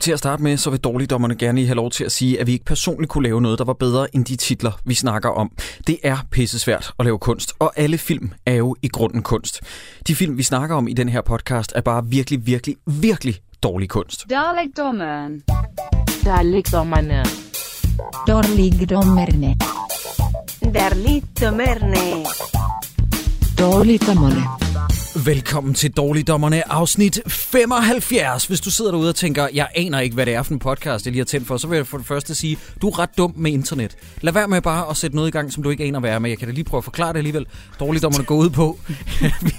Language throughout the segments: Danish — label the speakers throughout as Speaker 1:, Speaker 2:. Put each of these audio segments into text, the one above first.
Speaker 1: Til at starte med, så vil dårligdommerne gerne lige have lov til at sige, at vi ikke personligt kunne lave noget, der var bedre end de titler, vi snakker om. Det er pissesvært at lave kunst, og alle film er jo i grunden kunst. De film, vi snakker om i den her podcast, er bare virkelig, virkelig, virkelig dårlig kunst.
Speaker 2: Dalekdommeren.
Speaker 3: Der ligger dommerne.
Speaker 4: Dårligdommerne.
Speaker 5: Darlittomerne.
Speaker 3: Dårlige dommerne.
Speaker 1: Velkommen til Dårligdommerne, afsnit 75. Hvis du sidder derude og tænker, jeg aner ikke, hvad det er for en podcast, jeg lige har tændt for, så vil jeg for det første sige, du er ret dum med internet. Lad være med bare at sætte noget i gang, som du ikke aner, hvad er med. Jeg kan da lige prøve at forklare det alligevel. Dårligdommerne går ud på, at vi,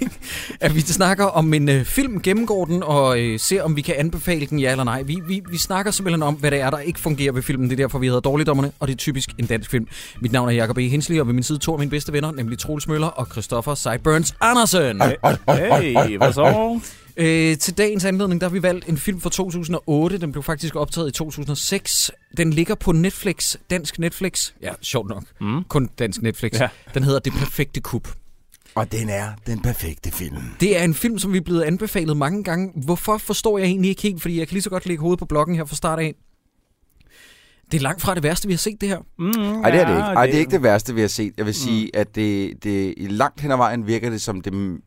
Speaker 1: at vi snakker om en øh, film, gennemgår den og øh, ser, om vi kan anbefale den, ja eller nej. Vi, vi, vi snakker simpelthen om, hvad det er, der ikke fungerer ved filmen. Det er derfor, vi hedder Dårligdommerne, og det er typisk en dansk film. Mit navn er Jacob E. Hensley, og ved min side to af mine bedste venner, nemlig Troels Møller og Christoffer Sideburns Andersen.
Speaker 6: Hey, hvad så?
Speaker 1: Øh, til dagens anledning, der har vi valgt en film fra 2008. Den blev faktisk optaget i 2006. Den ligger på Netflix. Dansk Netflix. Ja, sjovt nok. Mm. Kun dansk Netflix. Ja.
Speaker 6: Ja.
Speaker 1: Den hedder Det Perfekte Kup.
Speaker 7: Og den er den perfekte film.
Speaker 1: Det er en film, som vi er blevet anbefalet mange gange. Hvorfor forstår jeg egentlig ikke helt? Fordi jeg kan lige så godt lægge hovedet på blokken her fra start af. Det er langt fra det værste, vi har set det her.
Speaker 6: Mm,
Speaker 7: Nej, det er det ikke. Ej, det er ikke det værste, vi har set. Jeg vil sige, at det, det, i langt hen ad vejen virker det som det m-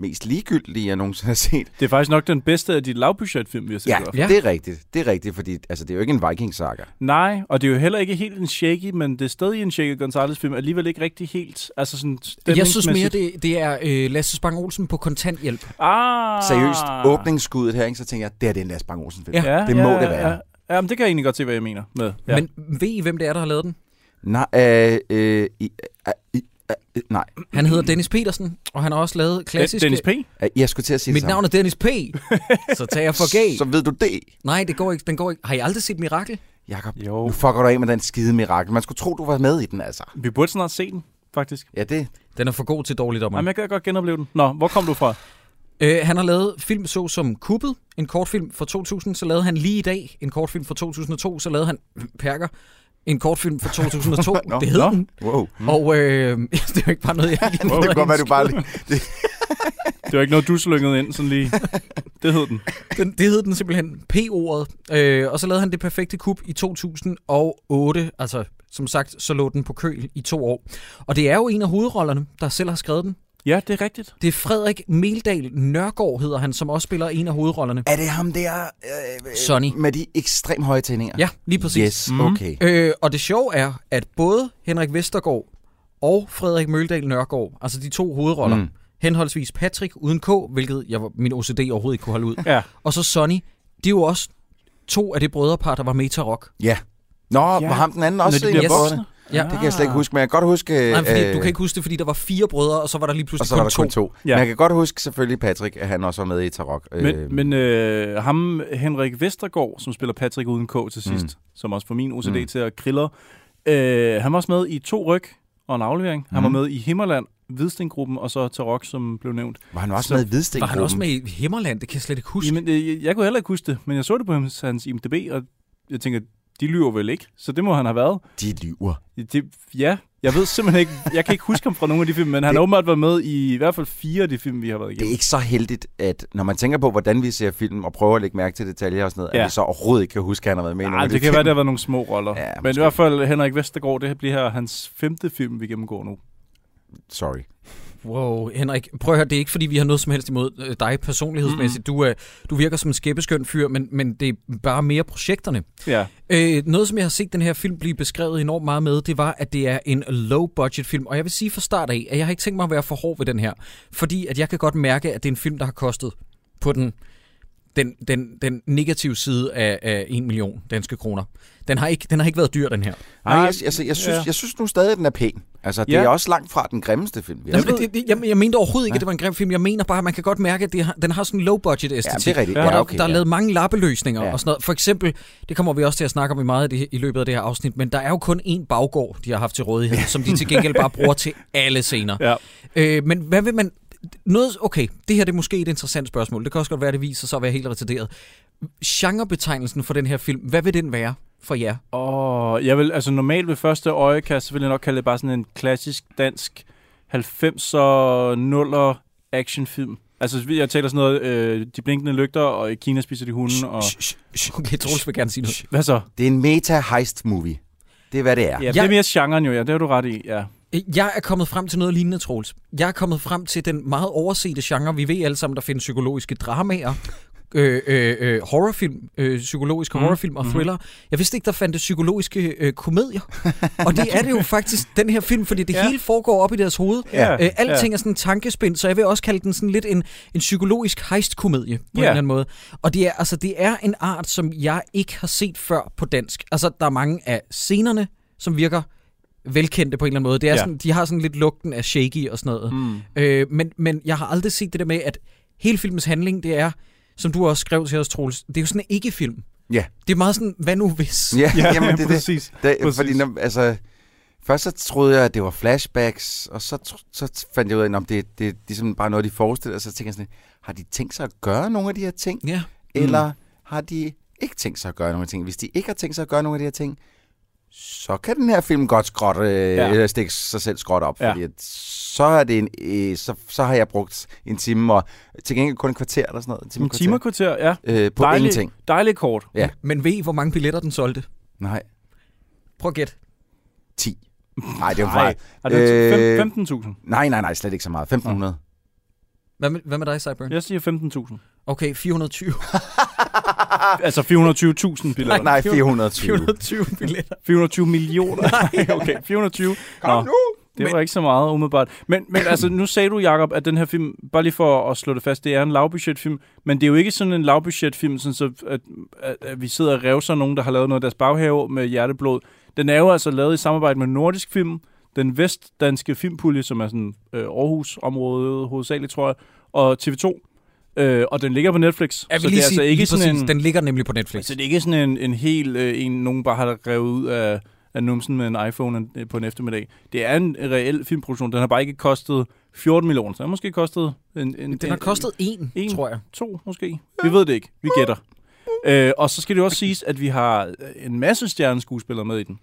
Speaker 7: mest ligegyldige, jeg nogensinde har set.
Speaker 6: Det er faktisk nok den bedste af de lavbudgetfilm, vi har set. i hvert fald.
Speaker 1: Ja.
Speaker 7: ja, det er rigtigt. Det er rigtigt, fordi altså, det er jo ikke en vikingsaga.
Speaker 6: Nej, og det er jo heller ikke helt en shaky, men det er stadig en shaky Gonzalez-film. Alligevel ikke rigtig helt, altså sådan
Speaker 1: Jeg synes mere,
Speaker 6: stemningsmæssigt.
Speaker 1: det, det er øh, Lasse Spang Olsen på kontanthjælp.
Speaker 6: Ah.
Speaker 7: Seriøst, åbningsskuddet her, ikke, så tænker jeg, det er den Lars Bang Olsen film.
Speaker 1: Ja.
Speaker 7: Ja. Det må det være.
Speaker 6: Ja. Jamen, det kan jeg egentlig godt se, hvad jeg mener med.
Speaker 1: Ja.
Speaker 6: Ja.
Speaker 1: Men ved I, hvem det er, der har lavet den?
Speaker 7: Nej, øh, øh, i, øh, i, øh, nej,
Speaker 1: Han hedder Dennis Petersen, og han har også lavet klassiske...
Speaker 6: Dennis P.
Speaker 7: Øh, jeg skulle til at sige
Speaker 1: Mit
Speaker 7: det
Speaker 1: navn er Dennis P. Så tager jeg for
Speaker 7: samme.
Speaker 1: gay.
Speaker 7: Så ved du det,
Speaker 1: Nej, det går ikke. Den går ikke. Har I aldrig set Mirakel?
Speaker 7: Jakob.
Speaker 6: Jo.
Speaker 7: Nu fucker du af med den skide mirakel. Man skulle tro, du var med i den, altså.
Speaker 6: Vi burde snart se den, faktisk.
Speaker 7: Ja, det.
Speaker 1: Den er for god til dårligdommer.
Speaker 6: Jamen, jeg kan godt genopleve den. Nå, hvor kom du fra?
Speaker 1: Øh, han har lavet film så som Kuppet, en kortfilm fra 2000, så lavede han lige i dag en kortfilm fra 2002, så lavede han Perker, en kortfilm fra 2002.
Speaker 7: Nå,
Speaker 1: det hed
Speaker 6: nå.
Speaker 1: den.
Speaker 7: Wow.
Speaker 1: Og øh, det er jo ikke bare noget, jeg lige
Speaker 7: Det kan godt være, du bare lige...
Speaker 6: Det var ikke noget, du slyngede ind sådan lige. Det hed den.
Speaker 1: Den, det hed den simpelthen P-ordet, øh, og så lavede han det perfekte kup i 2008. Altså, som sagt, så lå den på køl i to år. Og det er jo en af hovedrollerne, der selv har skrevet den.
Speaker 6: Ja, det er rigtigt.
Speaker 1: Det er Frederik Meldal Nørgaard, hedder han, som også spiller en af hovedrollerne.
Speaker 7: Er det ham der? Øh, øh,
Speaker 1: Sonny.
Speaker 7: Med de ekstremt høje tændinger?
Speaker 1: Ja, lige præcis.
Speaker 7: Yes, okay.
Speaker 1: Øh, og det sjove er, at både Henrik Vestergaard og Frederik Møldal Nørgaard, altså de to hovedroller, mm. henholdsvis Patrick uden K, hvilket jeg, var- min OCD overhovedet ikke kunne holde ud,
Speaker 6: Ja.
Speaker 1: og så Sonny, de er jo også to af det brødrepar, der var med i Tarok.
Speaker 7: Ja. Nå, ja. var ham den anden
Speaker 6: Når
Speaker 7: også?
Speaker 6: de
Speaker 7: en af
Speaker 6: bliver
Speaker 1: yes.
Speaker 7: brødrene?
Speaker 6: voksne. Ah.
Speaker 1: Ja.
Speaker 7: Det kan jeg slet ikke huske, men jeg kan godt huske...
Speaker 1: Ah.
Speaker 7: øh,
Speaker 1: Nej, men fordi, du kan ikke huske det, fordi der var fire brødre, og så var der lige
Speaker 7: og
Speaker 1: pludselig
Speaker 7: så var
Speaker 1: kun,
Speaker 7: der kun
Speaker 1: to.
Speaker 7: to.
Speaker 6: Ja.
Speaker 7: Men jeg kan godt huske selvfølgelig Patrick, at han også var med i Tarok.
Speaker 6: Men, men øh, ham, Henrik Vestergaard, som spiller Patrick uden K til sidst, mm. som også får min OCD mm. til at krille, øh, han var også med i to ryg og en aflevering. Han var med i Himmerland, Hvidstengruppen og så Tarok, som blev nævnt.
Speaker 7: var han også
Speaker 6: så-
Speaker 7: med i Hvidsten?
Speaker 1: Var han også med i Himmerland? Det kan jeg slet ikke huske.
Speaker 6: Jamen, øh, jeg- jeg kunne heller ikke huske det, men jeg så det på hans, hans IMDb, og jeg tænker, de lyver vel ikke, så det må han have været.
Speaker 7: De lyver.
Speaker 6: Det, ja, jeg ved simpelthen ikke, jeg kan ikke huske ham fra nogen af de film, men han har åbenbart været med i i hvert fald fire af de film, vi har været
Speaker 7: Det er
Speaker 6: igennem.
Speaker 7: ikke så heldigt, at når man tænker på, hvordan vi ser film, og prøver at lægge mærke til detaljer og sådan noget, ja.
Speaker 6: Ja.
Speaker 7: at vi så overhovedet ikke kan huske, at han har været med i nogle
Speaker 6: Nej,
Speaker 7: af de
Speaker 6: det kan
Speaker 7: film.
Speaker 6: være, det har været nogle små roller.
Speaker 7: Ja,
Speaker 6: men i
Speaker 7: måske.
Speaker 6: hvert fald Henrik Vestergaard, det her bliver her hans femte film, vi gennemgår nu.
Speaker 7: Sorry.
Speaker 1: Wow, Henrik, prøv at høre, det er ikke fordi, vi har noget som helst imod øh, dig personlighedsmæssigt. Du, øh, du virker som en skæbbeskøn fyr, men, men det er bare mere projekterne.
Speaker 6: Ja.
Speaker 1: Øh, noget, som jeg har set den her film blive beskrevet enormt meget med, det var, at det er en low-budget film. Og jeg vil sige fra start af, at jeg har ikke tænkt mig at være for hård ved den her. Fordi at jeg kan godt mærke, at det er en film, der har kostet på den, den, den, den negative side af, af 1 million danske kroner. Den har, ikke, den har ikke været dyr, den her.
Speaker 7: Nej,
Speaker 6: Ej,
Speaker 7: jeg, altså, jeg, synes,
Speaker 6: ja.
Speaker 7: jeg synes nu stadig, at den er pæn. Altså, det
Speaker 6: Ja.
Speaker 7: er også langt fra den grimmeste film, vi har
Speaker 1: Jamen,
Speaker 7: set.
Speaker 1: Altså, det, det, jeg, jeg mente overhovedet ikke, at det var en grim film. Jeg mener bare, at man kan godt mærke, at det har, den har sådan en low-budget
Speaker 7: Ja,
Speaker 1: æstetik.
Speaker 7: det er rigtigt.
Speaker 6: Ja,
Speaker 1: Hvor der,
Speaker 7: Ja,
Speaker 1: okay, der er
Speaker 7: ja.
Speaker 1: lavet mange lappeløsninger
Speaker 7: Ja.
Speaker 1: og sådan noget. For eksempel, det kommer vi også til at snakke om i meget af det, i løbet af det her afsnit, men der er jo kun én baggård, de har haft til rådighed, som de til gengæld bare bruger til alle scener.
Speaker 6: Ja.
Speaker 1: Øh, men hvad vil man... Noget, okay, det her det er måske et interessant spørgsmål. Det kan også godt være, det viser sig at være helt retarderet. Genrebetegnelsen for den her film, hvad vil den være for jer?
Speaker 6: Og jeg vil, altså normalt ved første øjekast, så vil jeg nok kalde det bare sådan en klassisk dansk 90'er, 0'er actionfilm. Altså, jeg taler sådan noget, øh, de blinkende lygter, og i Kina spiser de hunden, og...
Speaker 1: Okay, Troels vil gerne sige noget.
Speaker 6: Hvad så?
Speaker 7: Det er en meta-heist-movie. Det er, hvad det er.
Speaker 6: Ja, det er mere genren jo, ja. Det har du ret i, ja.
Speaker 1: Jeg er kommet frem til noget lignende, Troels. Jeg er kommet frem til den meget oversete genre. Vi ved alle sammen, der findes psykologiske dramaer, øh, øh, øh, horrorfilm, øh, psykologiske mm. horrorfilm og thriller. Jeg vidste ikke, der fandtes psykologiske øh, komedier. og det er det jo faktisk, den her film, fordi det
Speaker 6: Ja.
Speaker 1: ja. hele foregår op i deres hoved.
Speaker 6: Ja,
Speaker 1: Øh, alting
Speaker 6: ja.
Speaker 1: er sådan en tankespind, så jeg vil også kalde den sådan lidt en, en psykologisk heistkomedie på en
Speaker 6: Ja.
Speaker 1: eller anden måde. Og det er, altså, det er en art, som jeg ikke har set før på dansk. Altså, der er mange af scenerne, som virker velkendte på en eller anden måde. Det er
Speaker 6: Ja.
Speaker 1: ja. sådan, de har sådan lidt lugten af shaky og sådan noget. Mm. Øh, men, men jeg har aldrig set det der med, at hele filmens handling, det er, som du også skrev til os, Troels, det er jo sådan en ikke-film.
Speaker 7: Ja.
Speaker 1: Det er meget sådan, hvad nu hvis?
Speaker 7: Ja,
Speaker 6: Ja,
Speaker 7: jamen, det, er det,
Speaker 6: præcis.
Speaker 7: det,
Speaker 6: Præcis.
Speaker 7: Fordi, når, altså, først så troede jeg, at det var flashbacks, og så, tr- så fandt jeg ud af, at det, det er ligesom bare noget, de forestiller sig. Så tænkte jeg sådan, lidt, har de tænkt sig at gøre nogle af de her ting?
Speaker 1: Ja.
Speaker 6: Mm.
Speaker 7: Eller har de ikke tænkt sig at gøre nogle af de ting? Hvis de ikke har tænkt sig at gøre nogle af de her ting, så kan den her film godt skråt, øh,
Speaker 6: Ja.
Speaker 7: ja. eller stikke sig selv skråt op.
Speaker 6: Ja.
Speaker 7: Fordi at, så, er det en, øh, så, så har jeg brugt en time, og til gengæld kun et kvarter eller sådan noget. En time,
Speaker 6: En
Speaker 7: og
Speaker 6: time og
Speaker 7: kvarter,
Speaker 6: kvarter, ja.
Speaker 7: øh, på Dejlig. ingenting.
Speaker 6: Dejlig kort.
Speaker 7: Ja.
Speaker 1: Men ved I, hvor mange billetter den solgte?
Speaker 7: Nej,
Speaker 1: Prøv at gætte.
Speaker 7: 10. Nej, det var
Speaker 6: Nej,
Speaker 7: meget.
Speaker 6: er det
Speaker 7: Øh,
Speaker 6: fem- 15.000?
Speaker 7: Nej, nej, nej, slet ikke så meget. 1500.
Speaker 1: Hvad med, hvad med dig, Cyburn?
Speaker 6: Jeg siger 15.000.
Speaker 1: Okay, 420.
Speaker 6: Altså 420.000 billetter.
Speaker 7: Nej, 420.
Speaker 1: 420 billetter.
Speaker 6: 420 millioner. Nej, okay. 420. Nå,
Speaker 7: nu!
Speaker 6: det var ikke så meget umiddelbart. Men, men altså, nu sagde du, Jacob, at den her film, bare lige for at slå det fast, det er en lavbudgetfilm, men det er jo ikke sådan en lavbudgetfilm, sådan så, at, at, at vi sidder og revser nogen, der har lavet noget af deres baghave med hjerteblod. Den er jo altså lavet i samarbejde med Nordisk Film, den vestdanske filmpulje, som er sådan øh, Aarhus-området hovedsageligt, tror jeg, og TV2. Øh, og den ligger på Netflix.
Speaker 1: Jeg vil
Speaker 6: så det er
Speaker 1: lige
Speaker 6: altså
Speaker 1: sige,
Speaker 6: ikke
Speaker 1: lige
Speaker 6: sådan
Speaker 1: præcis,
Speaker 6: en...
Speaker 1: den ligger nemlig på Netflix.
Speaker 6: Så det er ikke sådan en, en hel, øh, en nogen bare har revet ud af, af numsen med en iPhone en- øh, på en eftermiddag. Det er en reel filmproduktion. Den har bare ikke kostet 14 millioner. Den har måske kostet... En, en,
Speaker 1: Den har kostet en,
Speaker 6: en.
Speaker 1: en. tror jeg.
Speaker 6: To måske. Vi ved det ikke. Vi gætter. Øh, og så skal det jo også siges, at vi har øh, en masse stjerneskuespillere med i den.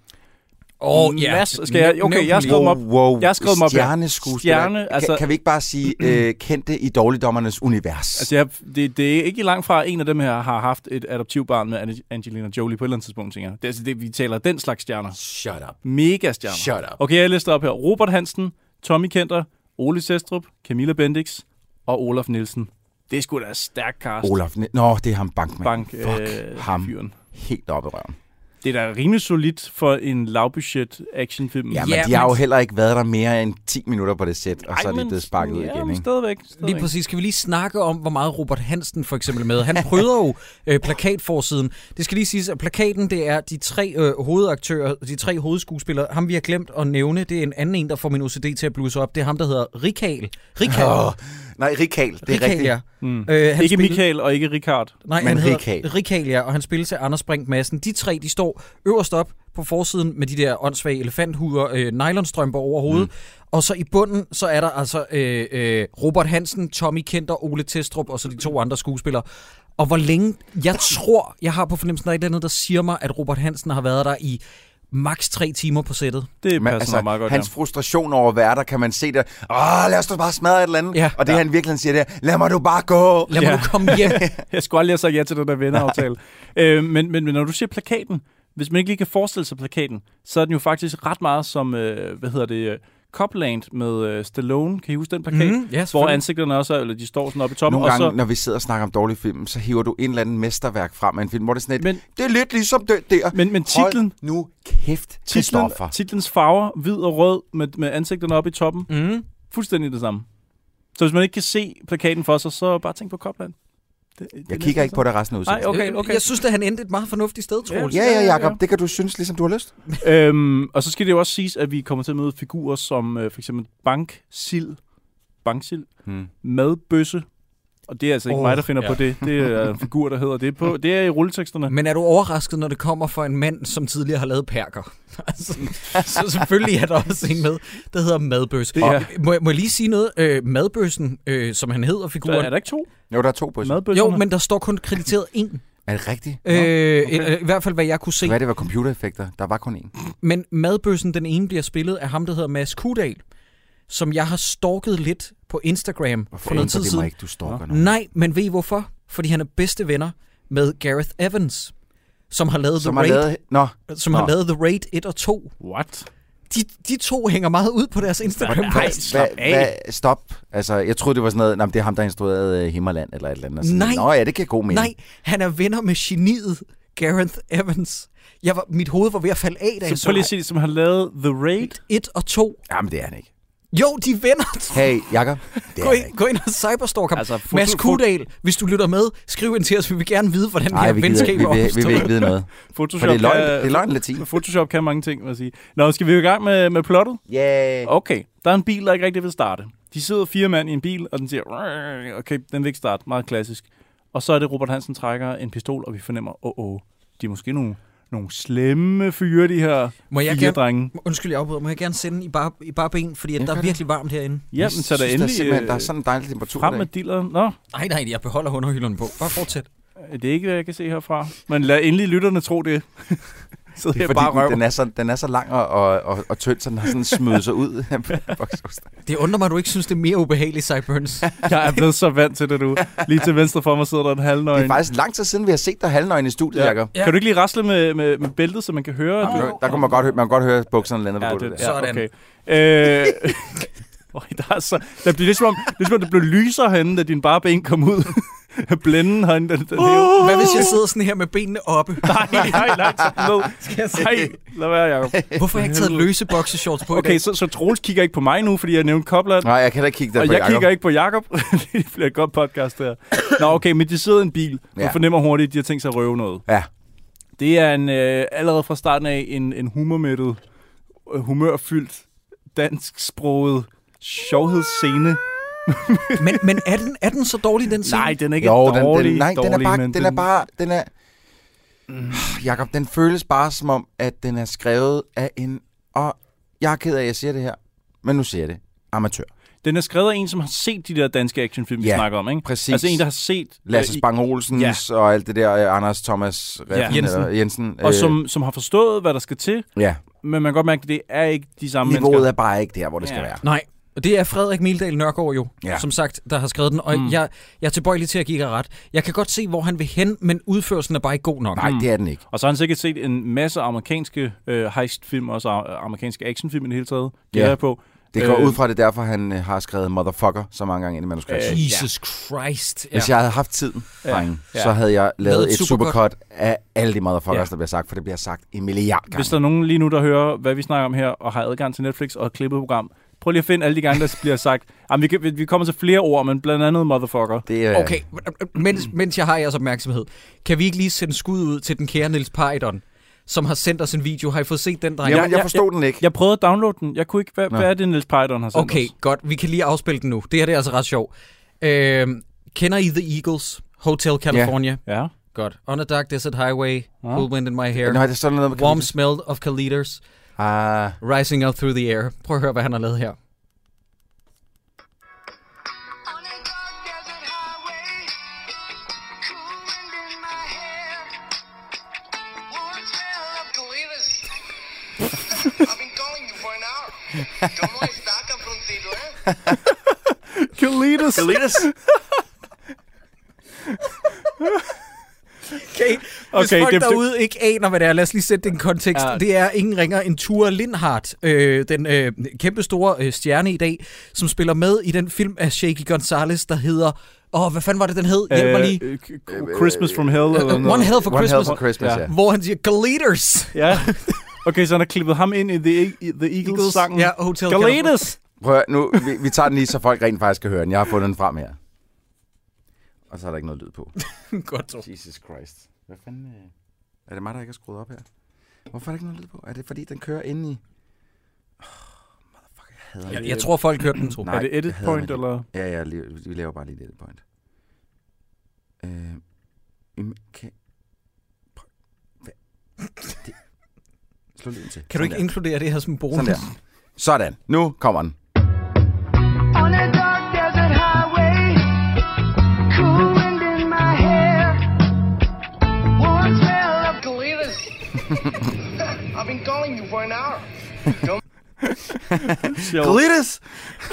Speaker 1: Åh,
Speaker 6: Masser- skal jeg- okay, jeg skriver-
Speaker 1: skriver...
Speaker 6: dem op.
Speaker 7: Wow,
Speaker 6: Jeg har skrevet dem op, ja.
Speaker 7: Stjerneskuespiller.
Speaker 6: Stjerne,
Speaker 7: Stjerne,
Speaker 6: altså-
Speaker 7: altså... kan, kan vi ikke bare sige øh, kendte i dårligdommernes univers?
Speaker 6: Altså, jeg, det, det er ikke langt fra, at en af dem her har haft et adoptivbarn med Ange- Angelina Jolie på et eller andet tidspunkt, tænker jeg. Det, er altså det, vi taler den slags stjerner.
Speaker 7: Shut up.
Speaker 6: Mega stjerner.
Speaker 7: Shut up.
Speaker 6: Okay, jeg lister op her. Robert Hansen, Tommy Kenter, Ole Sestrup, Camilla Bendix og Olaf Nielsen. Det er sgu da stærk cast.
Speaker 7: Olaf. Ne- Nå, det er ham Bankman.
Speaker 6: Bank,
Speaker 7: Fuck
Speaker 6: øh,
Speaker 7: ham.
Speaker 6: Fyren.
Speaker 7: Helt oppe i røven.
Speaker 6: Det er da rimelig solidt for en lavbudget actionfilm.
Speaker 7: Ja, men
Speaker 1: Ja,
Speaker 7: de har
Speaker 1: men-
Speaker 7: jo heller ikke været der mere end 10 minutter på det sæt, og så
Speaker 6: Ej,
Speaker 7: er de
Speaker 6: men-
Speaker 7: blevet sparket ud
Speaker 6: ja,
Speaker 7: igen,
Speaker 6: men
Speaker 7: ikke?
Speaker 6: Stadigvæk, stadigvæk.
Speaker 1: Lige præcis. Skal vi lige snakke om, hvor meget Robert Hansen for eksempel er med? Han pryder jo øh, plakatforsiden. Det skal lige siges, at plakaten det er de tre øh, hovedaktører, de tre hovedskuespillere. Ham vi har glemt at nævne, det er en anden en, der får min OCD til at blusse op. Det er ham, der hedder Rikal. Rikal.
Speaker 7: Åh, nej, Rikal, det er
Speaker 1: Rikal,
Speaker 7: rigtigt.
Speaker 1: ja.
Speaker 6: Mm.
Speaker 1: Øh, han
Speaker 6: Ikke
Speaker 1: spillede-
Speaker 6: Michael og ikke Richard.
Speaker 1: Nej,
Speaker 7: Men
Speaker 1: han
Speaker 7: Rikal.
Speaker 1: hedder Rikal, ja, og han spiller til Anders Brink Madsen. De tre, de står øverst op på forsiden med de der åndssvage elefanthuder, øh, nylonstrømper over hovedet. Mm. Og så i bunden, så er der altså øh, øh, Robert Hansen, Tommy Kenter, Ole Testrup og så de to andre skuespillere. Og hvor længe, jeg tror, jeg har på fornemmelsen, der er et eller andet, der siger mig, at Robert Hansen har været der i maks tre timer på sættet.
Speaker 6: Det
Speaker 7: Men,
Speaker 6: passer altså, mig meget godt.
Speaker 7: hans
Speaker 6: ja.
Speaker 7: frustration over værter, kan man se det. Åh, lad os da bare smadre et eller andet.
Speaker 1: Ja.
Speaker 7: og det, han virkelig han siger, det er, lad mig du bare gå.
Speaker 1: Lad mig
Speaker 6: Ja. Mm.
Speaker 1: nu komme hjem.
Speaker 6: Jeg skulle aldrig have sagt ja til den der venneraftale. øh, men, men, men når du siger plakaten, hvis man ikke lige kan forestille sig plakaten, så er den jo faktisk ret meget som, øh, hvad hedder det, øh, Copland med øh, Stallone. Kan I huske den plakat?
Speaker 1: Mhm, ja,
Speaker 6: hvor
Speaker 1: selvfølgelig.
Speaker 6: ansigterne også er, eller de står sådan oppe i toppen.
Speaker 7: Nogle
Speaker 6: og
Speaker 7: gange,
Speaker 6: så,
Speaker 7: så... når vi sidder og snakker om dårlige film, så hiver du en eller anden mesterværk frem af en film, hvor det er sådan et,
Speaker 6: Men-
Speaker 7: men... det er lidt ligesom det der.
Speaker 6: Men- men titlen-
Speaker 7: Hold nu kæft,
Speaker 6: titlen,
Speaker 7: Christoffer.
Speaker 6: titlens farver, hvid og rød, med, med ansigterne oppe i toppen.
Speaker 1: Mm.
Speaker 6: Fuldstændig det samme. Så hvis man ikke kan se plakaten for sig, så bare tænk på Copland. Det, det
Speaker 7: Jeg kigger ikke på det resten af
Speaker 6: Nej,
Speaker 7: udsendelsen.
Speaker 6: Okay, okay.
Speaker 1: Øh, Jeg synes, at han endte et meget fornuftigt sted, Troels.
Speaker 7: Ja, ja,
Speaker 6: Ja.
Speaker 7: Jacob, det kan du synes, ligesom du har lyst.
Speaker 6: øhm, og så skal det jo også siges, at vi kommer til at møde figurer som øh, for eksempel Bank Sil, Bank Sil
Speaker 7: Hmm.
Speaker 6: madbøsse. Og det er altså ikke oh,
Speaker 1: Åh,
Speaker 6: mig, der finder ja.
Speaker 1: ja.
Speaker 6: på det. Det er en figur, der hedder det på. Det er i rulleteksterne.
Speaker 1: Men er du overrasket, når det kommer fra en mand, som tidligere har lavet perker? altså, så selvfølgelig er der også en med, der hedder Madbøs.
Speaker 6: Det
Speaker 1: Og
Speaker 6: er-
Speaker 1: Må, jeg- må jeg lige sige noget? Øh, madbøssen, øh, som han hedder
Speaker 6: Der
Speaker 1: figuren.
Speaker 6: er der ikke to
Speaker 7: Jo, der er to på.
Speaker 6: madbøsser?
Speaker 1: jo, men der står kun krediteret én.
Speaker 7: Er det rigtigt?
Speaker 1: Øh,
Speaker 7: Øh,
Speaker 1: okay. I hvert fald, hvad jeg kunne se.
Speaker 7: Hvad det var computereffekter? Der var kun én.
Speaker 1: Men madbøssen, den ene, bliver spillet af ham, der hedder Mads Kudal, som jeg har stalket lidt på Instagram
Speaker 7: Hvorfor
Speaker 1: for noget
Speaker 7: ændrer
Speaker 1: tid
Speaker 7: det mig
Speaker 1: siden.
Speaker 7: ikke, du stalker nu?
Speaker 1: Nej, men ved I hvorfor? Fordi han er bedste venner med Gareth Evans, som har lavet, The,
Speaker 7: Som har
Speaker 1: Raid,
Speaker 7: lavet... Nå,
Speaker 1: som
Speaker 7: Nå.
Speaker 1: har lavet The Raid 1 og 2.
Speaker 6: What?
Speaker 1: De, de to hænger meget ud på deres Instagram.
Speaker 6: Nej,
Speaker 7: hvad,
Speaker 6: slap af.
Speaker 7: hvad, stop. Altså, jeg troede, det var sådan noget, nej, det er ham, der instruerede uh, Himmerland eller et eller andet. og Sådan.
Speaker 1: Nej.
Speaker 7: Nå ja, det kan god mening.
Speaker 1: Nej, han er venner med geniet Gareth Evans. Jeg var, mit hoved var ved at falde af, da jeg
Speaker 6: Så prøv lige at sige det, som har lavet The Raid.
Speaker 1: 1 og 2.
Speaker 7: Jamen, det er han ikke.
Speaker 1: Jo, de er venner.
Speaker 7: Hey, Jakob. Det er
Speaker 1: Gå
Speaker 7: han
Speaker 1: ind,
Speaker 7: ikke.
Speaker 1: gå ind og cyberstalk ham.
Speaker 6: Altså,
Speaker 1: Altså,
Speaker 6: fuld-
Speaker 1: Mads
Speaker 6: fuld-
Speaker 1: Kudal, hvis du lytter med, skriv ind til os. Vi vil gerne vide, hvordan det
Speaker 7: Nej,
Speaker 1: her
Speaker 7: vi, gider,
Speaker 1: venskab
Speaker 7: ikke. vi,
Speaker 1: er
Speaker 7: vil, vi vil
Speaker 1: opstået.
Speaker 7: ikke vide noget. For
Speaker 6: Photoshop
Speaker 7: det er løgn,
Speaker 6: kan-
Speaker 7: det er løgn latin.
Speaker 6: Photoshop kan mange ting, må jeg sige. Nå, skal vi i gang med, med plottet?
Speaker 7: Yeah.
Speaker 6: Okay, der er en bil, der ikke rigtig vil starte. De sidder fire mand i en bil, og den siger, "Rrrr." okay, den vil ikke starte. Meget klassisk. Og så er det, Robert Hansen trækker en pistol, og vi fornemmer, åh, oh, oh, de er måske nogle, nogle slemme fyre, de her
Speaker 1: Må jeg
Speaker 6: fire
Speaker 1: gerne-
Speaker 6: drenge.
Speaker 1: Undskyld, jeg afbryder. Må jeg gerne sende i bare, i bare ben, fordi
Speaker 7: Ja,
Speaker 1: at der
Speaker 7: gør
Speaker 1: er
Speaker 7: det.
Speaker 1: virkelig varmt herinde.
Speaker 6: Ja, men
Speaker 7: Jeg
Speaker 6: så er der
Speaker 7: synes,
Speaker 6: endelig
Speaker 7: simpelthen,
Speaker 6: øh,
Speaker 7: der er sådan en dejlig temperatur
Speaker 6: frem
Speaker 7: i
Speaker 6: med
Speaker 7: dag.
Speaker 6: dilleren. Nå,
Speaker 1: Nej, nej, jeg beholder underhylderne på. Bare fortsæt.
Speaker 6: det er ikke, hvad jeg kan se herfra. Men lad endelig lytterne tro det. så det
Speaker 7: Det
Speaker 6: er
Speaker 7: er
Speaker 6: bare
Speaker 7: fordi,
Speaker 6: røv.
Speaker 7: den, den, er så, den er så lang og, og, og, og tynd, så den har sådan smøget sig ud. af bokseosten.
Speaker 1: Det undrer mig, at du ikke synes, det er mere ubehageligt, Cyburns.
Speaker 6: Jeg er blevet så vant til det nu. Lige til venstre for mig sidder der en
Speaker 7: det
Speaker 6: halvnøgen.
Speaker 7: er faktisk lang tid siden, vi har set dig halvnøgen i studiet,
Speaker 6: Ja.
Speaker 7: ja. Jacob.
Speaker 1: Ja.
Speaker 6: Kan du ikke lige rasle med, med, med bæltet, så man kan høre? at du-
Speaker 1: Åh,
Speaker 7: Der kunne man godt høre, man kan godt høre at bukserne lander på
Speaker 6: Ja,
Speaker 7: gulvet.
Speaker 6: det,
Speaker 7: der.
Speaker 6: ja,
Speaker 1: Sådan.
Speaker 6: okay. Øh, Øj, der er så, der bliver ligesom om, det er som om, det blev lysere herinde, da din bare ben kom ud. Blænden herinde, den, den hævde.
Speaker 1: Hvad hvis jeg sidder sådan her med benene oppe?
Speaker 6: Nej, nej, nej, tak, no.
Speaker 1: Uh! jeg se?
Speaker 6: nej, lad være, Jacob.
Speaker 1: Hvorfor har jeg ikke taget løse boxershorts på i
Speaker 6: Okay,
Speaker 1: dag?
Speaker 6: så, så Troels kigger ikke på mig nu, fordi jeg nævnte Kobland.
Speaker 7: Nej, jeg kan da ikke kigge der
Speaker 6: Og
Speaker 7: på
Speaker 6: jeg
Speaker 7: Jacob.
Speaker 6: kigger ikke på Jakob. det bliver et godt podcast, der. Nå, okay, men de sidder i en bil. Man
Speaker 7: Ja.
Speaker 6: fornemmer hurtigt, at de har tænkt sig at røve noget.
Speaker 7: Ja,
Speaker 6: Det er en, øh, allerede fra starten af en, en humormættet, øh, humørfyldt, dansksproget sjovhedsscene.
Speaker 1: Men, men er, den, er den så dårlig, den scene?
Speaker 6: Nej, den er ikke
Speaker 7: jo,
Speaker 6: dårlig,
Speaker 7: den, den, nej,
Speaker 6: dårlig,
Speaker 7: den er bare,
Speaker 6: men
Speaker 7: den, er bare, den er, Jakob, den føles bare som om, at den er skrevet af en, og jeg er ked af, at jeg siger det her, men nu siger jeg det, amatør.
Speaker 6: den er skrevet af en, som har set de der danske actionfilm, vi
Speaker 7: Ja,
Speaker 6: snakker om, ikke?
Speaker 7: præcis.
Speaker 6: Altså en, der har set...
Speaker 7: Lasse
Speaker 6: øh, i-
Speaker 7: Spang Olsens ja. og alt det der, øh, Anders Thomas Reffen,
Speaker 6: Jensen.
Speaker 7: Eller Jensen Øh,
Speaker 6: Og som, som har forstået, hvad der skal til,
Speaker 7: ja,
Speaker 6: men man kan godt mærke, at det er ikke de samme
Speaker 7: niveauet
Speaker 6: mennesker.
Speaker 7: er bare ikke der, hvor det
Speaker 6: Ja.
Speaker 7: ja. skal være.
Speaker 1: Nej, og det er Frederik Mildal Nørgaard jo,
Speaker 7: Ja.
Speaker 1: ja. som sagt, der har skrevet den, og
Speaker 6: Mm.
Speaker 1: mm. jeg, jeg er tilbøjelig til at give jer ret. Jeg kan godt se, hvor han vil hen, men udførelsen er bare ikke god nok.
Speaker 6: Mm.
Speaker 7: Nej, det er den ikke.
Speaker 6: Og så har han sikkert set en masse amerikanske øh, heistfilm, også øh, amerikanske actionfilm i det hele taget, gætter
Speaker 7: Ja.
Speaker 6: jeg på.
Speaker 7: Det går
Speaker 6: Øh.
Speaker 7: øh. ud fra det, er derfor han øh, har skrevet motherfucker så mange gange ind i manuskriptet.
Speaker 6: Øh,
Speaker 7: Øh.
Speaker 1: Jesus Christ. Ja.
Speaker 7: Hvis jeg havde haft tiden,
Speaker 6: Ja.
Speaker 7: drenge,
Speaker 6: Ja.
Speaker 7: så havde jeg lavet et
Speaker 1: supercut.
Speaker 7: supercut af alle de motherfuckers,
Speaker 6: Ja.
Speaker 7: der bliver sagt, for det bliver sagt en milliard gange.
Speaker 6: Hvis der er nogen lige nu, der hører, hvad vi snakker om her, og har adgang til Netflix og et klippet program, prøv lige at finde alle de gange, der bliver sagt. Jamen, vi, kan, vi- vi kommer til flere ord, men blandt andet motherfucker.
Speaker 7: Det øh, er,
Speaker 1: Okay, mens, mens jeg har jeres opmærksomhed, kan vi ikke lige sende skud ud til den kære Niels Python, som har sendt os en video? Har I fået set den, dreng?
Speaker 7: Jamen, jeg
Speaker 6: jeg-
Speaker 7: forstod den ikke.
Speaker 6: Jeg prøvede at downloade den. Jeg kunne ikke... Hvad,
Speaker 7: Nå.
Speaker 6: hvad er det, Niels Python har sendt
Speaker 1: Okay,
Speaker 6: os?
Speaker 1: godt. Vi kan lige afspille den nu. Det her det er altså ret sjovt. Øhm, kender I The Eagles? Hotel California.
Speaker 6: Ja.
Speaker 1: Godt. On a dark desert highway,
Speaker 6: Ja.
Speaker 1: cool wind in my hair,
Speaker 7: Nå, det er sådan noget med
Speaker 1: warm smell of caliders,
Speaker 7: Ah,
Speaker 1: rising up through the air. Prøv at høre, hvad han har lavet her.
Speaker 2: On a dark desert highway, cool wind in my hair, warm smell of Colinas. I've been calling you for an hour. ¿Cómo está, cabroncito, eh?
Speaker 6: Kalidas. Kalidas.
Speaker 1: Okay, hvis
Speaker 6: Okay,
Speaker 1: okay, folk
Speaker 6: det-
Speaker 1: det, derude ikke aner, hvad det er, lad os lige sætte det i en kontekst.
Speaker 6: Ja.
Speaker 1: Ja. Det er ingen ringer end Ture Lindhardt, øh, den øh, kæmpe store øh, stjerne i dag, som spiller med i den film af Shaky Gonzalez, der hedder... Åh, oh, hvad fanden var det, den hed? Hjælp
Speaker 7: Øh,
Speaker 1: mig lige.
Speaker 6: Øh, Christmas from Hell. Eller
Speaker 1: Uh, one
Speaker 6: noget.
Speaker 1: Hell for
Speaker 7: One Hell
Speaker 1: Christmas,
Speaker 7: for Christmas,
Speaker 6: Ja.
Speaker 7: ja.
Speaker 1: hvor han siger, Galeters!
Speaker 6: Ja. Okay, så han har klippet ham ind i The, E- i the Eagles-sangen.
Speaker 1: Ja, Hotel California.
Speaker 6: Kalidas.
Speaker 7: Prøv at, nu, vi, vi tager den lige, så folk rent faktisk kan høre den. Jeg har fundet den frem her. Og så er der ikke noget lyd på.
Speaker 1: Godt, Tor.
Speaker 7: Jesus Christ. Hvad fanden... øh, Er det mig, der ikke har skruet op her? Hvorfor er der ikke noget lyd på? Er det, fordi den kører ind i... Oh, motherfucker, jeg hader
Speaker 1: Jeg,
Speaker 7: det.
Speaker 1: jeg tror, folk hørte den, tror
Speaker 7: Nej.
Speaker 6: Er det edit
Speaker 7: jeg hader
Speaker 6: point,
Speaker 7: det.
Speaker 6: eller...
Speaker 7: Ja, ja, lige, vi laver bare lige det point. Øh, jamen, kan... Prøv, hvad? Det... Slå lyden til.
Speaker 1: Kan du ikke
Speaker 7: Sådan
Speaker 1: inkludere det her som bonus?
Speaker 7: der. Sådan der. Sådan. Nu kommer den.
Speaker 2: On a dark desert highway, cool wind in my hair, warm smell of Colinas. I've been calling you for an hour.
Speaker 6: sjovt.
Speaker 7: Glitters!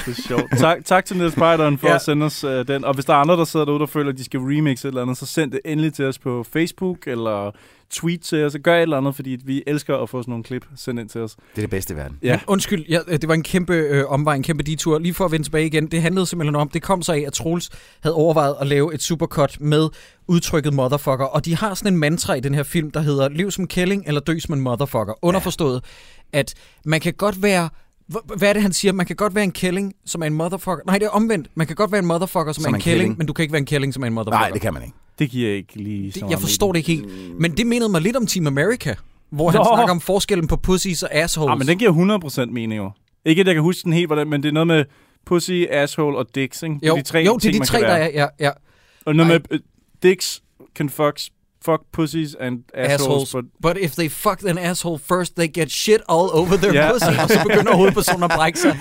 Speaker 6: Det er sjovt. Tak, tak til Niels Spejderen for
Speaker 1: Ja.
Speaker 6: ja. at sende os øh, den. Og hvis der er andre, der sidder derude og føler, at de skal remixe et eller andet, så send det endelig til os på Facebook eller tweet til os. Så gør et eller andet, fordi vi elsker at få sådan nogle klip sendt ind til os.
Speaker 7: Det er det bedste i verden.
Speaker 1: Ja. Undskyld, ja, det var en kæmpe øh, omvej, en kæmpe detur. Lige for at vende tilbage igen, det handlede simpelthen om, det kom så af, at Troels havde overvejet at lave et supercut med udtrykket motherfucker, og de har sådan en mantra i den her film, der hedder, liv som kælling eller dø som en motherfucker. Underforstået, at man kan godt være Hv- hvad er det, han siger? Man kan godt være en kælling, som er en motherfucker. Nej, det er omvendt. Man kan godt være en motherfucker, som, som er en kælling, men du kan ikke være en kælling, som er en motherfucker.
Speaker 7: Nej, det kan man ikke.
Speaker 6: Det giver ikke lige så
Speaker 1: Det,
Speaker 6: meget
Speaker 1: jeg forstår det ikke helt. Men det mindede mig lidt om Team America, hvor han
Speaker 6: Nå.
Speaker 1: snakker om forskellen på pussies og assholes.
Speaker 6: Ah, men den giver 100% mening jo. Ikke, at jeg kan huske den helt, hvordan, men det er noget med pussy, asshole og dicks, ikke?
Speaker 1: jo,
Speaker 6: det er de tre
Speaker 1: jo, det er
Speaker 6: ting,
Speaker 1: de
Speaker 6: man
Speaker 1: tre,
Speaker 6: kan
Speaker 1: der
Speaker 6: være.
Speaker 1: er. Ja, ja.
Speaker 6: Og noget med øh, dicks can fucks, fuck pussies and assholes.
Speaker 1: assholes.
Speaker 6: assholes. But,
Speaker 1: But if they fuck an asshole first, they get shit all over their
Speaker 6: Ja.
Speaker 1: pussy. Og så begynder hovedpersonen at brække sig.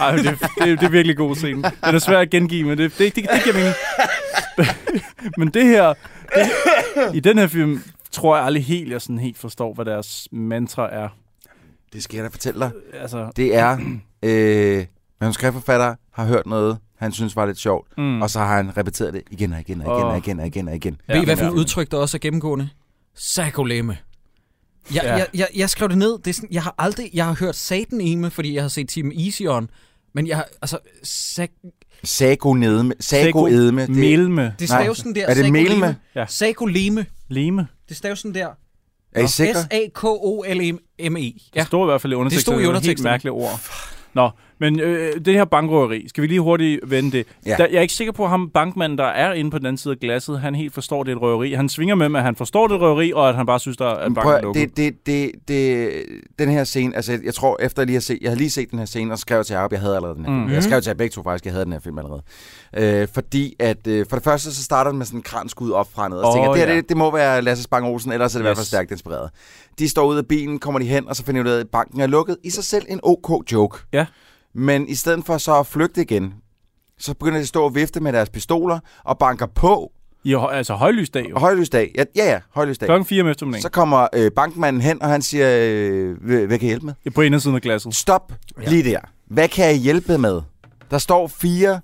Speaker 6: ej, det, det, det, er virkelig god scene. Den er svær at gengive, men det, det, det, det giver mening. men det her, det, i den her film, tror jeg aldrig helt, jeg sådan helt forstår, hvad deres mantra er.
Speaker 7: Det skal jeg da fortælle dig.
Speaker 6: Altså,
Speaker 7: Det er, øh, manuskriptforfatter har hørt noget, han synes var lidt sjovt,
Speaker 6: mm.
Speaker 7: og så har han repeteret det igen og igen og igen og
Speaker 6: Åh.
Speaker 7: igen og igen og igen.
Speaker 1: Ja, Ved I, hvad for
Speaker 6: men
Speaker 1: et
Speaker 6: ja.
Speaker 1: udtryk, der også er gennemgående? Sakoleme. Jeg,
Speaker 6: Ja.
Speaker 1: jeg, jeg, jeg skrev det ned. Det er sådan, jeg har aldrig jeg har hørt sataneme, fordi jeg har set Team Easy On. Men jeg har, altså, sak,
Speaker 7: Sago nedme. Sago
Speaker 6: Sago
Speaker 7: edme. Det,
Speaker 6: Melme.
Speaker 1: det
Speaker 7: Nej.
Speaker 1: staves sådan der.
Speaker 7: Er det
Speaker 1: sakoleme.
Speaker 7: melme?
Speaker 6: Ja.
Speaker 1: Sakoleme.
Speaker 6: Leme.
Speaker 1: Det staves sådan der.
Speaker 7: er I sikre?
Speaker 1: S-A-K-O-L-M-E.
Speaker 6: Det
Speaker 1: E Ja.
Speaker 6: stod i hvert fald i underteksten.
Speaker 1: stod i
Speaker 6: Det var et
Speaker 1: underteksten.
Speaker 6: Helt mærkelige ord. Nå, men øh, det her bankrøveri, skal vi lige hurtigt vende det?
Speaker 7: Ja.
Speaker 6: Der, jeg er ikke sikker på, at ham bankmanden, der er inde på den anden side af glasset, han helt forstår, det er et røveri. Han svinger med, med, at han forstår, det er et røveri, og at han bare synes, der er
Speaker 7: Men
Speaker 6: at
Speaker 7: Prøv,
Speaker 6: banken
Speaker 7: at-
Speaker 6: lukket.
Speaker 7: det, det, det, det, den her scene, altså jeg- jeg tror, efter jeg lige har set, jeg havde lige set den her scene, og skrev til Jacob, jeg havde allerede den her mm. film. Jeg skrev til jer begge to faktisk, jeg havde den her film allerede. Øh, fordi at, øh, for det første, så starter den med sådan en kranskud op fra ned, og så
Speaker 6: Åh,
Speaker 7: tænker, jeg, det, her,
Speaker 6: ja.
Speaker 7: det, det, må være Lasse Spang Olsen, ellers er det yes. i hvert fald
Speaker 6: Yes.
Speaker 7: stærkt inspireret. De står ud af bilen, kommer de hen, og så finder de ud af, at banken er lukket. I sig selv en ok joke.
Speaker 6: Ja.
Speaker 7: Men i stedet for så at flygte igen, så begynder de at stå og vifte med deres pistoler og banker på.
Speaker 6: I hø- altså højlysdag jo.
Speaker 7: Højlysdag. Ja, ja, ja højlysdag.
Speaker 6: Klokken 4 om eftermiddagen.
Speaker 7: Så kommer øh, bankmanden hen, og han siger, øh, hvad hvad kan jeg hjælpe med?
Speaker 6: Ja, På indersiden af glasset.
Speaker 7: Stop lige der. Hvad kan jeg hjælpe med? Der står fire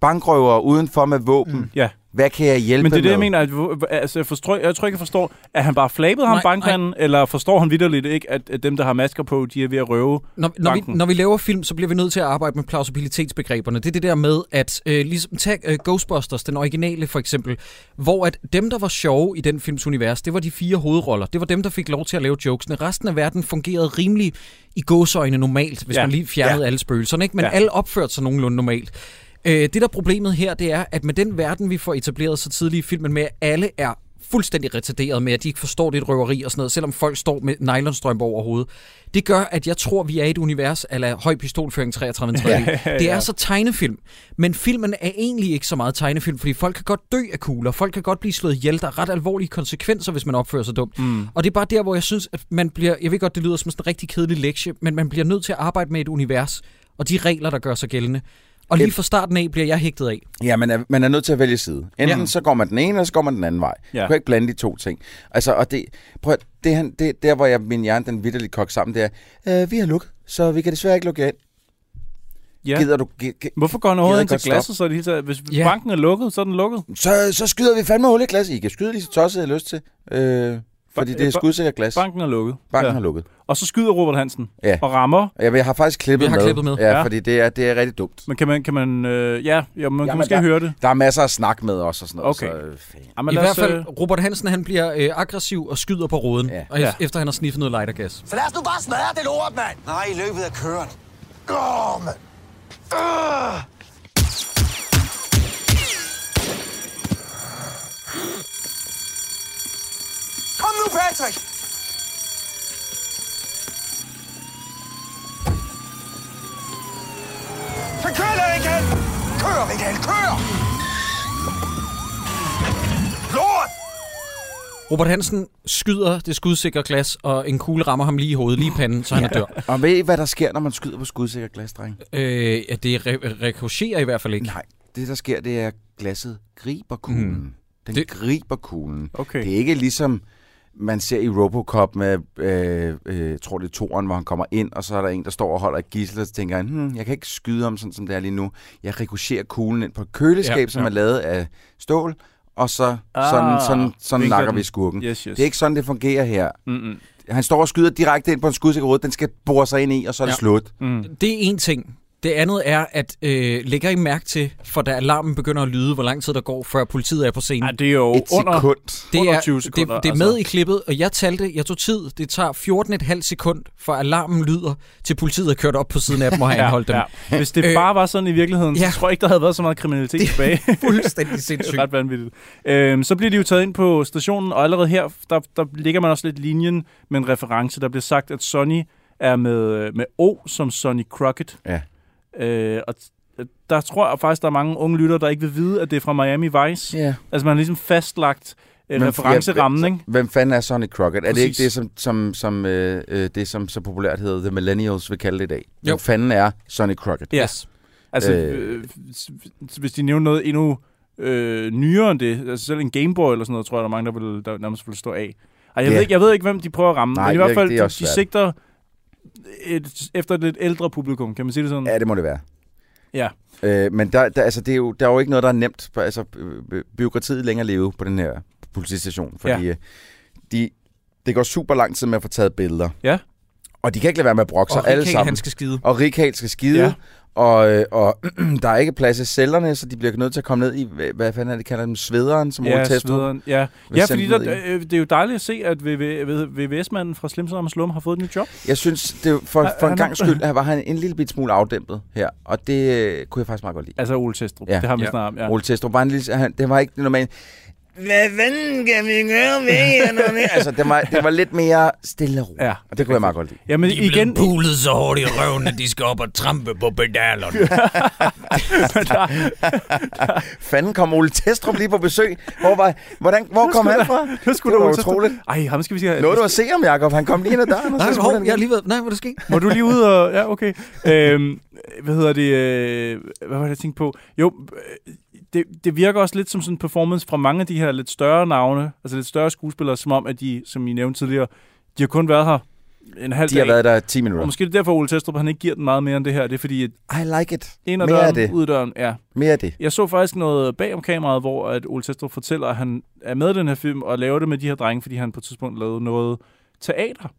Speaker 7: bankrøvere udenfor med våben. Mm.
Speaker 6: Ja,
Speaker 7: Hvad kan jeg hjælpe
Speaker 6: men det er det,
Speaker 7: med?
Speaker 6: jeg mener. At, hvor- altså, jeg, forstår, jeg tror ikke, jeg forstår, at han bare flabede ham
Speaker 1: Nej,
Speaker 6: bankmanden, eller forstår han vidderligt ikke, at, at dem, der har masker på, de er ved at røve
Speaker 1: Når, når, vi,
Speaker 6: banken.
Speaker 1: når vi laver film, så bliver vi nødt til at arbejde med plausibilitetsbegreberne. Det er det der med, at øh, ligesom tag øh, Ghostbusters, den originale for eksempel, hvor at dem, der var sjove i den films univers, det var de fire hovedroller. Det var dem, der fik lov til at lave jokesene. Resten af verden fungerede rimelig i gåsøjne normalt, hvis ja.
Speaker 6: Ja.
Speaker 1: man lige fjernede ja. alle spøgelserne. Ikke? Men ja.
Speaker 6: Ja.
Speaker 1: alle opførte sig nogenlunde normalt. Øh, det, der er problemet her, det er, at med den verden, vi får etableret så tidligt i filmen med, at alle er fuldstændig retarderet med, at de ikke forstår det er et røveri og sådan noget, selvom folk står med nylonstrømper over hovedet. Det gør, at jeg tror, vi er i et univers af høj pistolføring 33 ja. Det er så tegnefilm. Men filmen er egentlig ikke så meget tegnefilm, fordi folk kan godt dø af kugler, folk kan godt blive slået ihjel, der er ret alvorlige konsekvenser, hvis man opfører sig dumt. Mm. Og det er bare der, hvor jeg synes, at man bliver, jeg ved godt, det lyder som sådan en rigtig kedelig lektie, men man bliver nødt til at arbejde med et univers, og de regler, der gør sig gældende. Og lige fra starten af bliver jeg hægtet af.
Speaker 7: Ja, man er, man er nødt til at vælge side. Enten ja. så går man den ene, eller så går man den anden vej. Ja.
Speaker 6: Ja.
Speaker 7: Du kan ikke blande de to ting. Altså, og det, prøv at, det, han- det, der, hvor jeg, min hjerne den vidderligt kogt sammen, det er, øh, vi har lukket, så vi kan desværre ikke lukke jer ind. Ja.
Speaker 6: Ja.
Speaker 7: Gider du, gi- gi-
Speaker 6: Hvorfor går han
Speaker 7: Gider
Speaker 6: overhovedet ind
Speaker 7: godt
Speaker 6: til glasset, så er det hele taget? Hvis
Speaker 1: Ja.
Speaker 6: ja. banken er lukket, så er den lukket.
Speaker 7: så, så skyder vi fandme hul i glas. I kan skyde lige så tosset, I har lyst til. Øh, fordi
Speaker 6: Ba-
Speaker 7: det er
Speaker 6: øh, ba-
Speaker 7: skudsikker glas.
Speaker 6: Banken er lukket.
Speaker 7: Banken
Speaker 6: ja.
Speaker 7: har lukket.
Speaker 6: Og så skyder Robert Hansen
Speaker 7: Ja.
Speaker 6: og rammer.
Speaker 7: Jeg, jeg har faktisk klippet
Speaker 1: Vi har
Speaker 7: med.
Speaker 1: klippet med.
Speaker 7: Ja, ja,
Speaker 6: Ja.
Speaker 7: fordi det er, det er rigtig dumt.
Speaker 6: Men kan man, kan man øh, ja, ja, man
Speaker 7: Jamen,
Speaker 6: kan måske
Speaker 7: der-
Speaker 6: høre det.
Speaker 7: Der er masser at snakke med også og sådan noget.
Speaker 6: Okay.
Speaker 7: Så, øh, fanden.
Speaker 6: Ja, men
Speaker 1: I
Speaker 6: lad
Speaker 1: hvert
Speaker 6: os, øh,
Speaker 1: fald, Robert Hansen han bliver øh, aggressiv og skyder på råden,
Speaker 7: Ja.
Speaker 1: ja. og ja.
Speaker 6: Ja.
Speaker 1: efter han har sniffet noget lightergas.
Speaker 4: Så lad os nu bare smadre det lort, mand! Nej, i løbet af køren. Åh, mand! Øh! Kom nu, Patrick! Så kør der, Michael! Kør, Michael, kør! Lort!
Speaker 1: Robert Hansen skyder det skudsikre glas, og en kugle rammer ham lige i hovedet, lige i panden, så han ja. dør.
Speaker 7: Og ved I, hvad der sker, når man skyder på skudsikker glas, dreng?
Speaker 1: Øh, ja, det re- rekocherer i hvert fald ikke.
Speaker 7: Nej. Det, der sker, det er, at glasset griber kuglen. Mm. Den det...
Speaker 1: Det-
Speaker 7: griber kuglen.
Speaker 6: Okay.
Speaker 7: Det er ikke ligesom... man ser i Robocop med, øh, øh, jeg tror det er toren, hvor han kommer ind, og så er der en, der står og holder et gissel, og så tænker han, hmm, jeg kan ikke skyde ham sådan, som det er lige nu. Jeg rikocherer kuglen ind på et køleskab,
Speaker 6: Ja,
Speaker 7: ja, som
Speaker 6: ja.
Speaker 7: er lavet af stål, og så
Speaker 6: Ah,
Speaker 7: ah, sådan, sådan, sådan
Speaker 6: vinkler
Speaker 7: nakker
Speaker 6: den.
Speaker 7: vi skurken.
Speaker 6: Yes, yes.
Speaker 7: Det er ikke sådan, det fungerer her.
Speaker 6: Mm-mm.
Speaker 7: Han står og skyder direkte ind på en skudsikker rød, den skal bore sig ind i, og så er det
Speaker 1: Ja.
Speaker 7: ja. slut.
Speaker 1: Det er en ting. Det andet er, at øh, lægger I mærke til, for da alarmen begynder at lyde, hvor lang tid der går, før politiet er på scenen.
Speaker 6: Ej, Ah, det er jo
Speaker 7: Et
Speaker 6: under...
Speaker 7: sekund.
Speaker 1: det
Speaker 6: under
Speaker 1: er,
Speaker 6: 20 sekunder,
Speaker 1: Det, det er med
Speaker 6: altså.
Speaker 1: i klippet, og jeg talte, jeg tog tid, det tager 14,5 sekund, for alarmen lyder, til politiet er kørt op på siden af dem og har anholdt dem.
Speaker 6: Ja. Hvis det
Speaker 1: Øh,
Speaker 6: bare var sådan i virkeligheden,
Speaker 1: ja.
Speaker 6: så tror jeg ikke, der havde været så meget kriminalitet det, tilbage.
Speaker 1: Fuldstændig
Speaker 6: Det
Speaker 1: sindssygt.
Speaker 6: er ret vanvittigt. Øhm, så bliver de jo taget ind på stationen, og allerede her, der, der ligger man også lidt linjen med en reference. Der bliver sagt, at Sonny er med, med O som Sonny Crockett.
Speaker 7: Ja.
Speaker 6: Øh, og t- der tror jeg faktisk, der er mange unge lyttere, der ikke vil vide, at det er fra Miami Vice.
Speaker 7: Ja.
Speaker 6: Altså man har ligesom fastlagt øh, referencerammen,
Speaker 7: hvem,
Speaker 6: ikke?
Speaker 7: Hvem fanden er Sonny Crockett? Er det
Speaker 6: Præcis.
Speaker 7: ikke det, som, som, som, øh, øh, det, som så populært hedder The Millennials vil kalde det i dag? Jo.
Speaker 1: Jo.
Speaker 7: Hvem fanden er Sonny Crockett?
Speaker 6: Ja.
Speaker 1: Yes.
Speaker 6: Altså,
Speaker 7: Øh.
Speaker 6: øh, s- s- hvis de nævner noget endnu øh, nyere end det, altså selv en Gameboy eller sådan noget, tror jeg, der er mange, der, vil, der nærmest vil stå af. Ej, jeg,
Speaker 7: Ja.
Speaker 6: ved ikke, jeg ved ikke, hvem de prøver at ramme,
Speaker 7: Nej,
Speaker 6: men i
Speaker 7: det
Speaker 6: hvert
Speaker 7: er-
Speaker 6: fald,
Speaker 7: det
Speaker 6: de,
Speaker 7: er
Speaker 6: de
Speaker 7: også svært.
Speaker 6: sigter et, efter et lidt ældre publikum, kan man sige det sådan?
Speaker 7: Ja, det må det være.
Speaker 6: Mm. Ja.
Speaker 7: Øh, men der, der, altså, det er jo, der er jo ikke noget, der er nemt. For, altså, øh, øh, byråkratiet længere leve på den her politistation, fordi
Speaker 6: Ja.
Speaker 7: ja. de, det går super lang tid med at få taget billeder.
Speaker 6: Ja.
Speaker 7: Og de kan ikke lade være med at brokke sig
Speaker 1: Og
Speaker 7: alle
Speaker 1: Rikal,
Speaker 7: sammen.
Speaker 1: han skal skide.
Speaker 7: Og Rikal skal skide.
Speaker 6: Ja.
Speaker 7: Ja. Og, øh, og der er ikke plads i cellerne, så de bliver nødt til at komme ned i, hvad- hvad fanden er det, kalder dem, svederen, som Ole
Speaker 6: Ja,
Speaker 7: Testrup
Speaker 6: svederen. ja.
Speaker 7: vil
Speaker 6: ja
Speaker 7: sende
Speaker 6: fordi der,
Speaker 7: ned i.
Speaker 6: øh, det er jo dejligt at se, at VVS-manden fra Slimson og Slum har fået et nyt job.
Speaker 7: Jeg synes, det var for,
Speaker 6: Han-
Speaker 7: for en
Speaker 6: han-
Speaker 7: gang skyld, her var han en lille bit smule afdæmpet her, og det øh, kunne jeg faktisk meget godt lide.
Speaker 6: Altså Ole Testrup,
Speaker 7: Ja.
Speaker 6: det har vi
Speaker 1: Ja.
Speaker 6: ja. snart om. Ja.
Speaker 7: Ja. Ole Testrup var en lille, han, det var ikke normalt. Hvad fanden kan vi gøre med hernede? altså, det var, det var lidt mere stille og roligt,
Speaker 6: Ja,
Speaker 7: ja, og det kunne jeg meget godt lide.
Speaker 6: Ja, men igen,
Speaker 1: pulet så hårdt i røven, at de skal op og trampe på pedalerne.
Speaker 7: Fanden kom Ole Testrup lige på besøg. Hvor, var, hvordan, hvor kom han fra?
Speaker 6: nu skulle
Speaker 7: det
Speaker 6: du
Speaker 7: var
Speaker 6: Ole Testrup-
Speaker 7: utroligt.
Speaker 6: Ej, ham skal vi sige.
Speaker 7: Nåede du at se ham, Jacob? Han kom lige ind ad døren, og
Speaker 1: Nej,
Speaker 7: så
Speaker 1: hov,
Speaker 7: skulle han
Speaker 1: jeg har lige ved, nej, hvad der sker?
Speaker 6: Må du lige ud og... Ja, okay. Øhm, hvad hedder det? Øh, hvad var det, jeg tænkte på? Jo, øh, det, det virker også lidt som sådan en performance fra mange af de her lidt større navne, altså lidt større skuespillere, som om, at de, som I nævnte tidligere, de har kun været her en halv
Speaker 7: De har
Speaker 6: dag.
Speaker 7: været der 10 minutter.
Speaker 6: Og måske er det derfor, Ole Testrup, han ikke giver den meget mere end det her. Det er fordi, at
Speaker 7: I like it.
Speaker 6: ind ad
Speaker 7: Mere af
Speaker 6: døren,
Speaker 7: det.
Speaker 6: ud af døren. Ja.
Speaker 7: Mere af det.
Speaker 6: Jeg så faktisk noget bag om kameraet, hvor at Ole Testrup fortæller, at han er med i den her film og laver det med de her drenge, fordi han på et tidspunkt lavede noget teater.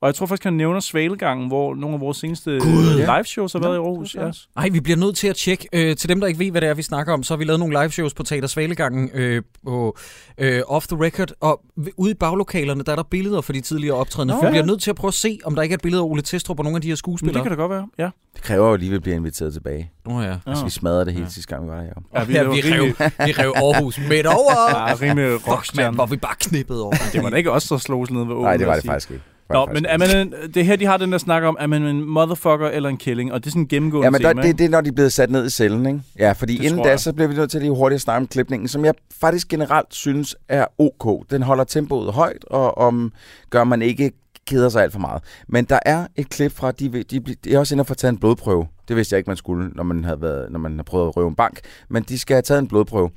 Speaker 6: Og jeg tror faktisk, han nævner Svalegangen, hvor nogle af vores seneste
Speaker 7: Ja.
Speaker 6: live shows har været i Aarhus. Ja.
Speaker 1: Nej, vi bliver nødt til at tjekke. Øh, til dem, der ikke ved, hvad det er, vi snakker om, så har vi lavet nogle live shows på Teater Svalegangen øh, på øh, Off the Record. Og v- ude i baglokalerne, der er der billeder for de tidligere optrædende.
Speaker 6: Nå,
Speaker 1: For vi
Speaker 6: ja.
Speaker 1: bliver nødt til at prøve at se, om der ikke er et billede af Ole Testrup og nogle af de her
Speaker 6: Men det
Speaker 1: skuespillere.
Speaker 6: kan da godt være. Ja,
Speaker 7: Det kræver jo lige, at vi bliver inviteret tilbage.
Speaker 1: Nå ja.
Speaker 7: Ja. Altså, vi smadrede det hele sidste gang, vi var der, Jacob.
Speaker 6: ja
Speaker 1: Ja, vi, rev, vi rev Aarhus midt over.
Speaker 6: ja, rimelig
Speaker 1: Fuck, mand,
Speaker 6: rockstjerne.
Speaker 1: hvor vi bare knippede over.
Speaker 6: Det var da ikke os, der slog os ned ved åben.
Speaker 7: Nej, det
Speaker 6: vil
Speaker 7: var
Speaker 6: jeg
Speaker 7: det
Speaker 6: sige.
Speaker 7: faktisk ikke. Det var
Speaker 6: Nå,
Speaker 7: det faktisk
Speaker 6: men
Speaker 7: ikke.
Speaker 6: er man en, det er her, de har den der snak om, er man en motherfucker eller en killing? Og det er sådan en gennemgående
Speaker 7: Ja, men der,
Speaker 6: tema.
Speaker 7: det, det er, når de er blevet sat ned i cellen, ikke? Ja, fordi
Speaker 6: Det
Speaker 7: det inden
Speaker 6: tror
Speaker 7: da,
Speaker 6: jeg.
Speaker 7: så bliver vi nødt til lige hurtigt at snakke om klipningen, som jeg faktisk generelt synes er ok. Den holder tempoet højt, og om gør man ikke keder sig alt for meget. Men der er et klip fra, de, vil- de, bl- de er også inde og få taget en blodprøve. Det vidste jeg ikke, man skulle, når man havde, været, når man havde prøvet at røve en bank. Men de skal have taget en blodprøve.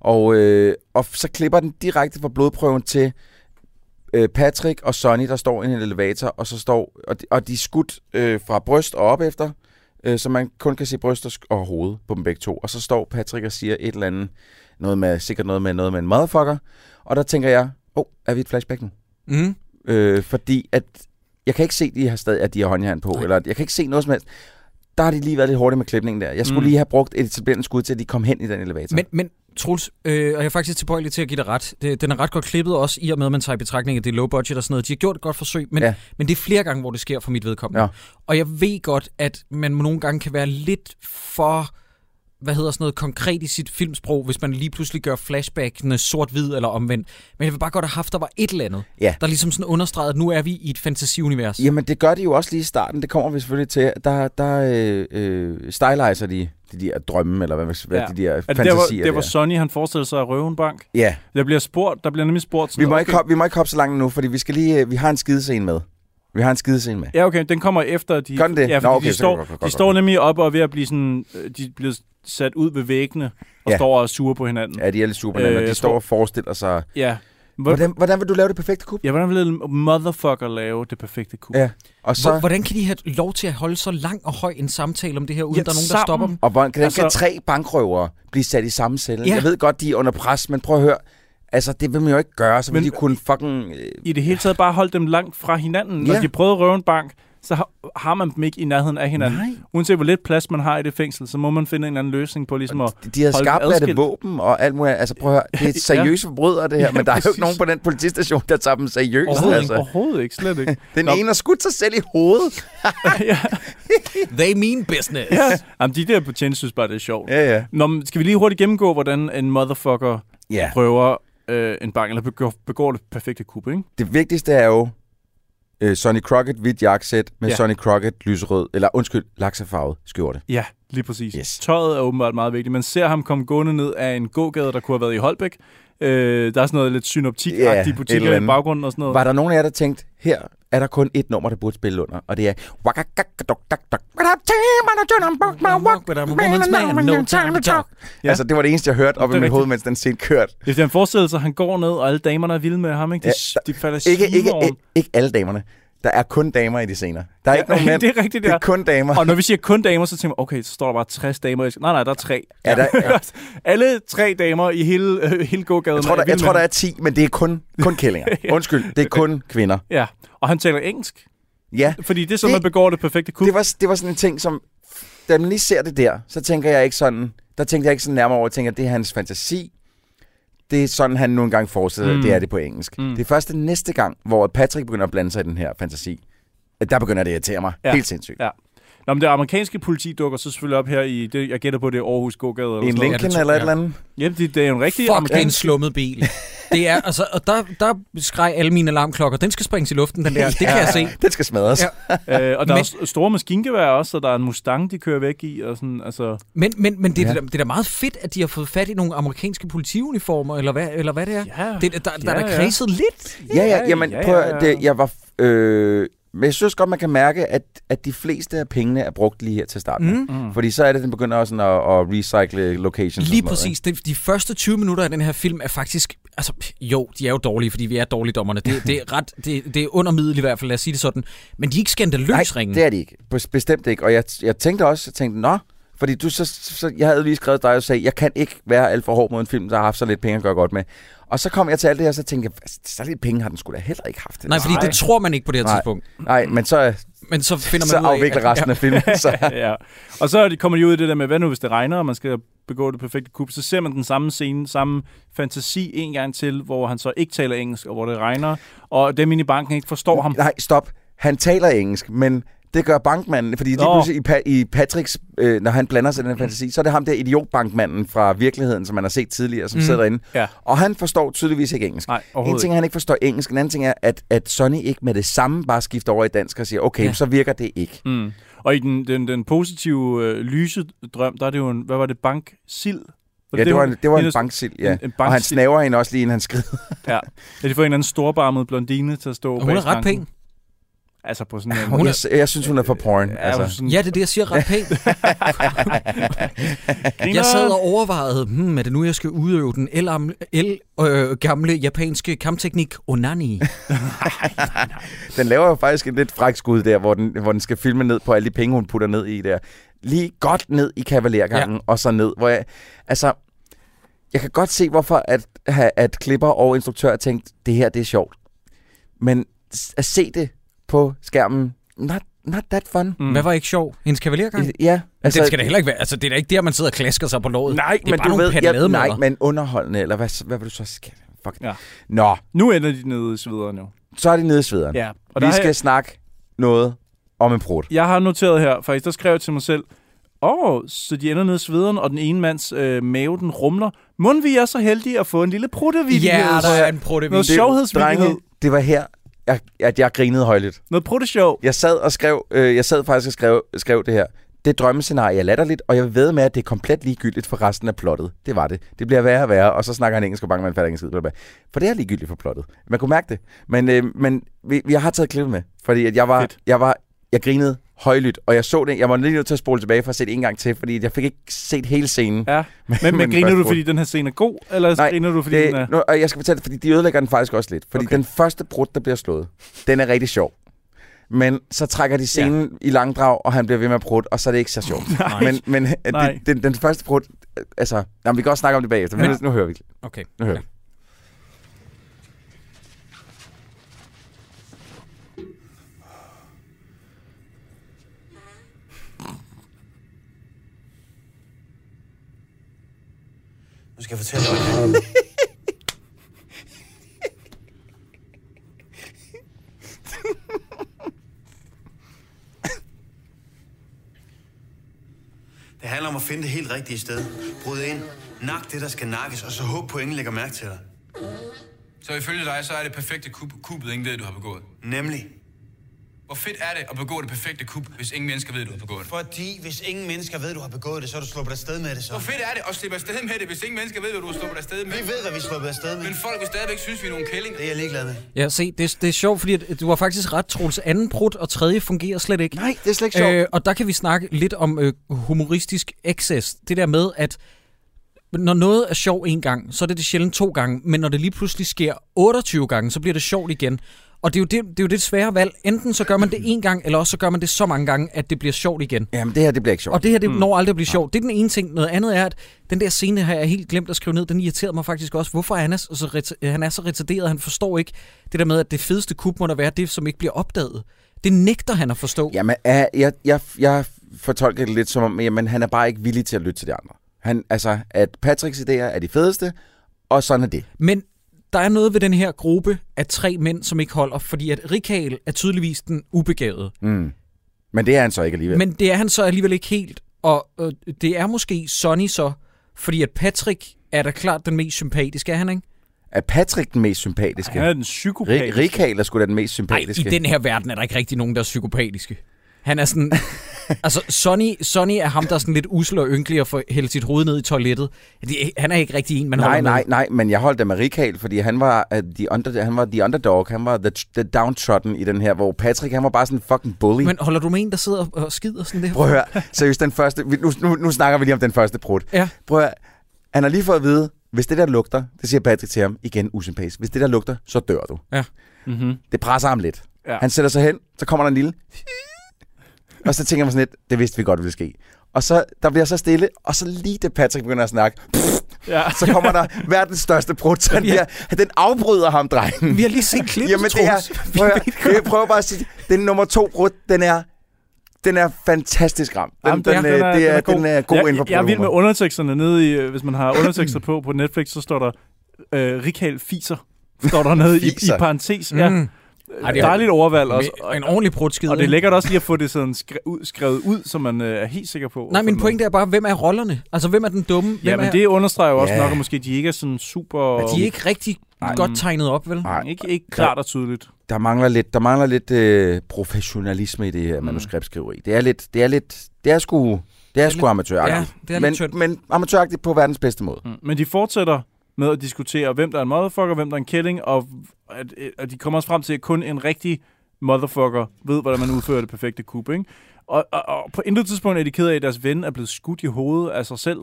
Speaker 7: Og, øh, og så klipper den direkte fra blodprøven til øh, Patrick og Sonny, der står i en elevator, og så står og de, og de er skudt øh, fra bryst og op efter, øh, så man kun kan se bryst og, sk- og hoved på dem begge to. Og så står Patrick og siger et eller andet, noget med, sikkert noget med, noget med en motherfucker, og der tænker jeg, åh, oh, er vi i et flashback nu?
Speaker 1: Mm.
Speaker 7: Øh, fordi at jeg kan ikke se, at de har stadig at de har håndjern på,
Speaker 1: Nej.
Speaker 7: Nej. eller jeg kan ikke se noget som helst. Der har de lige været lidt hurtigt med klipningen der. Jeg skulle
Speaker 6: Mm.
Speaker 7: mm. lige have brugt et etablerende skud til, at de kom hen i den elevator.
Speaker 1: Men, men Truls, øh, og jeg er faktisk tilbøjelig til at give dig ret. Det, den er ret godt klippet også, i og med at man tager i betragtning, at det er low budget og sådan noget. De har gjort et godt forsøg, men, ja.
Speaker 7: Ja.
Speaker 1: men det er flere gange, hvor det sker for mit vedkommende.
Speaker 7: Ja.
Speaker 1: Og jeg ved godt, at man nogle gange kan være lidt for hvad hedder sådan noget konkret i sit filmsprog, hvis man lige pludselig gør flashbackene sort-hvid eller omvendt. Men jeg vil bare godt have haft, der var et eller andet,
Speaker 7: Ja.
Speaker 1: der ligesom sådan understregede, at nu er vi i et fantasiunivers.
Speaker 7: Jamen, det gør de jo også lige i starten. Det kommer vi selvfølgelig til. Der, der øh, øh, styliser de, de der drømme, eller hvad, hvad
Speaker 6: Ja.
Speaker 7: ja. de der
Speaker 6: er det der, hvor,
Speaker 7: fantasier
Speaker 6: der, hvor
Speaker 7: der.
Speaker 6: Sonny han forestiller sig at røve en bank?
Speaker 7: Ja,
Speaker 6: Der bliver spurgt, der bliver nemlig spurgt sådan
Speaker 7: vi må,
Speaker 6: noget,
Speaker 7: ikke hoppe, vi må ikke hoppe så langt nu, fordi vi, skal lige, øh, vi har en skidescene med. Vi har en skidescene med.
Speaker 6: Ja, okay, den kommer efter de...
Speaker 7: Gør den det?
Speaker 6: Ja,
Speaker 7: Nå,
Speaker 6: fordi
Speaker 7: okay,
Speaker 6: de
Speaker 7: så
Speaker 6: står,
Speaker 7: godt, godt,
Speaker 6: de
Speaker 7: godt,
Speaker 6: står
Speaker 7: godt.
Speaker 6: nemlig op og er ved at blive sådan... øh, De bliver sat ud ved væggene og ja.
Speaker 7: Ja.
Speaker 6: står og er sure på hinanden. Ja.
Speaker 7: Ja, de er lidt super øh,
Speaker 6: Øh,
Speaker 7: De
Speaker 6: jeg
Speaker 7: står
Speaker 6: tror-
Speaker 7: og forestiller sig...
Speaker 6: ja. Hvordan,
Speaker 7: Hvordan, hvordan vil du lave det perfekte kub?
Speaker 6: ja, hvordan ville motherfucker lave det perfekte kub?
Speaker 7: Ja. Og så...
Speaker 1: Hvor, hvordan kan de have lov til at holde så lang og høj en samtale om det her, uden
Speaker 6: Ja,
Speaker 1: ja, der er nogen, der
Speaker 6: sammen.
Speaker 1: stopper dem?
Speaker 7: Og hvordan kan, altså, kan
Speaker 6: Altså-
Speaker 7: tre bankrøvere blive sat i samme celle? Ja.
Speaker 1: Ja.
Speaker 7: Jeg ved godt, de er under pres, men prøv at høre. Altså, det vil man jo ikke gøre, så vil
Speaker 6: Men-
Speaker 7: de kunne fucking... Øh,
Speaker 6: I det hele taget bare holde dem langt fra hinanden. Når
Speaker 7: Ja.
Speaker 6: de prøvede at røve en bank, så har, har man dem ikke i nærheden af hinanden.
Speaker 7: Nej.
Speaker 6: Uanset hvor lidt plads man har i det fængsel, så må man finde en eller anden løsning på ligesom at...
Speaker 7: de- de havde
Speaker 6: holde dem
Speaker 7: skarpt det
Speaker 6: adskilt.
Speaker 7: våben og alt muligt. Altså, prøv at høre. Det er seriøse forbrydere, det her,
Speaker 6: Ja,
Speaker 7: men der er jo
Speaker 6: præcis.
Speaker 7: ikke nogen på den politistation, der tager dem seriøst.
Speaker 6: Overhovedet, altså.
Speaker 7: Altså.
Speaker 6: overhovedet ikke, slet ikke.
Speaker 7: Den
Speaker 6: Nå.
Speaker 7: ene har skudt sig selv i hovedet.
Speaker 6: ja,
Speaker 1: They mean business.
Speaker 6: ja. Jamen, de der betjente synes bare, det er sjovt.
Speaker 7: Ja, ja.
Speaker 6: Nå, men skal vi lige hurtigt gennemgå, hvordan en motherfucker
Speaker 7: Ja.
Speaker 6: prøver øh, en bank, eller begår, begår det perfekte kub, ikke?
Speaker 7: Det vigtigste er jo øh, Sonny Crockett hvidt jakkesæt med
Speaker 6: Ja.
Speaker 7: ja. Sonny Crockett lyserød, eller undskyld, laksefarvet skjorte.
Speaker 6: Ja, lige præcis.
Speaker 7: Yes.
Speaker 6: Tøjet er åbenbart meget vigtigt. Man ser ham komme gående ned af en gågade, der kunne have været i Holbæk. Øh, der er sådan noget lidt synoptik
Speaker 7: Ja,
Speaker 6: yeah,
Speaker 7: et
Speaker 6: butikker
Speaker 7: eller
Speaker 6: i
Speaker 7: andet.
Speaker 6: baggrunden og sådan noget.
Speaker 7: Var der nogen af jer, der tænkte, her er der kun et nummer, der burde spille under, og det er...
Speaker 6: Ja.
Speaker 7: Ja. Altså, det var det eneste, jeg hørte op i
Speaker 6: Det er
Speaker 7: mit
Speaker 6: rigtigt.
Speaker 7: hoved, mens den scene kørte.
Speaker 6: Det er en forestillelse, han går ned, og alle damerne er vilde med ham, ikke? De,
Speaker 7: Ja,
Speaker 6: ja, de falder
Speaker 7: Ikke, ikke,
Speaker 6: over.
Speaker 7: ikke, ikke alle damerne. Der er kun damer i de scener. Der er ja, ikke nogen mænd.
Speaker 6: det er rigtigt,
Speaker 7: det
Speaker 6: ja.
Speaker 7: er kun damer.
Speaker 6: Og når vi siger kun damer, så tænker man, okay, så står der bare 60 damer. i- Nej, nej, der er tre.
Speaker 7: Ja, der- ja.
Speaker 6: alle tre damer i hele, øh, hele gågaden.
Speaker 7: jeg tror, der,
Speaker 6: vilde
Speaker 7: jeg tror,
Speaker 6: med
Speaker 7: der er
Speaker 6: ham.
Speaker 7: 10, men det er kun, kun kællinger. Undskyld, det er kun kvinder.
Speaker 6: Ja, og han taler engelsk.
Speaker 7: Ja,
Speaker 6: Fordi det er så,
Speaker 7: Det-
Speaker 6: man begår det perfekte kub.
Speaker 7: det var, det var sådan en ting, som... Da man lige ser det der, så tænker jeg ikke sådan... Der tænkte jeg ikke sådan nærmere over. Jeg tænker, det er hans fantasi. Det er sådan, han nogle gange forestiller,
Speaker 6: Mm.
Speaker 7: mm. det er det på engelsk.
Speaker 6: Mm.
Speaker 7: Mm. Det er først den næste gang, hvor Patrick begynder at blande sig i den her fantasi. at Der begynder det at irritere mig.
Speaker 6: Ja.
Speaker 7: Ja. Helt sindssygt.
Speaker 6: Ja. Nå, men det amerikanske politi dukker så selvfølgelig op her i, det, jeg gætter på, det er Aarhus Gågade. Eller sådan
Speaker 7: En
Speaker 6: noget.
Speaker 1: Ja, det
Speaker 7: Lincoln
Speaker 1: tror
Speaker 7: eller et
Speaker 1: jeg.
Speaker 7: eller andet.
Speaker 6: Ja, det, det er jo en rigtig
Speaker 1: Fuck, det er en
Speaker 6: amerikansk...
Speaker 1: slummet bil. Det er, altså, og der, der skreg alle mine alarmklokker. Den skal springes i luften, den der. Det kan jeg se.
Speaker 7: Den skal smadres.
Speaker 1: Ja.
Speaker 7: Ja.
Speaker 6: Øh, og der er
Speaker 1: Men-
Speaker 6: også store maskingeværer også, og der er en Mustang, de kører væk i, og sådan, altså...
Speaker 1: Men, men, men det, ja.
Speaker 7: Ja.
Speaker 1: det, det er da meget fedt, at de har fået fat i nogle amerikanske politiuniformer, eller hvad, eller hvad det er.
Speaker 6: Ja.
Speaker 1: Det, er- der, der
Speaker 6: Ja,
Speaker 1: er
Speaker 6: ja.
Speaker 1: da kredset lidt.
Speaker 7: Ja,
Speaker 6: Ja,
Speaker 7: ja, jamen,
Speaker 6: ja,
Speaker 7: ja, prøv,
Speaker 6: ja.
Speaker 7: at- det, jeg var... f- Øh, men jeg synes godt, man kan mærke, at, at de fleste af pengene er brugt lige her til starten. Mm.
Speaker 6: Mm.
Speaker 7: Fordi så er det, den begynder også sådan at, at recycle locations. og
Speaker 1: Lige
Speaker 7: sådan noget,
Speaker 1: præcis. Det, de første 20 minutter af den her film er faktisk... Altså, pff, jo, de er jo dårlige, fordi vi er dårligdommerne. Det, det, er, ret, det, det er under middel i hvert fald, lad os sige det sådan. Men de er ikke skandaløs ringe.
Speaker 7: det er de ikke. Bes- Bestemt ikke. Og jeg, jeg tænkte også, jeg tænkte, nå, fordi du så, så, jeg havde lige skrevet til dig og sagde, jeg kan ikke være alt for hård mod en film, der har haft så lidt penge at gøre godt med. Og så kom jeg til alt det her, og så tænkte jeg, "Altså, så lidt penge har den skulle da heller ikke haft.
Speaker 1: Nej, fordi
Speaker 6: Nej.
Speaker 1: Nej. det tror man ikke på det her
Speaker 7: Nej.
Speaker 1: tidspunkt.
Speaker 7: Nej, men så,
Speaker 1: Men så finder man
Speaker 7: så
Speaker 1: ud af...
Speaker 7: afvikler resten af filmen. Så.
Speaker 6: ja. Og så er de- kommer de ud i det der med, hvad nu hvis det regner, og man skal begå det perfekte kub, så ser man den samme scene, samme fantasi en gang til, hvor han så ikke taler engelsk, og hvor det regner, og dem inde i banken ikke forstår ham.
Speaker 7: Nej, stop. Han taler engelsk, men det gør bankmanden, fordi lige
Speaker 6: Nå. Mm.
Speaker 7: pludselig i, pa- i Patricks, øh, når han blander sig i den her fantasi, så er det ham der idiotbankmanden fra virkeligheden, som man har set tidligere, som mm. sidder derinde.
Speaker 6: Ja.
Speaker 7: Og han forstår tydeligvis ikke engelsk.
Speaker 6: Nej,
Speaker 7: en
Speaker 6: overhovedet
Speaker 7: ting er, at han ikke forstår engelsk, en anden ting er, at, at Sonny ikke med det samme bare skifter over i dansk og siger, okay,
Speaker 1: Ja.
Speaker 7: ja. så virker det ikke.
Speaker 6: Mm. Og i den, den, den positive øh, lyse drøm, der er det jo en, hvad var det, bank sild?
Speaker 7: Ja, det var, en- det var en
Speaker 6: hendes-
Speaker 7: banksil,
Speaker 6: en-
Speaker 7: ja.
Speaker 6: en
Speaker 7: og han
Speaker 6: banksil.
Speaker 7: snaver hende også lige, inden han skrider.
Speaker 6: Ja, ja de får en eller anden storbarmet blondine til at stå
Speaker 1: Og hun er
Speaker 6: bag
Speaker 1: ret
Speaker 6: skranken.
Speaker 1: pæn.
Speaker 6: Altså på sådan en...
Speaker 1: Hun er-
Speaker 7: Jeg, jeg synes, hun er for porn.
Speaker 6: Ja,
Speaker 7: altså.
Speaker 6: sådan,
Speaker 1: Ja, det er det, jeg siger ret pænt. Jeg sad og overvejede, hmm, er det nu, jeg skal udøve den el, el øh, gamle japanske kampteknik onani?
Speaker 7: Den laver jo faktisk et lidt fræk skud der, hvor den, hvor den skal filme ned på alle de penge, hun putter ned i der. Lige godt ned i kavalergangen, ja. og så ned, hvor jeg... Altså, jeg kan godt se, hvorfor at, ha- at klipper og instruktør har tænkt, det her, det er sjovt. Men s- at se det på skærmen, not, not that fun.
Speaker 1: Mm. Hvad var ikke sjov? Hendes kavaliergang? Det,
Speaker 7: Ja,
Speaker 1: altså, det skal da heller ikke være. Altså, det er da ikke der, man sidder og klasker sig på låret.
Speaker 7: Nej,
Speaker 1: det er
Speaker 7: men
Speaker 1: bare
Speaker 7: du
Speaker 1: nogle
Speaker 7: ved, ja, nej,
Speaker 1: panelademøller.
Speaker 7: men underholdende, eller hvad, s- hvad vil du så skal? Fuck.
Speaker 6: Ja.
Speaker 7: Ja. Nå,
Speaker 6: Nu ender de nede i svederen jo.
Speaker 7: så er det nede i svederen.
Speaker 6: Ja. Og
Speaker 7: Vi
Speaker 6: der
Speaker 7: skal
Speaker 6: skal...
Speaker 7: snakke noget om en prut.
Speaker 6: jeg, jeg har noteret her, faktisk, der skrev jeg til mig selv, Åh, oh, så de ender nede i svederen, og den ene mands øh, mave, den rumler. Må vi er så heldige at få en lille pruttevillighed?
Speaker 1: Ja, der er en pruttevillighed.
Speaker 6: Noget sjovhedsvillighed.
Speaker 7: Drenge, det var her, jeg, at jeg grinede højligt.
Speaker 6: Noget pruttesjov.
Speaker 7: Jeg sad og skrev, øh, jeg sad faktisk og skrev, skrev det her. Det drømmescenarie er latterligt, og jeg ved med, at det er komplet ligegyldigt for resten af plottet. Det var det. Det bliver værre og værre, og så snakker han engelsk, og bange, man fatter ingen skid. blablabla. For det er ligegyldigt for plottet. Man kunne mærke det. Men, øh, men vi, vi, har taget klippet med, fordi at jeg var,
Speaker 6: Fedt.
Speaker 7: jeg var, jeg grinede højlydt, og jeg så det, jeg var lige nødt til at spole tilbage for at se det en gang til, fordi jeg fik ikke set hele scenen.
Speaker 6: Ja. Men, men,
Speaker 7: men
Speaker 6: griner du,
Speaker 7: først-
Speaker 6: fordi den her scene er god, eller Nej, griner du, fordi det, den er...
Speaker 7: det, nu, og jeg skal fortælle det, fordi de ødelægger den faktisk også lidt. Fordi
Speaker 6: Okay.
Speaker 7: okay. den første brud, der bliver slået, den er rigtig sjov. Men så trækker de scenen ja. i langdrag, og han bliver ved med at prutte, og så er det ikke så sjovt.
Speaker 6: Nej.
Speaker 7: Men, men øh,
Speaker 6: Nej.
Speaker 7: det, den, den første brud, øh, altså, jamen, vi kan også snakke om det bagefter, men
Speaker 1: Ja.
Speaker 7: ja. nu hører vi det.
Speaker 1: Okay.
Speaker 7: Nu hører vi.
Speaker 4: Nu skal jeg fortælle dig. noget.
Speaker 5: Det handler om at finde det helt rigtige sted. Bryd ind, nak det, der skal nakkes, og så håb på, at ingen lægger mærke til dig.
Speaker 8: Så ifølge dig, så er det perfekte kub, kubet, ingen ved, du har begået.
Speaker 5: Nemlig.
Speaker 8: Hvor fedt er det at begå det perfekte kub, hvis ingen mennesker ved, du har begået det?
Speaker 5: Fordi hvis ingen mennesker ved, du har begået det, så er du sluppet afsted med det så.
Speaker 8: Hvor fedt er det at slippe afsted med det, hvis ingen mennesker ved, hvad du har sluppet afsted med?
Speaker 5: Vi ved, hvad vi er sluppet afsted med.
Speaker 8: Men folk vil stadigvæk synes, vi er nogle kællinger.
Speaker 5: Det er jeg ligeglad med.
Speaker 1: Ja, se, det, det er sjovt, fordi at du har faktisk ret, Troels. Anden prut og tredje fungerer slet ikke.
Speaker 7: Nej, det er slet ikke sjovt.
Speaker 1: Øh, og der kan vi snakke lidt om øh, humoristisk excess. Det der med, at når noget er sjov en gang, så er det det sjældent to gange, men når det lige pludselig sker 28 gange, så bliver det sjovt igen. Og det er jo det, det, er jo det svære valg. Enten så gør man det en gang, eller også så gør man det så mange gange, at det bliver sjovt igen.
Speaker 7: Jamen, det her, det bliver ikke sjovt.
Speaker 1: Og det her, det når aldrig at blive sjovt. Det er den ene ting. Noget andet er, at den der scene har jeg helt glemt at skrive ned. Den irriterede mig faktisk også. Hvorfor er han er så, reta- han er så retarderet? Han forstår ikke det der med, at det fedeste kub må der være det, som ikke bliver opdaget. Det nægter han at forstå.
Speaker 7: Jamen, er, jeg, jeg, jeg fortolker det lidt som om, jamen, han er bare ikke villig til at lytte til de andre. Han, altså, at Patricks idéer er de fedeste, og sådan er det.
Speaker 1: Men der er noget ved den her gruppe af tre mænd, som ikke holder, fordi at Rikael er tydeligvis den ubegavede.
Speaker 7: Men det er han så ikke alligevel.
Speaker 1: Men det er han så alligevel ikke helt, og øh, det er måske Sonny så, fordi at Patrick er da klart den mest sympatiske, er han ikke?
Speaker 7: Er Patrick den mest sympatiske?
Speaker 6: Han er den psykopat.
Speaker 7: Ri- Rikal er sgu da den mest
Speaker 1: Nej, i
Speaker 7: sympatiske.
Speaker 1: den her verden er der ikke rigtig nogen, der er psykopatiske. Han er sådan... altså, Sonny, Sonny er ham, der er sådan lidt usel og ynkelig og får hældt sit hoved ned i toilettet. Det, han er ikke rigtig en, man
Speaker 7: Nej,
Speaker 1: holder
Speaker 7: nej,
Speaker 1: med.
Speaker 7: nej, men jeg holdt da med Rikal, fordi han var, uh, the under, han var the underdog, han var the, the downtrodden i den her, hvor Patrick, han var bare sådan en fucking bully. Men...
Speaker 1: Men holder du med en, der sidder og skider sådan der?
Speaker 7: Prøv at høre, seriøst, den første, vi- nu, nu, nu snakker vi lige om den første brud.
Speaker 1: Ja.
Speaker 7: Prøv at høre, han har lige fået at vide, hvis det der lugter, det siger Patrick til ham, igen usympatisk, hvis det der lugter, så dør du.
Speaker 1: Ja.
Speaker 6: Mhm.
Speaker 7: Det presser ham lidt.
Speaker 6: Ja.
Speaker 7: Ja. Han sætter sig hen, så kommer der en lille... Og så tænker man sådan lidt, det vidste vi godt ville ske. Og så, der bliver så stille, og så lige det Patrick begynder at snakke,
Speaker 6: Ja.
Speaker 7: så kommer der verdens største brud. Så den, bliver, den afbryder ham, drengen.
Speaker 1: Vi har lige set klippet,
Speaker 7: Jamen, det
Speaker 1: Troels.
Speaker 7: er, prøv, at- jeg prøver bare at sige, den nummer to brud, den er, den er fantastisk ramt. Den,
Speaker 6: Jamen,
Speaker 7: den, øh, det er,
Speaker 6: god.
Speaker 7: den er god
Speaker 6: jeg,
Speaker 7: inden for
Speaker 6: Jeg er vild med
Speaker 7: brudhumor.
Speaker 6: underteksterne nede i, øh, hvis man har undertekster på på Netflix, så står der øh, Rikal Fiser, står der nede i, i
Speaker 7: Fiser.
Speaker 6: parentes. Ja. Mm.
Speaker 1: Ej, det er-
Speaker 6: Dejligt overvalg også.
Speaker 1: Med en ordentlig brudskid.
Speaker 6: Og det er
Speaker 1: ikke?
Speaker 6: lækkert også lige at få det sådan skre- ud, skrevet ud, så man øh, er helt sikker på.
Speaker 1: Nej, min
Speaker 6: Sådan-
Speaker 1: pointe er bare, hvem er rollerne? Altså, hvem er den dumme? Hvem
Speaker 6: Ja,
Speaker 1: er...
Speaker 6: men det understreger jo også
Speaker 7: Ja.
Speaker 6: nok, at måske de ikke er sådan super...
Speaker 1: De er ikke rigtig
Speaker 6: Nej.
Speaker 1: godt tegnet op, vel?
Speaker 7: Nej,
Speaker 6: Ikke, ikke klart og tydeligt.
Speaker 7: der mangler lidt, der mangler lidt øh, professionalisme i det
Speaker 6: Mm.
Speaker 7: her manuskriptskriveri. Det er lidt, det er lidt, det er sgu, det er sgu amatøragtigt.
Speaker 1: ja, det er lidt
Speaker 7: men,
Speaker 1: tyndt.
Speaker 7: men amatøragtigt på verdens bedste måde.
Speaker 6: Mm. Men de fortsætter med at diskutere, hvem der er en motherfucker, hvem der er en killing, og at, øh, at de kommer også frem til, at kun en rigtig motherfucker ved, hvordan man udfører det perfekte kub, ikke? Og, og, og på intet tidspunkt er de ked af, at deres ven er blevet skudt i hovedet af sig selv.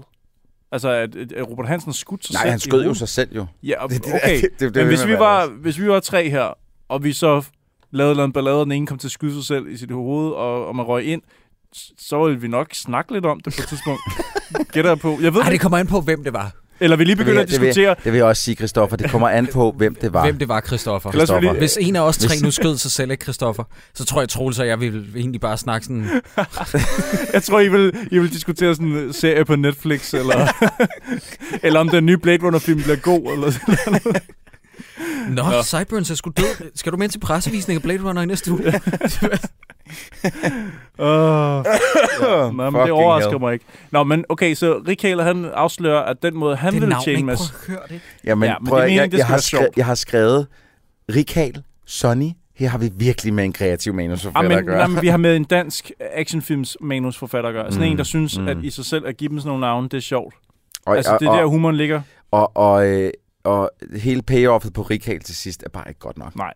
Speaker 6: Altså, at, at Robert Hansen har skudt sig
Speaker 7: Nej,
Speaker 6: selv
Speaker 7: han
Speaker 6: i
Speaker 7: skød jo
Speaker 6: hovedet.
Speaker 7: sig selv jo.
Speaker 6: Ja, okay.
Speaker 7: Det-
Speaker 6: Det,
Speaker 7: det- det- det-
Speaker 6: Men
Speaker 7: det vil
Speaker 6: hvis
Speaker 7: man
Speaker 6: vi,
Speaker 7: være
Speaker 6: var,
Speaker 7: ærlig.
Speaker 6: hvis vi var tre her, og vi så lavede noget en ballade, og den ene kom til at skyde sig selv i sit hoved, og, og man røg ind, s- så ville vi nok snakke lidt om det på et tidspunkt. Gætter jeg på. Jeg ved,
Speaker 1: Ej,
Speaker 6: Ej,
Speaker 1: det kommer an på, hvem det var.
Speaker 6: Eller vi lige
Speaker 7: Det vil,
Speaker 6: begynder
Speaker 7: jeg,
Speaker 6: at
Speaker 7: det, vil,
Speaker 6: diskutere,
Speaker 7: jeg- det vil jeg også sige, Christoffer. Det kommer an på, hvem det var.
Speaker 1: Hvem det var, Christoffer.
Speaker 6: Ellers vil
Speaker 7: Christoffer.
Speaker 1: Hvis en af os tre
Speaker 7: Hvis-
Speaker 1: nu skød sig selv, ikke Christoffer, så tror jeg, Troels og jeg vil egentlig bare snakke sådan...
Speaker 6: Jeg tror, I vil, I vil diskutere sådan en serie på Netflix, eller, eller om den nye Blade Runner-film bliver god. Eller, sådan noget.
Speaker 1: Nå, ja. Sideburns er sgu død. Skal du med til pressevisning af Blade Runner i næste uge?
Speaker 6: Åh. ja, nå, men det
Speaker 7: Fucking
Speaker 6: overrasker
Speaker 7: hell.
Speaker 6: mig ikke. Nå, men okay, så Rikale, han afslører, at den måde, han
Speaker 1: det er
Speaker 6: vil
Speaker 1: navn,
Speaker 6: tjene
Speaker 1: ikke?
Speaker 6: en masse...
Speaker 1: Prøv at høre det.
Speaker 7: Jamen,
Speaker 6: Ja, men
Speaker 7: prøv,
Speaker 6: det er
Speaker 7: at-
Speaker 6: meningen,
Speaker 7: jeg,
Speaker 6: det
Speaker 7: jeg,
Speaker 6: skal
Speaker 7: har
Speaker 6: være sjovt.
Speaker 7: skrevet, jeg har skrevet Rikal, Sonny. Her har vi virkelig med en kreativ
Speaker 6: Ah,
Speaker 7: manusforfatter at
Speaker 6: men,
Speaker 7: gøre.
Speaker 6: nej, men vi har med en dansk actionfilms manusforfatter at gøre. Sådan mm, en, der synes, mm.
Speaker 7: mm.
Speaker 6: at i sig selv at give dem sådan nogle navne, det er sjovt.
Speaker 7: og,
Speaker 6: altså, det er
Speaker 7: og,
Speaker 6: der,
Speaker 7: og,
Speaker 6: humoren ligger.
Speaker 7: og, og, øh, og hele payoffet på Rikal til sidst er bare ikke godt nok.
Speaker 6: Nej.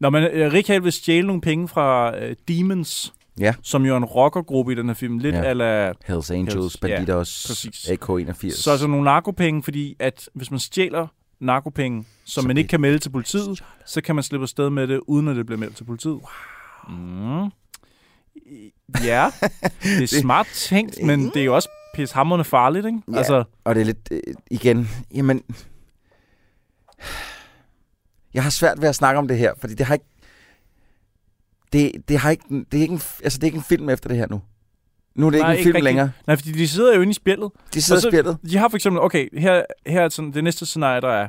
Speaker 6: Når man, øh, Rikard vil stjæle nogle penge fra øh, Demons,
Speaker 7: Ja.
Speaker 6: som jo er en rockergruppe i den her film. Lidt
Speaker 7: Ja.
Speaker 6: ja. ala...
Speaker 7: Hells Angels,
Speaker 6: Hells- ja,
Speaker 7: Bandidos,
Speaker 6: præcis.
Speaker 7: AK-81.
Speaker 6: Så er der nogle narkopenge, fordi at hvis man stjæler narkopenge, som
Speaker 7: Så
Speaker 6: man ikke
Speaker 7: det-
Speaker 6: kan melde til politiet, så kan man slippe afsted med det, uden at det bliver meldt til politiet. Wow. Mm. I- Ja, det er smart tænkt, men det er jo også pishammerende farligt, ikke?
Speaker 7: Mm. Ja.
Speaker 6: Altså,
Speaker 7: Og det er lidt, øh, igen, jamen... Jeg har svært ved at snakke om det her, fordi det har ikke... Det, det, har ikke, det, er ikke en, altså, det er ikke en film efter det her nu. Nu er det
Speaker 6: Nej,
Speaker 7: Nej, ikke
Speaker 6: ikke
Speaker 7: en film
Speaker 6: rigtig.
Speaker 7: rigtig. længere.
Speaker 6: nej, fordi de sidder jo inde i spjældet.
Speaker 7: De sidder
Speaker 6: Og så-
Speaker 7: så... spillet.
Speaker 6: De har for eksempel, okay, her, her er sådan, det næste scenarie, der er,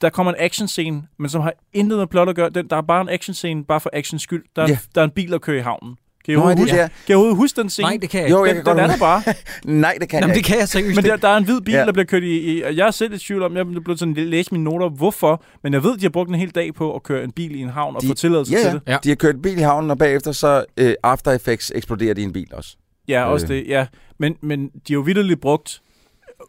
Speaker 6: der kommer en action scene, men som har intet med plot at gøre. Den, der er bare en action scene, bare for actions skyld. Der, er,
Speaker 7: Ja.
Speaker 6: der er en bil, der kører i havnen. Kan I
Speaker 7: Nå, er
Speaker 6: overhovedet huske,
Speaker 7: det der?
Speaker 6: kan I overhovedet huske den scene?
Speaker 1: Nej, det kan jeg
Speaker 7: Jo,
Speaker 1: ikke.
Speaker 7: jeg
Speaker 6: den,
Speaker 7: kan
Speaker 6: den
Speaker 7: godt
Speaker 6: er
Speaker 7: huske
Speaker 6: der bare.
Speaker 7: Nej, det kan
Speaker 1: Jamen,
Speaker 7: jeg
Speaker 1: det
Speaker 7: ikke.
Speaker 1: kan jeg seriøst
Speaker 6: Men der,
Speaker 1: ikke.
Speaker 6: der er en hvid bil, ja.
Speaker 7: Ja.
Speaker 6: der bliver kørt i, i, og jeg er selv lidt i tvivl om, jeg blev sådan lidt læse mine noter, hvorfor, men jeg ved, de har brugt en hel dag på at køre en bil i en havn og
Speaker 7: De-
Speaker 6: få tilladelse
Speaker 7: Ja,
Speaker 6: til
Speaker 7: ja.
Speaker 6: det.
Speaker 1: Ja.
Speaker 7: ja, de har kørt bil i havnen, og bagefter så øh, After Effects eksploderer de en bil også.
Speaker 6: Ja, også
Speaker 7: Øh.
Speaker 6: det, ja. Men, men de har jo vidderligt brugt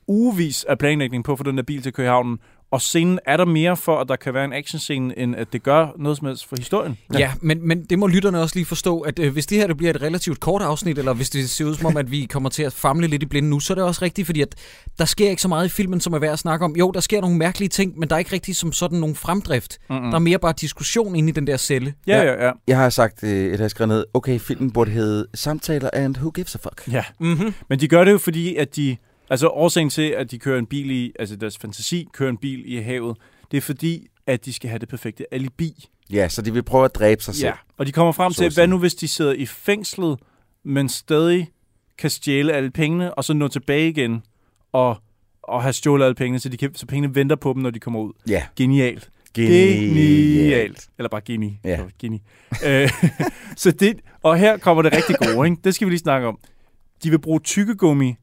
Speaker 6: ugevis af planlægning på at få den der bil til at køre i havnen, og scenen er der mere for, at der kan være en actionscene, end at det gør noget som helst for historien.
Speaker 1: Ja, men, men det må lytterne også lige forstå, at øh, hvis det her det bliver et relativt kort afsnit, eller hvis det ser ud som om, at vi kommer til at famle lidt i blinde nu, så er det også rigtigt, fordi at der sker ikke så meget i filmen, som er værd at snakke om. Jo, der sker nogle mærkelige ting, men der er ikke rigtig som sådan nogen fremdrift. Mm-hmm. Der er mere bare diskussion inde i den der celle.
Speaker 6: Ja, ja, ja.
Speaker 7: Jeg har sagt, øh, eller jeg har skrevet ned, okay, filmen burde hedde Samtaler and Who Gives a Fuck.
Speaker 6: ja. Mm-hmm. Men de gør det jo fordi, at de... Altså årsagen til, at de kører en bil i... Altså deres fantasi kører en bil i havet, det er fordi, at de skal have det perfekte alibi.
Speaker 7: Ja, så de vil prøve at dræbe sig selv.
Speaker 6: Ja, og de kommer frem
Speaker 7: så
Speaker 6: til,
Speaker 7: at
Speaker 6: hvad
Speaker 7: sige.
Speaker 6: nu hvis de sidder i fængslet, men stadig kan stjæle alle pengene, og så nå tilbage igen og, og have stjålet alle pengene, så, de kan, så pengene venter på dem, når de kommer ud.
Speaker 7: Ja.
Speaker 6: Genialt. Genialt. Eller bare geni.
Speaker 7: Ja.
Speaker 6: Så, geni. Øh, så det, og her kommer det rigtig gode, ikke? det skal vi lige snakke om. De vil bruge tykkegummi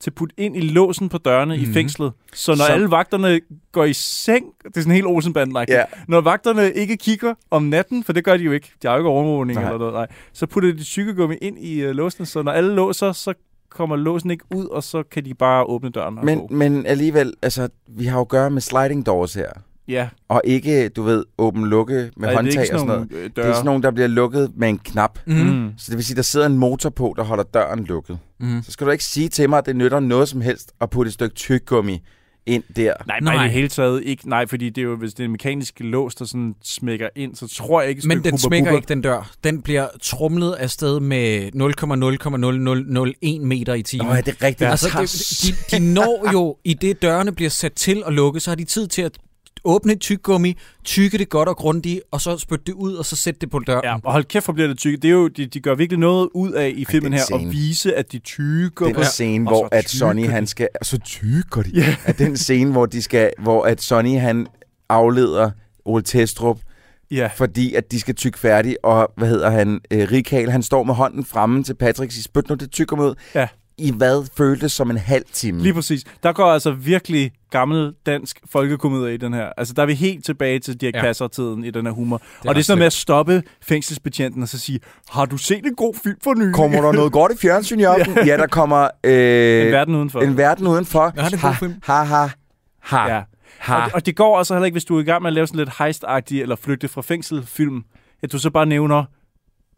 Speaker 6: til at putte ind i låsen på dørene mm-hmm. i fængslet. Så når så...
Speaker 7: Mhm. Så-
Speaker 6: alle vagterne går i seng, det er sådan helt olsenbanden
Speaker 7: Ja.
Speaker 6: når vagterne ikke kigger om natten, for det gør de jo ikke, de har jo ikke overvågning
Speaker 7: Nej.
Speaker 6: eller noget, nej, så putter de tykkegummi ind i uh, låsen, så når alle låser, så kommer låsen ikke ud, og så kan de bare åbne døren og gå.
Speaker 7: Men, men alligevel, altså, vi har jo at gøre med sliding doors her.
Speaker 6: Ja,
Speaker 7: Og ikke, du ved, åben-lukke med
Speaker 6: Ej,
Speaker 7: Ej,
Speaker 6: det er ikke
Speaker 7: håndtag
Speaker 6: sådan
Speaker 7: og sådan noget.
Speaker 6: nogle øh,
Speaker 7: Det er
Speaker 6: døre.
Speaker 7: sådan nogle, der bliver lukket med en knap. Mm.
Speaker 6: mm.
Speaker 7: Så det vil sige, der sidder en motor på, der holder døren lukket. Mm. Så skal du ikke sige til mig, at det nytter noget som helst at putte et stykke tyggegummi ind der.
Speaker 6: Nej, nej,
Speaker 1: Nej.
Speaker 6: i det hele taget ikke. Nej, fordi det er jo, hvis det er en mekanisk lås, der sådan smækker ind, så tror jeg ikke, et
Speaker 1: Men
Speaker 6: stykke
Speaker 1: den
Speaker 6: Hubba
Speaker 1: smækker
Speaker 6: Bubba-
Speaker 1: ikke, den dør. Den bliver trumlet afsted med 0,0,0001 meter i timen.
Speaker 7: Nå, ja, det er rigtigt.
Speaker 1: Ja,
Speaker 7: Ja,
Speaker 1: altså, det, de, de når jo, i det dørene bliver sat til og lukket, så har de tid til at åbne et tyggegummi, tykke det godt og grundigt, og så spytte det ud, og så sætte det på døren.
Speaker 6: Ja, og hold kæft, hvor bliver det tykke. Det er jo, de, de gør virkelig noget ud af i filmen
Speaker 7: det
Speaker 6: her,
Speaker 7: er en
Speaker 6: at
Speaker 7: scene.
Speaker 6: vise, at de tykker.
Speaker 7: det er
Speaker 6: på-
Speaker 7: den scene,
Speaker 6: og så
Speaker 7: hvor at
Speaker 6: tykker
Speaker 7: Sonny,
Speaker 6: de.
Speaker 7: han skal... Og så tykker de. Yeah. At den scene, hvor, de skal, hvor at Sonny, han afleder Ole Testrup,
Speaker 6: Ja.
Speaker 7: fordi at de skal tykke færdig, og hvad hedder han, øh, Rikal, han står med hånden fremme til Patrick og siger, spyt nu det tykker ud.
Speaker 6: Ja.
Speaker 7: I hvad føltes som en halv time?
Speaker 6: Lige præcis. Der går altså virkelig gammel dansk folkekomedie i den her. Altså, der er vi helt tilbage til Dirk
Speaker 1: Ja.
Speaker 6: ja. Passer-tiden i den her humor. Det og
Speaker 1: ret
Speaker 6: det er sådan noget med at stoppe fængselsbetjenten og så sige, har du set en god film for nylig?
Speaker 7: Kommer der noget godt i fjernsyn i aften? ja, der kommer... Øh,
Speaker 6: En verden udenfor.
Speaker 7: En verden udenfor.
Speaker 1: Ja, det er en god film.
Speaker 7: ha, ha, ha.
Speaker 6: Ja.
Speaker 7: Ja.
Speaker 6: Og, det- og det går altså heller ikke, hvis du er i gang med at lave sådan lidt heist eller flygte fra fængsel-film, at du så bare nævner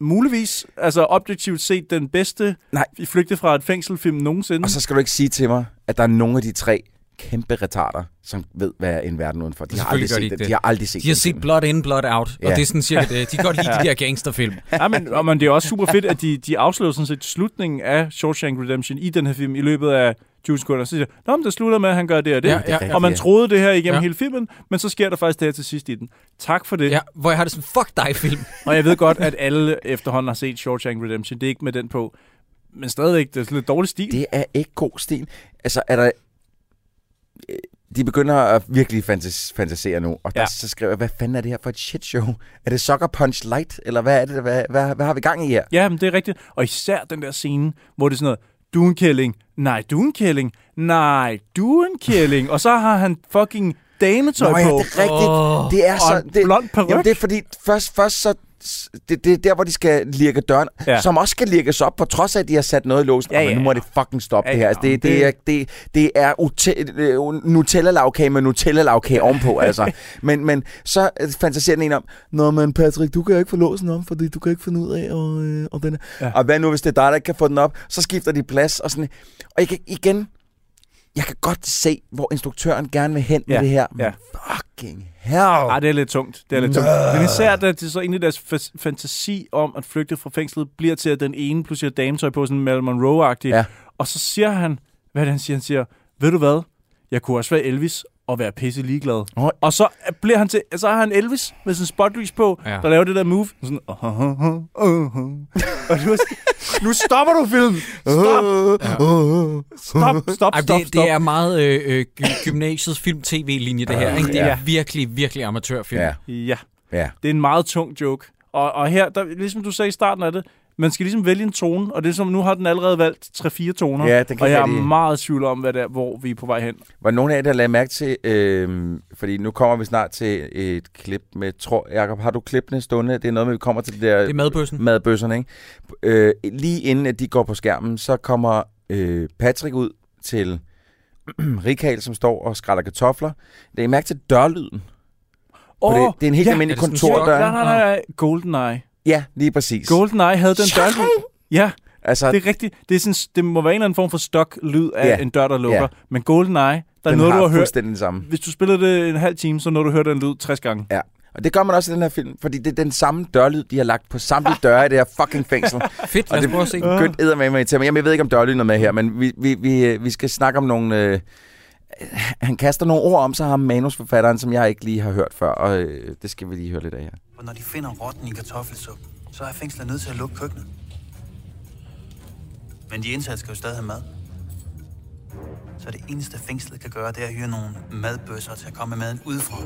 Speaker 6: muligvis, altså objektivt set, den bedste
Speaker 7: Nej.
Speaker 6: i flygte fra et fængsel-film nogensinde.
Speaker 7: Og så skal du ikke sige til mig, at der er nogle af de tre kæmpe retarder, som ved, hvad en verden udenfor. De har
Speaker 1: Selvfølgelig
Speaker 7: aldrig
Speaker 1: gør de
Speaker 7: set
Speaker 1: ikke
Speaker 7: det.
Speaker 1: det.
Speaker 7: De har aldrig set
Speaker 1: De har
Speaker 7: den
Speaker 1: set
Speaker 7: film.
Speaker 1: Blood In, Blood Out, ja. og
Speaker 7: Ja.
Speaker 1: det er sådan cirka det. De kan godt lide de der gangsterfilm.
Speaker 6: Ja, men, og, men det er også super fedt, at de, de afslører sådan set slutningen af Shawshank Redemption i den her film i løbet af 20 sekunder. Så siger de, Nå, men det slutter med, at han gør det og det.
Speaker 1: Ja, ja,
Speaker 6: og man
Speaker 7: ja.
Speaker 6: troede det her igennem
Speaker 1: Ja.
Speaker 6: ja. hele filmen, men så sker der faktisk det her til sidst i den. Tak for det.
Speaker 1: Ja, hvor jeg har det sådan, fuck dig film.
Speaker 6: Og jeg ved godt, at alle efterhånden har set Shawshank Redemption. Det er ikke med den på. Men stadigvæk, det er sådan lidt dårlig stil.
Speaker 7: Det er ikke god stil. Altså, er der... Øh, De begynder at virkelig fantas- fantasere nu, og
Speaker 6: Ja.
Speaker 7: der ja. så skriver jeg, hvad fanden er det her for et shit show? Er det Sucker Punch Light, eller hvad er det, hvad, hvad, hvad har vi gang i her?
Speaker 6: Ja, men det er rigtigt. Og især den der scene, hvor det er sådan noget, du er en kælling, nej, du er en kælling, nej, du er en kælling. og så har han fucking dametøj
Speaker 7: Nå
Speaker 6: på.
Speaker 7: ja, det er rigtigt.
Speaker 1: Åh.
Speaker 7: Oh, det er
Speaker 6: Og
Speaker 7: så...
Speaker 6: en
Speaker 7: det,
Speaker 6: blond peruk.
Speaker 7: Jamen, det er fordi, først, først så s- det, det er der, hvor de skal lirke døren,
Speaker 6: Ja.
Speaker 7: ja. som også skal lirkes op, på trods af, at de har sat noget i låsen.
Speaker 6: Ja,
Speaker 7: Ja, ja,
Speaker 6: ja,
Speaker 7: nu må
Speaker 6: ja.
Speaker 7: det fucking stoppe
Speaker 6: Ja,
Speaker 7: ja, det her.
Speaker 6: ja,
Speaker 7: Altså, det,
Speaker 6: men
Speaker 7: det, er, det, det er ute- øh, Nutella-lavkage med Nutella-lavkage ovenpå, altså. Men, men så øh, fantaserer den en om, Nå, men Patrick, du kan jo ikke få låsen om, fordi du kan ikke finde ud af, og, øh, og den er.
Speaker 6: Ja.
Speaker 7: Ja. Og hvad nu, hvis det er dig, der ikke kan få den op? Så skifter de plads, og sådan. Og jeg kan, igen, jeg kan godt se, hvor instruktøren gerne vil hen
Speaker 6: Ja,
Speaker 7: med det her.
Speaker 6: ja.
Speaker 7: Fucking hell!
Speaker 6: Ej, det er lidt tungt. Det er lidt tungt. Men især, da det så egentlig deres fa- fantasi om at flygte fra fængslet bliver til, at den ene pludselig har dametøj på, sådan Marilyn Monroe-agtig.
Speaker 7: Ja.
Speaker 6: Og så siger han, hvad er det, han siger? Han siger, ved du hvad? Jeg kunne også være Elvis og være pisse ligeglad.
Speaker 7: Nå.
Speaker 6: Og så bliver han til, så har han Elvis med sin spotlys på,
Speaker 1: Ja.
Speaker 6: ja. der laver det der move. Sådan, uh, uh, uh, uh, uh. Og du er sådan, nu stopper du filmen! Stop! Stop, stop, stop,
Speaker 1: Ej,
Speaker 6: stop.
Speaker 1: det, det er meget øh, øh, gy- gymnasiets film-tv-linje, det her. Ikke? Det er
Speaker 6: Ja.
Speaker 1: virkelig, virkelig amatørfilm.
Speaker 7: Ja,
Speaker 6: Ja.
Speaker 7: ja.
Speaker 6: Det er en meget tung joke. Og, og her, der, ligesom du sagde i starten af det, man skal ligesom vælge en tone, og det er som, nu har den allerede valgt 3-4 toner,
Speaker 7: Ja, den kan
Speaker 6: og
Speaker 7: ikke
Speaker 6: jeg er
Speaker 7: rigtig-
Speaker 6: meget i tvivl om, hvad det er, hvor vi er på vej hen.
Speaker 7: Var der nogen af jer, der lagde mærke til, øh, fordi nu kommer vi snart til et klip med, tror, Jacob, har du klippene stående? Det er noget med, vi kommer til det der
Speaker 1: Det er madbøssen.
Speaker 7: madbøsserne, ikke? Øh, lige inden at de går på skærmen, så kommer øh, Patrick ud til Rikal, som står og skræller kartofler. Lagde I mærke til dørlyden? Oh, det, det er en helt ja, almindelig
Speaker 1: er det sådan en
Speaker 7: kontordør.
Speaker 1: chok?
Speaker 6: Nej, nej, nej, nej. GoldenEye.
Speaker 7: Ja, lige præcis.
Speaker 6: GoldenEye havde den dør. Ja,
Speaker 7: altså,
Speaker 6: det er rigtigt. Det, er sådan, det må være en eller anden form for stok-lyd af
Speaker 7: Ja.
Speaker 6: en dør, der lukker.
Speaker 7: Ja.
Speaker 6: Men GoldenEye, der er
Speaker 7: den
Speaker 6: noget,
Speaker 7: har
Speaker 6: du har hørt.
Speaker 7: fuldstændig den samme.
Speaker 6: Hvis du spillede det en halv time, så når du hørt den lyd 60 gange.
Speaker 7: Ja. Og det gør man også i den her film, fordi det er den samme dørlyd, de har lagt på samtlige døre i det her fucking fængsel.
Speaker 1: Fedt, lad
Speaker 7: Og
Speaker 1: os
Speaker 7: det
Speaker 1: prøve at se. den.
Speaker 7: begyndte eddermame med til mig. Jamen, jeg ved ikke, om Dolly er med her, men vi, vi, vi, øh, vi skal snakke om nogle... Øh, han kaster nogle ord om sig, ham manusforfatteren, som jeg ikke lige har hørt før, og øh, det skal vi lige høre lidt af her.
Speaker 9: Og når de finder rotten i kartoffelsuppen, så er fængslet nødt til at lukke køkkenet. Men de indsatte skal jo stadig have mad. Så det eneste fængslet kan gøre, det er at hyre nogle madbøsser til at komme med maden udefra.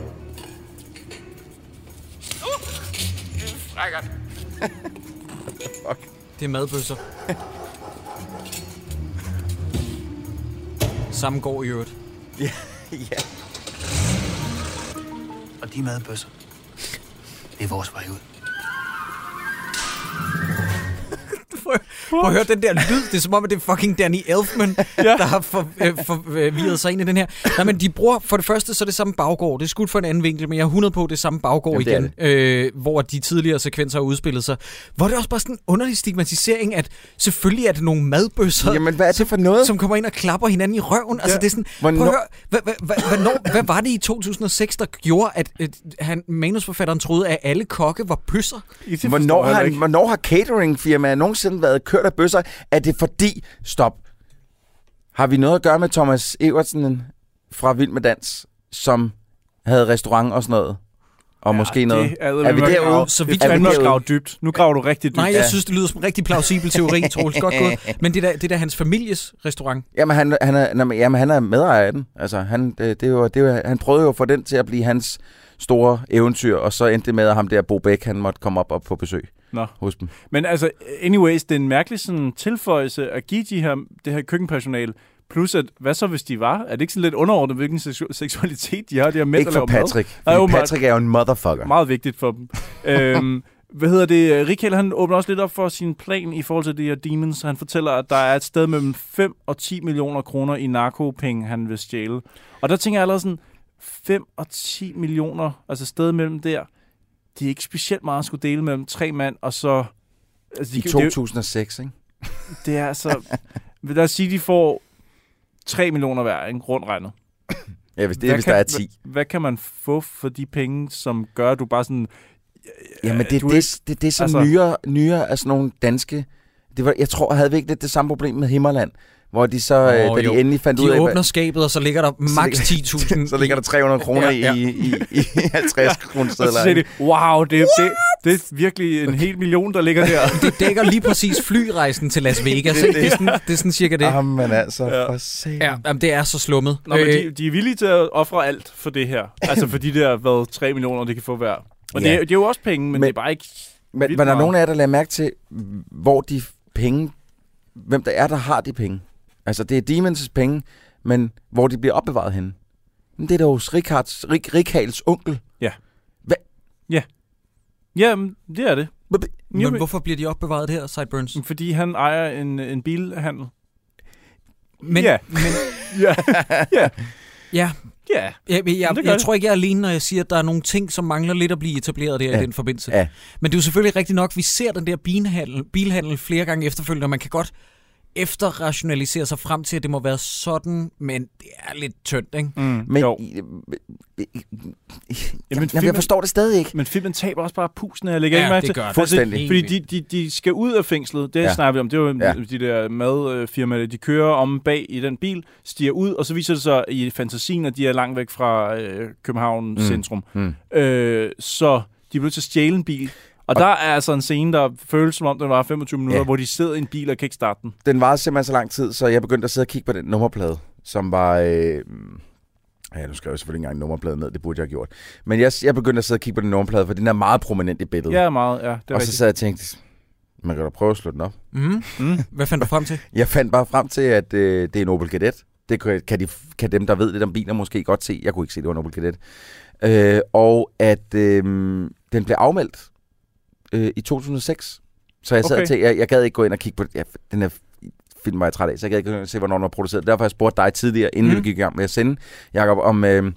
Speaker 1: Det er madbøsser. Samme går i øvrigt.
Speaker 9: Og de madbøsser, det er vores vej ud.
Speaker 1: Prøv at høre den der lyd. Det er som om, at det er fucking Danny Elfman, ja. der har for, øh, forvirret sig ind i den her. Nej, men de bruger for det første så er det samme baggård. Det er skudt fra en anden vinkel, men jeg er 100 på, det er samme baggård
Speaker 7: Jamen, det er
Speaker 1: igen. Øh, hvor de tidligere sekvenser har udspillet sig. Hvor det også bare sådan en underlig stigmatisering, at selvfølgelig er det nogle madbøsser,
Speaker 7: Jamen, hvad er det for noget?
Speaker 1: som kommer ind og klapper hinanden i røven. Altså, det er sådan, hvornår... prøv at høre,
Speaker 7: Hvornår-
Speaker 1: hvad, hvad, hvad, hvornår, hvad var det i 2006, der gjorde, at, at han, manusforfatteren troede, at alle kokke var pøsser?
Speaker 7: Hvornår har, han, hvornår har cateringfirmaer nogensinde været kørt af bøsser? Er det fordi... Stop. Har vi noget at gøre med Thomas Evertsen fra Vild med Dans, som havde restaurant og sådan noget? Og ja, måske noget...
Speaker 6: Er,
Speaker 7: Er vi derude?
Speaker 1: Så
Speaker 6: Så
Speaker 1: vidt
Speaker 6: vi
Speaker 7: jeg
Speaker 6: kan
Speaker 7: ved-
Speaker 6: grave dybt. Nu graver du rigtig dybt.
Speaker 1: Nej, jeg synes, det lyder som en rigtig plausibel teori, Troels. Godt gået. Men det er da- det er da hans families restaurant.
Speaker 7: Jamen, han, han, er, jamen, jamen, han er medejer af den. Altså, han, det, det var, det var, han prøvede jo at få den til at blive hans store eventyr, og så endte det med, at ham der Bo Bæk, han måtte komme op og på besøg
Speaker 6: Nå.
Speaker 7: hos dem.
Speaker 6: Men altså, anyways, det er en mærkelig sådan, tilføjelse at give de her, det her køkkenpersonale. Plus, at, hvad så hvis de var? Er det ikke sådan lidt underordnet, hvilken seksu- seksualitet de har, de her mænd,
Speaker 7: Ikke
Speaker 6: der
Speaker 7: for
Speaker 6: laver mad?
Speaker 7: Patrick.
Speaker 6: Nej,
Speaker 7: fordi
Speaker 6: åbenbart.
Speaker 7: Patrick er jo en motherfucker.
Speaker 6: Meget vigtigt for dem. øhm, hvad hedder det? Rikkel, han åbner også lidt op for sin plan i forhold til de her demons. Han fortæller, at der er et sted mellem 5 og 10 millioner kroner i narkopenge, han vil stjæle. Og der tænker jeg allerede sådan, 5 og 10 millioner, altså et sted mellem der, det er ikke specielt meget at skulle dele mellem tre mand, og så... Altså,
Speaker 7: I
Speaker 6: kan- det er jo-
Speaker 7: 2006, ikke?
Speaker 6: det er altså... Vil der sige, de får 3 millioner hver, ikke? Rundt regnet.
Speaker 7: Ja, hvis, det,
Speaker 6: Hvad
Speaker 7: er, hvis
Speaker 6: kan-
Speaker 7: der er 10.
Speaker 6: Hvad, hvad kan man få for de penge, som gør, at du bare sådan...
Speaker 7: Jamen, det er
Speaker 6: du
Speaker 7: det, det, det, det, som
Speaker 6: altså-
Speaker 7: altså... nyere, nyere af sådan nogle danske... Det var, jeg tror, havde vi ikke lidt det samme problem med Himmerland, hvor de så, oh,
Speaker 1: Åh,
Speaker 7: da de
Speaker 1: jo.
Speaker 7: endelig fandt ud
Speaker 1: De
Speaker 7: af...
Speaker 1: åbner skabet, og så ligger der maks 10.000.
Speaker 7: så ligger der 300 kroner ja, ja. i, i, i 50 kroner
Speaker 6: Og så siger de, wow, det, det, det er virkelig en hel million, der ligger der.
Speaker 1: i- Det dækker lige præcis flyrejsen til Las Vegas. det, det, er sådan, det er sådan cirka det.
Speaker 7: Jamen altså, ja. for satan.
Speaker 1: Ja, jamen, det er så slummet. Øh,
Speaker 6: Nå, men de, de er villige til at ofre alt for det her. Altså for de der, hvad, 3 millioner, det kan få hver. Og ja. det,
Speaker 7: Ja.
Speaker 6: er- det er jo også penge, men, men
Speaker 7: Men-
Speaker 6: det er bare ikke...
Speaker 7: Men
Speaker 6: Vildt
Speaker 7: var der
Speaker 6: meget.
Speaker 7: nogen af jer, der lagde mærke til, hvor de penge, hvem der er, der har de penge? Altså, det er Demons' penge, men hvor de bliver opbevaret henne? Men det er da hos Rikards, Rik, Rikals onkel.
Speaker 6: Ja.
Speaker 7: Hva?
Speaker 6: Ja. Jamen, det er det.
Speaker 1: Men
Speaker 6: Jamen-
Speaker 1: hvorfor bliver de opbevaret her, Sideburns?
Speaker 6: Fordi han ejer en, en bilhandel.
Speaker 1: Men,
Speaker 6: ja.
Speaker 1: men
Speaker 6: ja.
Speaker 1: ja,
Speaker 6: Ja.
Speaker 1: jeg, jeg, jeg,
Speaker 6: det gør
Speaker 1: jeg
Speaker 6: det.
Speaker 1: tror ikke, jeg er alene, når jeg siger, at der er nogle ting, som mangler lidt at blive etableret der ja. i den forbindelse.
Speaker 7: Ja.
Speaker 1: Men det er jo selvfølgelig rigtigt nok, vi ser den der bilhandel, bilhandel flere gange efterfølgende, og man kan godt efterrationalisere sig frem til, at det må være sådan, men det er lidt tyndt, ikke?
Speaker 6: Mm,
Speaker 7: Men,
Speaker 6: jo.
Speaker 7: I- I- I-
Speaker 6: Jamen,
Speaker 7: Jamen, jeg forstår det stadig ikke.
Speaker 6: Men filmen taber også bare pusen af, jeg lægger
Speaker 1: Ja,
Speaker 6: ikke mærke
Speaker 1: det
Speaker 6: til.
Speaker 1: gør den.
Speaker 6: Fordi,
Speaker 7: Fuldstændig.
Speaker 6: fordi de, de, de skal ud af fængslet, det ja.
Speaker 7: Ja.
Speaker 6: snakker vi om, det var ja.
Speaker 7: Ja.
Speaker 6: de der madfirmaer, de kører om bag i den bil, stiger ud, og så viser det sig i fantasien, at de er langt væk fra øh, København mm. centrum.
Speaker 7: Mm.
Speaker 6: Øh, så de blev til at stjæle en bil. Og, og der er altså en scene, der føles som om, den var 25 minutter, ja.
Speaker 7: Ja.
Speaker 6: hvor de sidder i en bil og kan ikke starte den.
Speaker 7: Den varede simpelthen så lang tid, så jeg begyndte at sidde og kigge på den nummerplade, som var... Øh, ja, nu skrev jeg selvfølgelig ikke engang nummerpladen ned, det burde jeg have gjort. Men jeg, jeg begyndte at sidde og kigge på den nummerplade, for den er meget prominent i billedet.
Speaker 6: Ja, meget. Ja, det er
Speaker 7: og så
Speaker 6: rigtigt.
Speaker 7: sad jeg og tænkte, man kan da prøve at slå den op.
Speaker 1: Mm.
Speaker 6: Mhm.
Speaker 1: Mm. Hvad fandt du frem til?
Speaker 7: Jeg fandt bare frem til, at øh, det er en Opel Kadett. Det kan, kan, de, kan dem, der ved lidt om biler, måske godt se. Jeg kunne ikke se, det var en Opel Kadett. Øh, og at øh, den blev afmeldt øh, i 2006. Så jeg sad
Speaker 6: Okay.
Speaker 7: okay. til, jeg, jeg gad ikke gå ind og kigge på ja, den her film var jeg træt af, så jeg gad ikke gå ind og se, hvornår den var produceret. Derfor har jeg spurgt dig tidligere, inden
Speaker 6: Mm.
Speaker 7: mm. vi gik i gang med at sende, Jacob, om, øh,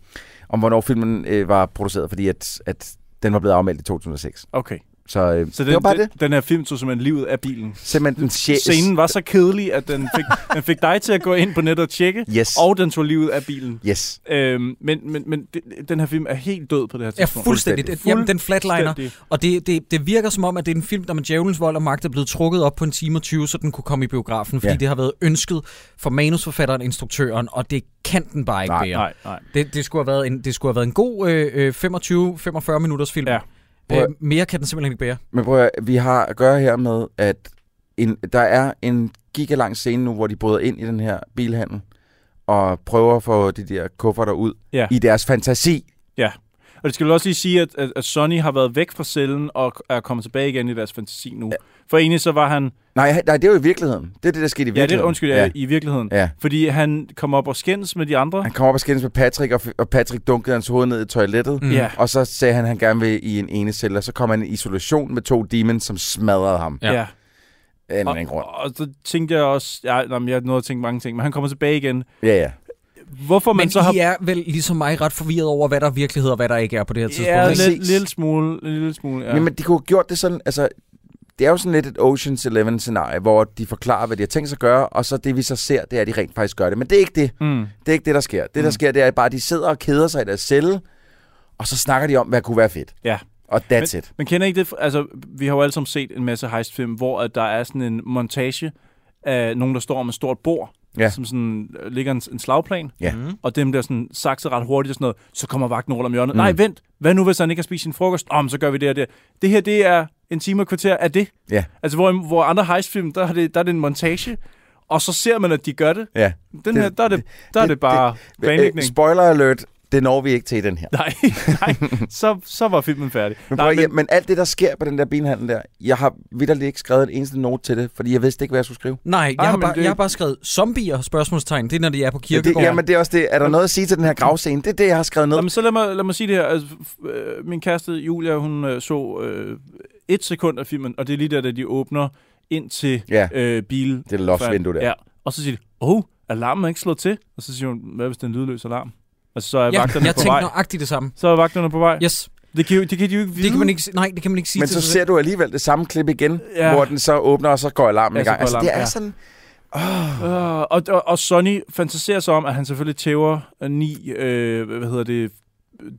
Speaker 7: om hvornår filmen øh, var produceret, fordi at, at den var blevet afmeldt i 2006.
Speaker 6: Okay.
Speaker 7: Så, øh,
Speaker 6: Så
Speaker 7: så
Speaker 6: den,
Speaker 7: det, det var bare
Speaker 6: den,
Speaker 7: det.
Speaker 6: den her film tog simpelthen livet af bilen.
Speaker 7: Simpelthen den sjæ-
Speaker 6: Scenen var så kedelig, at den fik, den fik dig til at gå ind på nettet og tjekke,
Speaker 7: Yes.
Speaker 6: og den tog livet af bilen.
Speaker 7: Yes.
Speaker 6: Øhm, men men, men det- den her film er helt død på det her
Speaker 1: Ja,
Speaker 6: tidspunkt.
Speaker 1: fuldstændig.
Speaker 7: Fuldstændig.
Speaker 1: Jamen, den flatliner.
Speaker 6: Fuldstændig.
Speaker 1: Og det, det, det virker som om, at det er en film, der med djævelens vold og magt er blevet trukket op på en time og 20, så den kunne komme i biografen, fordi ja.
Speaker 7: Ja.
Speaker 1: det har været ønsket for manusforfatteren, instruktøren, og det kan den bare ikke
Speaker 7: Nej,
Speaker 1: bære.
Speaker 6: Nej, nej.
Speaker 1: Det, det, skulle have været en, det skulle have været en god øh, øh, 25-45 minutters film.
Speaker 6: Ja.
Speaker 1: Øh, mere kan den simpelthen ikke bære.
Speaker 7: Men prøv at, høre, vi har at gøre her med, at en, der er en gigalang scene nu, hvor de bryder ind i den her bilhandel og prøver at få de der kufferter ud
Speaker 6: Ja.
Speaker 7: i deres fantasi.
Speaker 6: Og det skal vel også lige sige, at, at, at Sonny har været væk fra cellen og er kommet tilbage igen i deres fantasi nu. Ja. For egentlig så var han...
Speaker 7: Nej, nej, det er jo i virkeligheden. Det er det, der skete i
Speaker 6: Ja, det
Speaker 7: virkeligheden.
Speaker 6: er undskyld, ja. i virkeligheden.
Speaker 7: Ja.
Speaker 6: Fordi han kom op og skændes med de andre.
Speaker 7: Han kom op og skændes med Patrick, og, f- og Patrick dunkede hans hoved ned i toilettet.
Speaker 1: Mm.
Speaker 6: Ja.
Speaker 7: Og så sagde han, at han gerne vil i en ene celle, og så kom han i isolation med to demons, som smadrede ham.
Speaker 1: Ja.
Speaker 6: ja.
Speaker 7: Af en eller anden
Speaker 6: Og,
Speaker 7: grund.
Speaker 6: og så tænkte jeg også... Ja, nå, men jeg nåede at tænke mange ting, men han kommer tilbage igen.
Speaker 7: Ja, ja.
Speaker 6: Hvorfor man
Speaker 1: Men
Speaker 6: så har...
Speaker 1: I er vel ligesom mig ret forvirret over, hvad der er virkelighed og hvad der ikke er på det her tidspunkt.
Speaker 6: Ja,
Speaker 1: ikke?
Speaker 7: lidt-
Speaker 6: lidt,
Speaker 7: Præcis.
Speaker 6: lille smule. Lille smule ja.
Speaker 7: Ja. Jamen, de kunne have gjort det sådan, altså... Det er jo sådan lidt et Ocean's Eleven-scenarie, hvor de forklarer, hvad de har tænkt sig at gøre, og så det, vi så ser, det er, at de rent faktisk gør det. Men det er ikke det.
Speaker 6: Mm.
Speaker 7: Det er ikke det, der sker. Det, der sker, det er bare, at de sidder og keder sig i deres celle, og så snakker de om, hvad kunne være fedt.
Speaker 6: Ja.
Speaker 7: Og that's
Speaker 6: Men-
Speaker 7: men, it.
Speaker 6: Man kender ikke det, altså vi har jo alle sammen set en masse heistfilm, hvor at der er sådan en montage af nogen, der står om et stort bord,
Speaker 7: Ja.
Speaker 6: som sådan øh, ligger en, en slagplan,
Speaker 7: Ja.
Speaker 6: mm. og dem der sådan sakset ret hurtigt og sådan noget, så kommer vagten rundt om hjørnet. Mm. Nej, vent, hvad nu hvis han ikke har spist sin frokost? Om, så gør vi det og det. Det her, det er en time og kvarter af det.
Speaker 7: Ja.
Speaker 6: Altså hvor, hvor andre heistfilm, der er, det, der er det en montage, og så ser man, at de gør det.
Speaker 7: Ja.
Speaker 6: Den
Speaker 7: Det-
Speaker 6: her, der er det, der er det,
Speaker 7: det-
Speaker 6: bare
Speaker 7: Øh,
Speaker 6: planlægning.
Speaker 7: spoiler alert, det når vi ikke til i den her.
Speaker 6: Nej, nej, så, så var filmen færdig.
Speaker 7: Men,
Speaker 6: Nej,
Speaker 7: prøv, men, ja, men alt det, der sker på den der bilhandel der, jeg har vidderligt ikke skrevet en eneste note til det, fordi jeg vidste ikke, hvad jeg skulle skrive.
Speaker 1: Nej,
Speaker 6: Ej,
Speaker 1: jeg, har
Speaker 6: Ah, men
Speaker 1: bare,
Speaker 6: det er
Speaker 1: jeg har
Speaker 6: ikke-
Speaker 1: bare skrevet zombier, spørgsmålstegn. Det er, når de er på
Speaker 7: Ja, det,
Speaker 1: kirkegården.
Speaker 7: jamen, det er også det. Er der noget at sige til den her gravscene? Det er det, jeg har skrevet ned.
Speaker 6: Jamen, så lad mig, lad mig sige det her. Altså, f- øh, min kæreste Julia, hun øh, så øh, et sekund af filmen, og det er lige der, da de åbner ind til
Speaker 7: Ja.
Speaker 6: øh, bil.
Speaker 7: Det er loftsvindue der.
Speaker 6: Ja. Og så siger de, oh, alarmen er ikke slået til. Og så siger hun, hvad hvis det er en lydløs alarm? Altså, så er
Speaker 1: ja,
Speaker 6: vagterne
Speaker 1: jeg
Speaker 6: på vej.
Speaker 1: tænkte nøjagtigt det samme.
Speaker 6: Så er vagterne på vej.
Speaker 1: Yes,
Speaker 6: Det, kan, jo- det kan de jo ikke vide.
Speaker 1: det kan man ikke, si- nej, det kan man ikke sige
Speaker 7: Men
Speaker 1: til
Speaker 7: så
Speaker 1: sig
Speaker 7: ser du alligevel det samme klip igen,
Speaker 6: Ja.
Speaker 7: ja. hvor den så åbner, og så går alarmen
Speaker 6: Ja,
Speaker 7: ja,
Speaker 6: så
Speaker 7: i gang.
Speaker 6: går
Speaker 7: Altså, det
Speaker 6: alarmen,
Speaker 7: er
Speaker 6: ja.
Speaker 7: ja. sådan...
Speaker 6: Øh, og, og, og Sonny fantaserer så om, at han selvfølgelig tæver øh, ni, øh, hvad hedder det,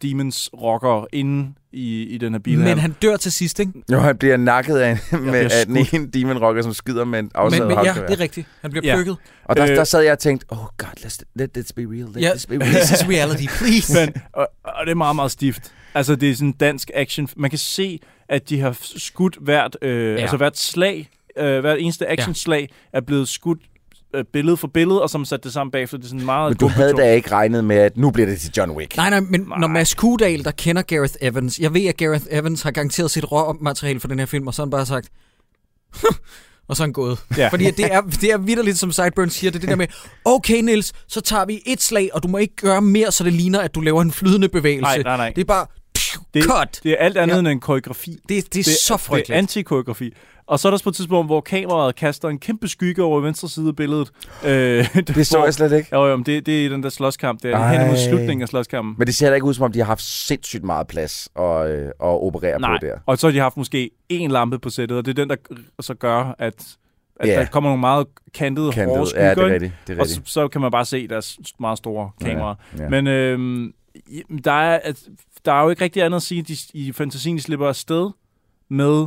Speaker 6: demons rocker inde i, i den her bil.
Speaker 1: Men han dør til sidst, ikke?
Speaker 7: Jo, han bliver nakket af, en- med,
Speaker 6: bliver
Speaker 7: af den ene demon rocker, som skyder med en
Speaker 1: Men,
Speaker 7: afsat
Speaker 1: men ja,
Speaker 7: håndgevær.
Speaker 1: det er rigtigt. Han bliver ja.
Speaker 6: Ja.
Speaker 1: plukket.
Speaker 7: Og der,
Speaker 6: Øh.
Speaker 7: der sad jeg og tænkte, oh god, let's, let this be real, let
Speaker 1: Ja.
Speaker 7: this be real.
Speaker 1: This is reality, please.
Speaker 6: Men, og, og det er meget, meget stift. Altså, det er sådan dansk action. Man kan se, at de har skudt hvert, øh, ja. altså hvert slag, øh, hvert eneste actionslag er blevet skudt øh, billede for billede, og som sat det sammen bagefter. Det er sådan meget
Speaker 7: Men du havde da ikke regnet med, at nu bliver det til John Wick.
Speaker 1: Nej, nej, men nej. når Mads Kudal, der kender Gareth Evans, jeg ved, at Gareth Evans har garanteret sit råmateriale for den her film, og så har han bare sagt, og så er han gået.
Speaker 6: Ja.
Speaker 1: Ja. Fordi at det er, det er vidderligt, som Sideburn siger, det er det der med, okay Nils, så tager vi et slag, og du må ikke gøre mere, så det ligner, at du laver en flydende bevægelse.
Speaker 6: Nej, nej, nej.
Speaker 1: Det er bare,
Speaker 6: Det,
Speaker 1: Cut!
Speaker 6: det er alt andet
Speaker 1: Ja.
Speaker 6: ja. end en koreografi.
Speaker 1: Det, det er så frygteligt.
Speaker 6: Det er antikoreografi. Og så er der også på et tidspunkt, hvor kameraet kaster en kæmpe skygge over i venstre side af billedet. Øh, det,
Speaker 7: Det så jeg slet ikke.
Speaker 6: Jo, jo, men det, det er i den der slåskamp der. Hen mod
Speaker 7: Ej.
Speaker 6: slutningen af slåskampen.
Speaker 7: Men det ser heller ikke ud, som om de har haft sindssygt meget plads at, øh, at operere
Speaker 6: Nej,
Speaker 7: på der.
Speaker 6: og så har de haft måske én lampe på sættet, og det er den, der g- så gør, at, at
Speaker 7: Ja.
Speaker 6: der kommer nogle meget kantede,
Speaker 7: Kantet.
Speaker 6: kantede. hårde skygger.
Speaker 7: Ja, det er
Speaker 6: ikke?
Speaker 7: rigtigt. Det er
Speaker 6: Og så,
Speaker 7: rigtigt.
Speaker 6: så kan man bare se deres meget store kamera.
Speaker 7: ja.
Speaker 6: Ja. Men øhm, jamen, der, er, at, der er jo ikke rigtig andet at sige, at de, i fantasien de slipper afsted med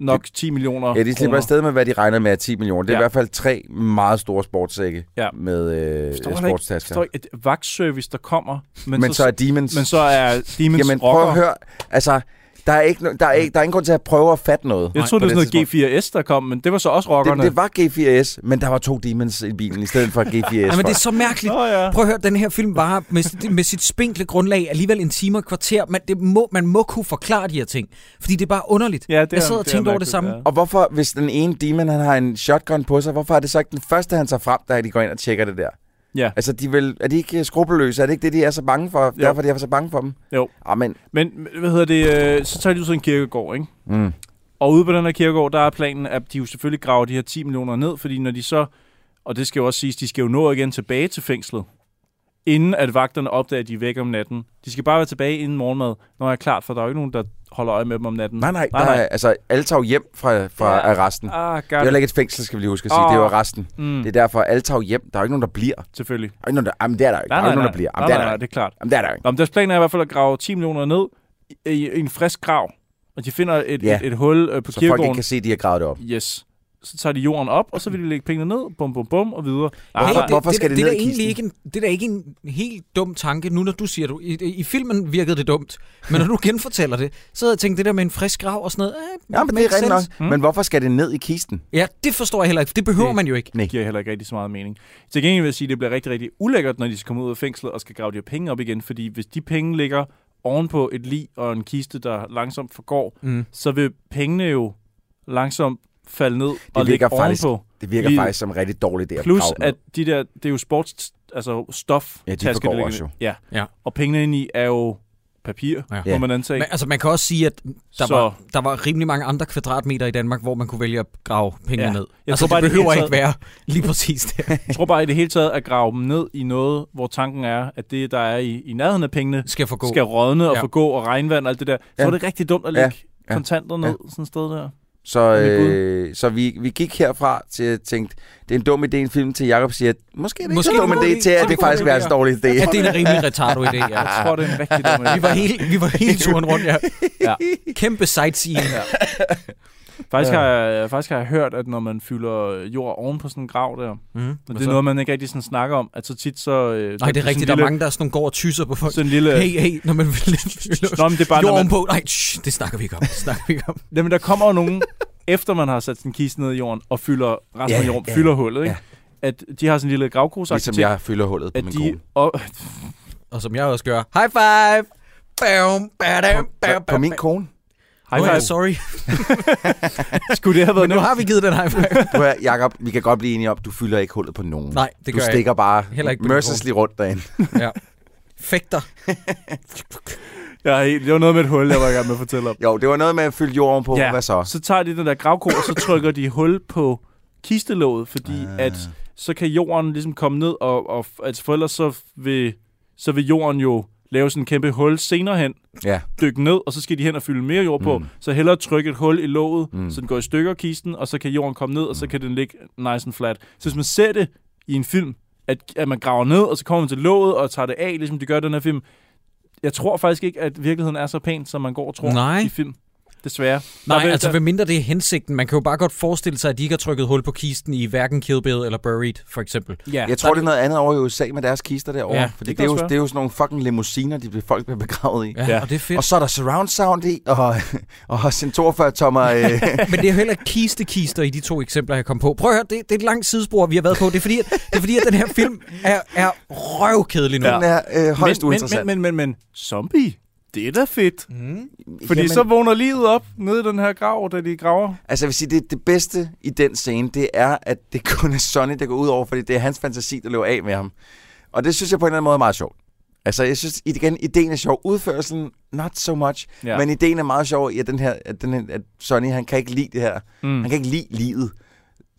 Speaker 6: nok 10 millioner
Speaker 7: Ja, de slipper
Speaker 6: kroner.
Speaker 7: afsted med, hvad de regner med er 10 millioner. Det er ja.
Speaker 6: Ja.
Speaker 7: i hvert fald tre meget store sportssække
Speaker 6: Ja.
Speaker 7: med øh,
Speaker 6: Forstår heller ikke-
Speaker 7: sportstasker.
Speaker 6: forstår ikke, at vagtservice, der kommer, men,
Speaker 7: Men så er Demons...
Speaker 6: men så er Demons
Speaker 7: Jamen,
Speaker 6: rocker.
Speaker 7: prøv at høre. Altså, der er, ikke, no- der, er ikke, der er ingen grund til at prøve at fatte noget.
Speaker 6: Jeg troede,
Speaker 7: på
Speaker 6: det var sådan
Speaker 7: tidspunkt.
Speaker 6: noget G4S, der kom, men det var så også rockerne.
Speaker 7: Det, det var G4S, men der var to Demons i bilen i stedet for G4S.
Speaker 1: Ja, men det er
Speaker 7: folk.
Speaker 1: så mærkeligt.
Speaker 6: Nå ja.
Speaker 1: Prøv at høre, den her film var med, sit- med sit spinkle grundlag alligevel en time og et kvarter. Man, det må, man må kunne forklare de her ting, fordi det er bare underligt.
Speaker 6: Ja, det
Speaker 1: jeg
Speaker 6: er-
Speaker 1: sad og
Speaker 6: det er
Speaker 1: tænkte over det
Speaker 6: mærkeligt,
Speaker 1: samme.
Speaker 6: ja.
Speaker 7: Og hvorfor, hvis den ene demon han har en shotgun på sig, hvorfor er det så ikke den første, han tager frem, da de går ind og tjekker det der?
Speaker 6: Ja,
Speaker 7: Altså, de vil, er de ikke skrupelløse? Er det ikke det, de er så bange for? Jo. Derfor de er så bange for dem?
Speaker 6: jo.
Speaker 7: Ah, men
Speaker 6: Men hvad hedder det, øh, så tager de ud til en kirkegård, ikke? Mm. Og ude på den her kirkegård, der er planen, at de jo selvfølgelig graver de her 10 millioner ned, fordi når de så, og det skal jo også siges, de skal jo nå igen tilbage til fængslet, inden at vagterne opdager, at de er væk om natten. De skal bare være tilbage inden morgenmad, når jeg er klart, for der er jo ikke nogen, der holder øje med dem om natten.
Speaker 7: nej, nej. nej, nej. Der er, altså, alle tager jo hjem fra, fra ja. arresten. Det
Speaker 6: Ah,
Speaker 7: er jo
Speaker 6: godt.
Speaker 7: heller ikke et fængsel, skal vi lige huske at sige. Oh. Det er jo arresten. Mm. Det er derfor, alle tager jo hjem. Der er jo ikke nogen, der bliver. Der
Speaker 6: Selvfølgelig.
Speaker 7: er ikke nogen, der, jamen, det er der jo ikke.
Speaker 6: Nej,
Speaker 7: der er
Speaker 6: nej,
Speaker 7: ikke nogen,
Speaker 6: nej.
Speaker 7: der bliver.
Speaker 6: Nej,
Speaker 7: Jamen, det er
Speaker 6: nej,
Speaker 7: der jo
Speaker 6: nej,
Speaker 7: ikke.
Speaker 6: det er klart.
Speaker 7: Jamen, det er der jo ikke.
Speaker 6: Nå, men deres plan er i hvert fald at grave 10 millioner ned i, i en frisk grav, og de finder et,
Speaker 7: Ja.
Speaker 6: ja. et, et hul øh, på
Speaker 7: Så folk
Speaker 6: kirkegården.
Speaker 7: ikke kan se, at de har gravet det op.
Speaker 6: Yes. Så tager de jorden op, og så vil de lægge pengene ned, bum, bum, bum, og videre. Nej,
Speaker 7: Hvorfor-
Speaker 1: Hey,
Speaker 7: hvorfor skal det
Speaker 1: det,
Speaker 7: ned
Speaker 1: er
Speaker 7: i
Speaker 1: da egentlig
Speaker 7: kisten?
Speaker 1: ikke en, det er da ikke en helt dum tanke, nu når du siger det. I, I filmen virkede det dumt, men når du genfortæller det, så havde jeg tænkt det der med en frisk grav og sådan noget. Eh,
Speaker 7: Ja, men det
Speaker 1: makes
Speaker 7: er rigtigt nok.
Speaker 1: sense.
Speaker 7: Men hvorfor skal det ned i kisten?
Speaker 1: Ja, det forstår jeg heller ikke, for det behøver
Speaker 6: Det-
Speaker 1: man jo ikke.
Speaker 6: det giver heller ikke rigtig så meget mening. Til gengæld vil jeg sige, at det bliver rigtig, rigtig ulækkert, når de skal komme ud af fængslet og skal grave de her penge op igen, fordi hvis de penge ligger ovenpå et lig og en kiste, der langsomt forgår,
Speaker 1: Mm.
Speaker 6: mm. så vil pengene jo langsomt falde ned og ligge
Speaker 7: virker faktisk-
Speaker 6: ovenpå.
Speaker 7: Det virker
Speaker 6: Lige-
Speaker 7: faktisk som en rigtig dårlig idé at
Speaker 6: Plus,
Speaker 7: grave den
Speaker 6: at
Speaker 7: op.
Speaker 6: de der, det er jo sports, altså stof.
Speaker 7: Ja, de
Speaker 6: tasker,
Speaker 7: forgår
Speaker 6: ligger-
Speaker 7: også jo.
Speaker 6: Ja.
Speaker 1: Ja.
Speaker 6: ja. Og pengene inde i er jo papir,
Speaker 1: Ja.
Speaker 6: ja.
Speaker 7: Ja.
Speaker 6: må man antage.
Speaker 1: Men, altså, man kan også sige, at der,
Speaker 6: Så-
Speaker 1: var, der var rimelig mange andre kvadratmeter i Danmark, hvor man kunne vælge at grave penge ja.
Speaker 6: Ja.
Speaker 1: ned.
Speaker 6: Jeg
Speaker 1: altså,
Speaker 6: tror bare,
Speaker 1: det
Speaker 6: det
Speaker 1: behøver
Speaker 6: hele
Speaker 1: ikke være lige præcis det.
Speaker 6: Jeg tror bare i det hele taget at grave dem ned i noget, hvor tanken er, at det, der er i, i nærheden af pengene,
Speaker 1: Skal forgå.
Speaker 6: skal rådne og
Speaker 1: Ja.
Speaker 6: forgå og regnvand og alt det der. Så
Speaker 7: Ja.
Speaker 6: ja. er det rigtig dumt at
Speaker 7: Ja.
Speaker 6: lægge ja.
Speaker 7: Ja.
Speaker 6: kontanter ned sådan et sted der.
Speaker 7: Så,
Speaker 6: Mit bud.
Speaker 7: øh, så vi, vi gik herfra til at tænke, det er en dum idé, en film til Jacob siger, at måske er det
Speaker 1: Måske
Speaker 7: ikke så dum en
Speaker 1: er det
Speaker 7: idé
Speaker 1: en
Speaker 7: til,
Speaker 1: god
Speaker 7: at
Speaker 1: idé.
Speaker 7: det faktisk er en dårlig idé.
Speaker 1: Ja, det er en rimelig retardo idé, ja.
Speaker 6: Jeg tror, det er en rigtig dum idé.
Speaker 1: Vi var hele, vi var hele turen rundt, ja.
Speaker 6: Ja.
Speaker 1: Kæmpe sightseeing. Ja.
Speaker 6: Faktisk, har jeg, faktisk har jeg hørt, at når man fylder jord oven på sådan en grav der,
Speaker 1: Mm.
Speaker 6: og det er noget, man ikke rigtig sådan snakker om, at så tit så... Øh,
Speaker 1: Nej, det er rigtigt. Der
Speaker 6: sådan en
Speaker 1: er
Speaker 6: lille-
Speaker 1: mange, der sådan går og tyser på folk.
Speaker 6: Sådan en lille...
Speaker 1: Hey, hey, når man vil
Speaker 6: Øh. Nå, men det er bare, når
Speaker 1: jorden
Speaker 6: man,
Speaker 1: på. Nej, shh, det snakker vi ikke om. Det snakker vi ikke om.
Speaker 6: Jamen, der kommer jo nogen, efter man har sat sin kiste ned i jorden, og fylder resten
Speaker 7: Ja,
Speaker 6: af jorden,
Speaker 7: ja,
Speaker 6: fylder hullet, ikke?
Speaker 7: ja.
Speaker 6: At de har sådan en lille gravgrusaktivitet.
Speaker 7: Ligesom jeg fylder hullet på
Speaker 6: at
Speaker 7: min
Speaker 6: de,
Speaker 7: kone.
Speaker 6: og,
Speaker 1: Og som jeg også gør. High five! Bam, badam,
Speaker 7: Hva-
Speaker 1: bam,
Speaker 7: På min kone?
Speaker 6: hej,
Speaker 1: Oh,
Speaker 6: oh,
Speaker 1: ja, sorry.
Speaker 6: skulle det have været
Speaker 1: Men nu
Speaker 6: nu?
Speaker 1: har vi givet den high five.
Speaker 7: Prøv at høre, Jacob, vi kan godt blive enige om, du fylder ikke hullet på nogen.
Speaker 1: Nej, det
Speaker 7: du
Speaker 1: gør jeg
Speaker 7: stikker bare
Speaker 1: Heller ikke på min
Speaker 7: mercilessly rundt derinde.
Speaker 1: Ja. Fægter.
Speaker 6: Jeg er helt, det var noget med et hul, jeg var i gang med at fortælle om.
Speaker 7: Jo, det var noget med at fylde jorden på. Hvad så?
Speaker 6: så tager de den der gravko, og så trykker de hul på kistelåget, fordi ah. at så kan jorden ligesom komme ned, og, og altså for ellers så vil, så vil jorden jo lave sådan en kæmpe hul senere hen,
Speaker 7: Ja.
Speaker 6: dykke ned, og så skal de hen og fylde mere jord på.
Speaker 7: Mm.
Speaker 6: Mm. Så hellere trykke et hul i låget,
Speaker 7: Mm.
Speaker 6: mm. så den går i stykker kisten, og så kan jorden komme ned, og så kan den ligge nice and flat. Så hvis man ser det i en film, at, at man graver ned, og så kommer man til låget og tager det af, ligesom de gør i den her film. Jeg tror faktisk ikke, at virkeligheden er så pæn, som man går og tror
Speaker 1: Nej.
Speaker 6: i film. Desværre.
Speaker 1: Nej,
Speaker 6: Der vil-
Speaker 1: altså
Speaker 6: der-
Speaker 1: ved mindre det er hensigten. Man kan jo bare godt forestille sig, at de ikke har trykket hul på kisten i hverken Kill Bill eller Buried, for eksempel.
Speaker 6: Ja,
Speaker 7: Jeg tror, det er noget andet over i USA med deres kister derovre.
Speaker 1: Ja,
Speaker 7: fordi
Speaker 6: det
Speaker 7: det,
Speaker 6: kan
Speaker 7: er jo,
Speaker 6: også være.
Speaker 7: det er jo sådan nogle fucking limousiner, de bliver- folk bliver begravet i.
Speaker 1: Ja, ja.
Speaker 6: Ja.
Speaker 1: og det er fedt.
Speaker 7: Og så er der surround sound i, og, og sin 42-tommer... Øh,
Speaker 1: Men det er jo heller ikke kiste-kister i de to eksempler, jeg kom på. Prøv at høre, det, det er et langt sidespor, vi har været på. Det er fordi, at, det er fordi, at den her film er, er røvkedelig nu.
Speaker 6: Ja.
Speaker 7: den er øh, højst
Speaker 6: men,
Speaker 7: uinteressant. Mm.
Speaker 6: men, men, men, men, men, zombie, det er da fedt.
Speaker 7: men,
Speaker 6: Fordi så vågner livet op nede i den her grav, da de graver.
Speaker 7: Altså jeg vil sige, det, det bedste i den scene, det er, at det kun er Sonny, der går ud over, fordi det er hans fantasi, der løber af med ham. Og det synes jeg på en eller anden måde er meget sjovt. Altså, jeg synes igen, ideen er sjov. Udførelsen, not so much.
Speaker 6: Ja.
Speaker 7: Ja. Men ideen er meget sjov i, at, den her, at, den her, at Sonny, han kan ikke lide det her. Mm. Han kan ikke lide livet.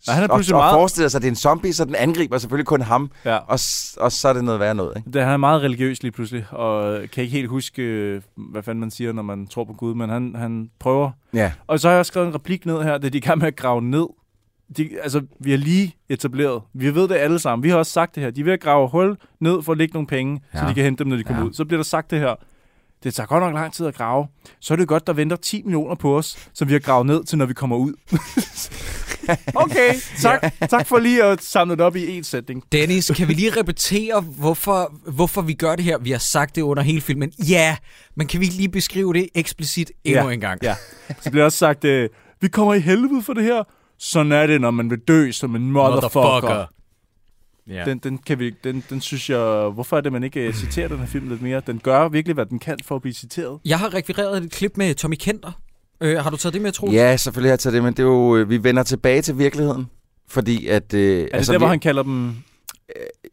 Speaker 6: Nej, han er
Speaker 7: og,
Speaker 6: pludselig
Speaker 7: og
Speaker 6: meget-
Speaker 7: forestiller sig, at det er en zombie, så den angriber selvfølgelig kun ham.
Speaker 6: Ja.
Speaker 7: Og, s- og så er det noget værre noget, ikke?
Speaker 6: Det, han er meget religiøs lige pludselig, og øh, kan ikke helt huske, øh, hvad fanden man siger, når man tror på Gud, men han, han prøver.
Speaker 7: Ja.
Speaker 6: Og så har jeg også skrevet en replik ned her, det er de er i gang med at grave ned. De, altså, vi har lige etableret. Vi ved det alle sammen. Vi har også sagt det her. De er ved at grave hul ned for at lægge nogle penge, ja. så
Speaker 7: Ja.
Speaker 6: de kan hente dem, når de kommer
Speaker 7: Ja.
Speaker 6: ud. Så bliver der sagt det her. Det tager godt nok lang tid at grave. Så er det godt, der venter 10 millioner på os, som vi har gravet ned til, når vi kommer ud. okay, tak, tak for lige at samle det op i én sætning.
Speaker 1: Dennis, kan vi lige repetere, hvorfor, hvorfor vi gør det her? Vi har sagt det under hele filmen. Ja, men kan vi ikke lige beskrive det eksplicit endnu
Speaker 6: Ja,
Speaker 1: en gang?
Speaker 6: Ja. Så bliver også sagt, øh, vi kommer i helvede for det her. Sådan er det, når man vil dø som en motherfucker. motherfucker.
Speaker 1: Ja.
Speaker 6: Den, den, kan vi, den, den synes jeg... Hvorfor er det, man ikke øh, citerer den her film lidt mere? Den gør virkelig, hvad den kan for at blive citeret. Altså,
Speaker 1: Jeg har rekvireret et klip med Tommy Kenter. Øh, har du taget det med, Troels?
Speaker 7: Ja, selvfølgelig har jeg taget det, men det er jo, øh, vi vender tilbage til virkeligheden. Fordi at... Øh,
Speaker 6: Er altså, det der, hvor
Speaker 7: vi,
Speaker 6: han kalder dem...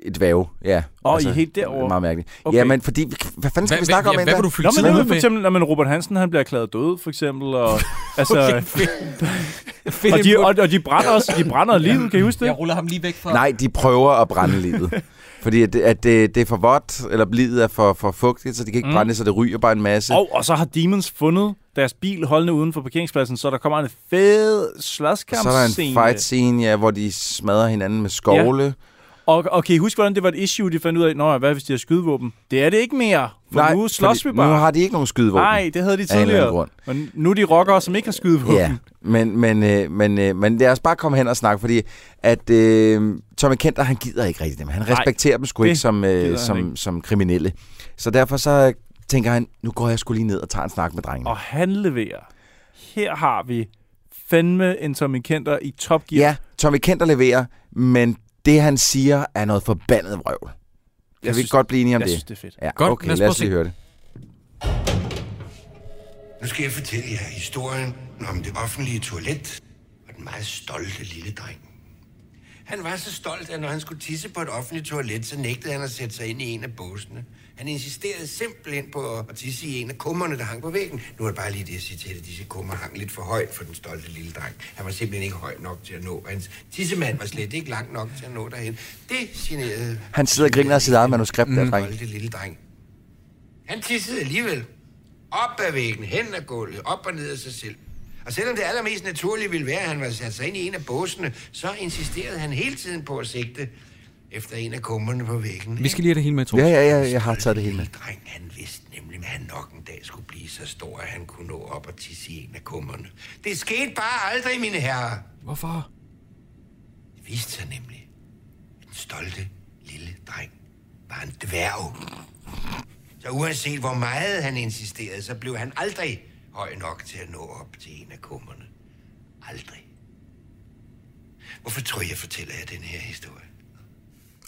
Speaker 7: Et væve, ja.
Speaker 6: Åh, I er helt derovre.
Speaker 7: Altså, Meget mærkeligt.
Speaker 6: Okay.
Speaker 7: Okay. Ja, men fordi... Hvad fanden skal
Speaker 1: Hvad-
Speaker 7: vi snakke om
Speaker 1: ja,
Speaker 7: endda?
Speaker 1: Hvad vil du
Speaker 6: Nå,
Speaker 1: fylde
Speaker 6: men,
Speaker 1: tiden
Speaker 6: det
Speaker 1: med?
Speaker 6: er for eksempel, når man Robert Hansen han bliver erklæret død, for eksempel. Og, altså,
Speaker 1: Okay,
Speaker 6: okay.
Speaker 1: fedt. Fedt
Speaker 6: og, de,
Speaker 1: input.
Speaker 6: og, og de brænder også. De brænder livet, kan I huske det?
Speaker 1: Jeg ruller ham lige væk fra...
Speaker 7: Nej, de prøver at brænde livet. Fordi at, det- at det, det er for vådt, eller livet er for, for fugtigt, så de kan ikke mm. brænde, så det ryger bare en masse.
Speaker 6: Og, og så har Demons fundet deres bil holdende uden for parkeringspladsen, så der kommer en fed
Speaker 7: Og så er der en
Speaker 6: slåskampscene.
Speaker 7: fight scene, ja, hvor de smadrer hinanden med skovle. Ja.
Speaker 6: Og, og kan I huske, hvordan det var et issue, de fandt ud af? Nå, hvad hvis de har skydevåben? Det er det ikke mere, for Nej, nu slås vi bare.
Speaker 7: Nu har de ikke nogen skydevåben.
Speaker 6: Nej, det havde de
Speaker 7: Af en eller anden
Speaker 6: tidligere. Men nu er de rockere, som ikke har skydevåben.
Speaker 7: Ja, men, men, øh, men, øh, men lad os bare komme hen og snakke, fordi at øh, Tommy Kenter, han gider ikke rigtig dem. Han respekterer dem sgu
Speaker 6: det
Speaker 7: ikke som,
Speaker 6: gider han
Speaker 7: øh, som,
Speaker 6: ikke.
Speaker 7: som kriminelle. Så derfor så tænker han, nu går jeg sgu lige ned og tager en snak med drengene.
Speaker 6: Og han leverer. Her har vi fandme en Tommy Kenter i Top Gear.
Speaker 7: Ja, Tommy Kenter leverer, men det han siger er noget forbandet vrøvl. Kan vi
Speaker 6: synes-
Speaker 7: ikke godt blive enige om
Speaker 6: jeg
Speaker 7: det?
Speaker 6: synes, det er fedt.
Speaker 7: Ja,
Speaker 1: Godt,
Speaker 7: okay,
Speaker 1: lad os
Speaker 7: lad
Speaker 1: prøve at
Speaker 7: os lige
Speaker 1: se.
Speaker 7: høre det.
Speaker 10: Nu skal jeg fortælle jer historien om det offentlige toilet og den meget stolte lille dreng. Han var så stolt, at når han skulle tisse på et offentligt toilet, så nægtede han at sætte sig ind i en af båsene. Han insisterede simpelthen på at tisse i en af kummerne, der hang på væggen. Nu er det bare lige det, jeg siger til dig, at disse kummer hang lidt for højt for den stolte lille dreng. Han var simpelthen ikke høj nok til at nå. Hans tissemand var slet ikke lang nok til at nå derhen. Det generede...
Speaker 7: Han sidder og griner af sit eget manuskript der, dreng.
Speaker 10: Den lille dreng. Han tissede alligevel. Op ad væggen, hen ad gulvet, op og ned af sig selv. Og selvom det allermest naturlige ville være, at han var sat sig ind i en af båsene, så insisterede han hele tiden på at sigte efter en af kummerne på væggen.
Speaker 1: Vi skal lige have det hele med, Troels.
Speaker 7: Ja, ja, ja, jeg har taget det hele med.
Speaker 10: Lille dreng, han vidste nemlig, at han nok en dag skulle blive så stor, at han kunne nå op og tisse i en af kummerne. Det skete bare aldrig, mine herrer.
Speaker 1: Hvorfor?
Speaker 10: Det viste sig nemlig, at den stolte lille dreng var en dværg. Så uanset hvor meget han insisterede, så blev han aldrig høj nok til at nå op til en af kummerne. Aldrig. Hvorfor tror jeg, jeg fortæller jer den her historie?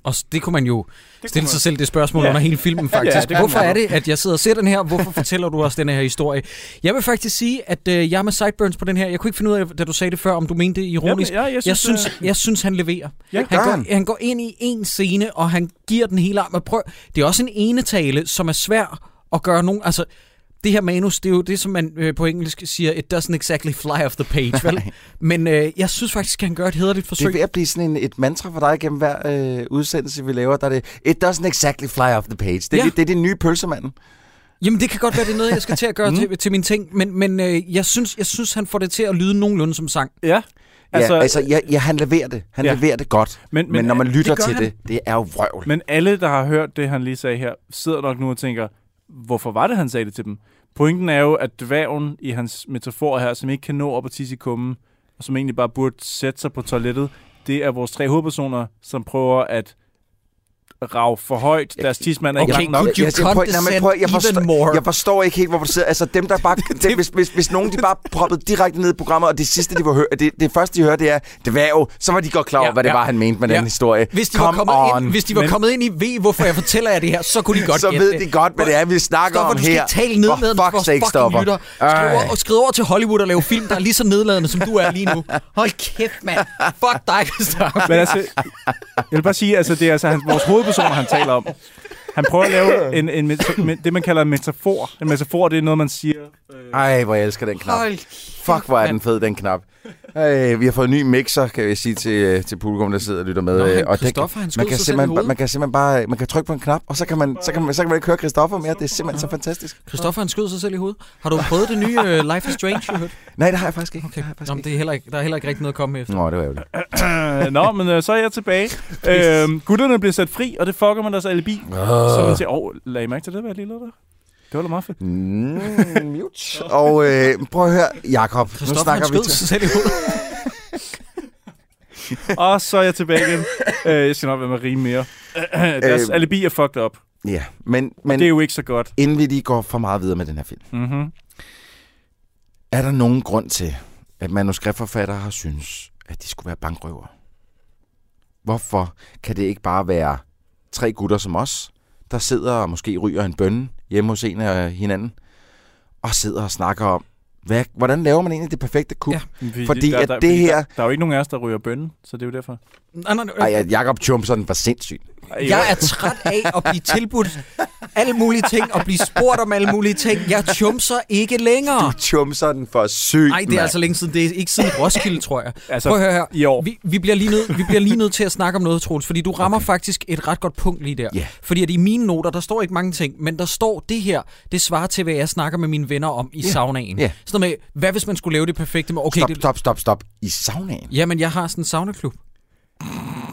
Speaker 1: Og s- det kunne man jo stille sig selv det spørgsmål ja. under hele filmen,
Speaker 6: Ja,
Speaker 1: faktisk.
Speaker 6: det
Speaker 1: Ja,
Speaker 6: kunne
Speaker 1: Hvorfor
Speaker 6: man.
Speaker 1: er det, at jeg sidder og ser den her? Hvorfor fortæller du os den her historie? Jeg vil faktisk sige, at øh, jeg er med sideburns på den her. Jeg kunne ikke finde ud af, da du sagde det før, om du mente det ironisk.
Speaker 6: Jamen, ja, jeg
Speaker 1: jeg,
Speaker 6: synes, øh,
Speaker 1: synes, jeg synes, han leverer.
Speaker 6: Ja,
Speaker 1: han,
Speaker 7: gør
Speaker 1: går,
Speaker 7: han.
Speaker 1: han går ind i en scene, og han giver den hele arm. Men Prøv. Det er også en enetale, som er svær at gøre nogen... Altså, det her manus, det er jo det, som man øh, på engelsk siger, it doesn't exactly fly off the page, vel? Men øh, jeg synes faktisk, at han gør et hederligt
Speaker 7: Det er
Speaker 1: forsøg.
Speaker 7: ved at blive sådan en, et mantra for dig gennem hver øh, udsendelse, vi laver. Der er det, it doesn't exactly fly off the page. Det er,
Speaker 1: Ja.
Speaker 7: ja. det, det er det nye pølsemanden.
Speaker 1: Jamen, det kan godt være, det er noget, jeg skal til at gøre
Speaker 7: Mm.
Speaker 1: til, til mine ting, men, men øh, jeg, synes, jeg synes, han får det til at lyde nogenlunde som sang.
Speaker 6: Ja.
Speaker 7: Altså, ja, altså ja, ja, han leverer det. Han
Speaker 6: Ja.
Speaker 7: ja. leverer det godt.
Speaker 6: Men-
Speaker 7: Men, men,
Speaker 6: men
Speaker 7: men når man
Speaker 1: det
Speaker 7: lytter
Speaker 1: gør
Speaker 7: det til
Speaker 1: han.
Speaker 7: det, det er jo vrøvl. Men,
Speaker 6: Men alle, der har hørt det, han lige sagde her, sidder nok nu og tænker, hvorfor var det, han sagde det til dem? Pointen er jo, at dværgen i hans metafor her, som ikke kan nå op og tisse i kummen, og som egentlig bare burde sætte sig på toilettet, det er vores tre hovedpersoner, som prøver at rave for højt. Deres tismand er ikke
Speaker 1: Okay,
Speaker 6: lang nok.
Speaker 1: could you condescend
Speaker 7: jeg,
Speaker 1: even
Speaker 7: forstår,
Speaker 1: more?
Speaker 7: jeg forstår ikke helt, hvorfor du sidder. Altså dem, der bare... dem, hvis, hvis, hvis nogen de bare proppede direkte ned i programmet, og det sidste, de var høre, det, det første, de hørte, det er dværg, så var de godt klar over,
Speaker 1: Ja,
Speaker 7: ja, hvad det
Speaker 1: ja.
Speaker 7: ja. var, han mente med ja. den historie.
Speaker 1: Hvis de, var
Speaker 7: Come
Speaker 1: kommet,
Speaker 7: on.
Speaker 1: ind, hvis de var
Speaker 6: Men-
Speaker 1: kommet ind i V, hvorfor jeg fortæller jer det her, så kunne de godt
Speaker 7: så
Speaker 1: gætte
Speaker 7: ved de godt, hvad det er, vi snakker
Speaker 1: Stopper,
Speaker 7: om
Speaker 1: du
Speaker 7: her.
Speaker 1: skal ikke tale ned
Speaker 7: For
Speaker 1: med
Speaker 7: fuck's
Speaker 1: vores
Speaker 7: sake,
Speaker 1: fucking
Speaker 7: Stopper.
Speaker 1: lytter. Skriv
Speaker 7: Ej.
Speaker 1: over, og skriv over til Hollywood og lave film, der er lige så nedladende, som du er lige nu. Hold kæft, mand. Fuck dig, Christoffer.
Speaker 6: Men altså, jeg vil bare sige, altså, det er altså hans, vores hovedpersoner, han taler om. Han prøver at lave en, en, meta- men- det, man kalder en metafor. En metafor, det er noget, man siger.
Speaker 7: Ej, hvor jeg elsker den knap.
Speaker 6: Hold
Speaker 7: Fuck, hvor er den fed, den knap. Ej, vi har fået en ny mixer, kan jeg sige til, øh, til publikum, der sidder og lytter med.
Speaker 1: Nå, han-
Speaker 7: Øh, og den,
Speaker 1: Christoffer, han skød
Speaker 7: man, kan
Speaker 1: sig selv i
Speaker 7: simpelthen, ba-
Speaker 1: hovedet.
Speaker 7: man kan simpelthen bare man kan trykke på en knap, og så kan man, så kan man, så kan man ikke høre Christoffer mere. Det er simpelthen så fantastisk.
Speaker 1: Christoffer, han skød sig selv i hovedet. Har du prøvet det nye uh, Life is Strange, du hørte?
Speaker 7: Nej, det har jeg faktisk ikke.
Speaker 1: Okay. Nå, men det er heller ikke, der er heller ikke rigtig noget at komme efter.
Speaker 7: Nå, det var ærgerligt.
Speaker 6: Nå, men øh, så er jeg tilbage. Øhm, gutterne bliver sat fri, og det fucker man deres alibi. Så man siger, åh, lagde I mærke til det, hvad jeg lige lavede der? Det var da meget fedt.
Speaker 7: Mm, mute. Og øh, prøv at høre, Jakob. Nu
Speaker 6: Christoffer,
Speaker 7: snakker
Speaker 6: han
Speaker 7: vi
Speaker 6: skød sig selv i og så er jeg tilbage igen. Øh, jeg skal nok være med at rime mere. Deres
Speaker 7: Øhm.
Speaker 6: alibi er fucked up.
Speaker 7: Ja, men,
Speaker 6: Men,
Speaker 7: men
Speaker 6: det er jo ikke så godt.
Speaker 7: inden vi lige går for meget videre med den her film.
Speaker 6: Mm-hmm.
Speaker 7: Er der nogen grund til, at manuskriptforfattere har synes, at de skulle være bankrøver? Hvorfor kan det ikke bare være tre gutter som os, der sidder og måske ryger en bønne hjemme hos en af hinanden, og sidder og snakker om, hvad, hvordan laver man egentlig det perfekte kub? Ja, fordi at det
Speaker 6: fordi
Speaker 7: her...
Speaker 6: Der, der er jo ikke nogen af os, der ryger bønnen, så det er jo derfor.
Speaker 1: Nej, nej, nej.
Speaker 7: Ej, at Jacob Chumsen var sindssyg.
Speaker 1: Jeg er træt af at blive tilbudt alle mulige ting og blive spurgt om alle mulige ting. Jeg chumser ikke længere.
Speaker 7: Chumser den for syg,
Speaker 1: Nej, det er altså længe siden. Det er ikke siden Roskilde, tror jeg.
Speaker 6: Altså,
Speaker 1: Altså, Prøv at høre her.
Speaker 6: i år.
Speaker 1: Vi, vi, bliver lige nødt, vi bliver lige nødt til at snakke om noget, Troels, fordi du rammer okay. faktisk et ret godt punkt lige der.
Speaker 7: Ja.
Speaker 1: Fordi at i mine noter, der står ikke mange ting, men der står det her, det svarer til, hvad jeg snakker med mine venner om i yeah. saunaen.
Speaker 7: Ja.
Speaker 1: Sådan noget med, hvad hvis man skulle lave det perfekte med... Okay,
Speaker 7: Stop,
Speaker 1: det,
Speaker 7: stop, stop, stop. I saunaen
Speaker 1: Jamen, jeg har sådan en saunaklub.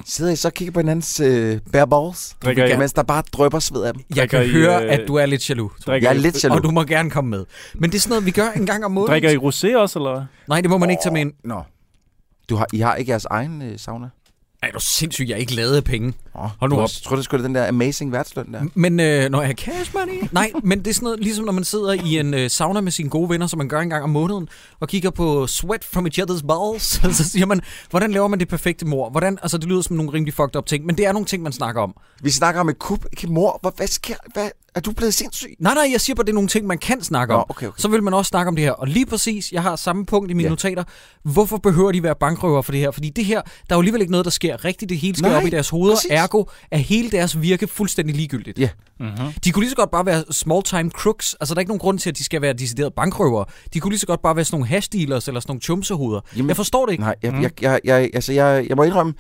Speaker 7: sidder I så og kigger på hinandens øh, bare balls,
Speaker 6: Drikker I-
Speaker 7: mens der bare drøbber sved af dem.
Speaker 1: Jeg
Speaker 6: Drikker
Speaker 1: kan
Speaker 6: I,
Speaker 1: høre,
Speaker 6: øh,
Speaker 1: at du er lidt jaloux.
Speaker 6: Drikker,
Speaker 7: Jeg er
Speaker 6: I-
Speaker 7: lidt jaloux.
Speaker 1: Og du må gerne komme med. Men det er sådan noget, vi gør en gang om måneden.
Speaker 6: Drikker I rosé også, eller hvad?
Speaker 1: Nej, det må man ikke tage med ind.
Speaker 7: Nå. Du har, I har ikke jeres egen øh, sauna?
Speaker 1: Ej, du er sindssyg, jeg ikke lavede penge.
Speaker 7: Oh,
Speaker 1: Hold nu op.
Speaker 7: Jeg tror, det skulle den der amazing værtsløn
Speaker 6: Mm.
Speaker 7: der.
Speaker 1: Men øh, når jeg har cash money? Nej, men det er sådan noget, ligesom når man sidder i en øh, sauna med sine gode venner, som man gør en gang om måneden, og kigger på sweat from each other's balls, og så siger man, hvordan laver man det perfekte mor? Hvordan, altså det lyder som nogle rimelig fucked up ting, men det er nogle ting, man snakker om.
Speaker 7: Vi snakker om et kub, ikke mor. Hvad, hvad sker? Hvad, er du blevet sindssyg?
Speaker 1: Nej, nej, jeg siger bare, det er nogle ting, man kan snakke om.
Speaker 7: Nå, okay, okay.
Speaker 1: Så vil man også snakke om det her. Og lige præcis, jeg har samme punkt i mine
Speaker 7: Ja.
Speaker 1: yeah. notater. Hvorfor behøver de være bankrøver for det her? Fordi det her, der er jo alligevel ikke noget, der sker rigtigt. Det hele sker
Speaker 7: Nej,
Speaker 1: op i deres hoveder.
Speaker 7: præcis.
Speaker 1: Ergo er hele deres virke fuldstændig ligegyldigt.
Speaker 7: Ja.
Speaker 1: Mm-hmm. De kunne lige så godt bare være small-time crooks. Altså, der er ikke nogen grund til, at de skal være decideret bankrøvere. De kunne lige så godt bare være sådan nogle hashdealers eller sådan nogle chumsehoveder.
Speaker 7: Jamen-
Speaker 1: jeg forstår det ikke.
Speaker 7: Nej,
Speaker 6: Mm.
Speaker 7: jeg, jeg, jeg, jeg, altså, jeg, jeg må indrømme,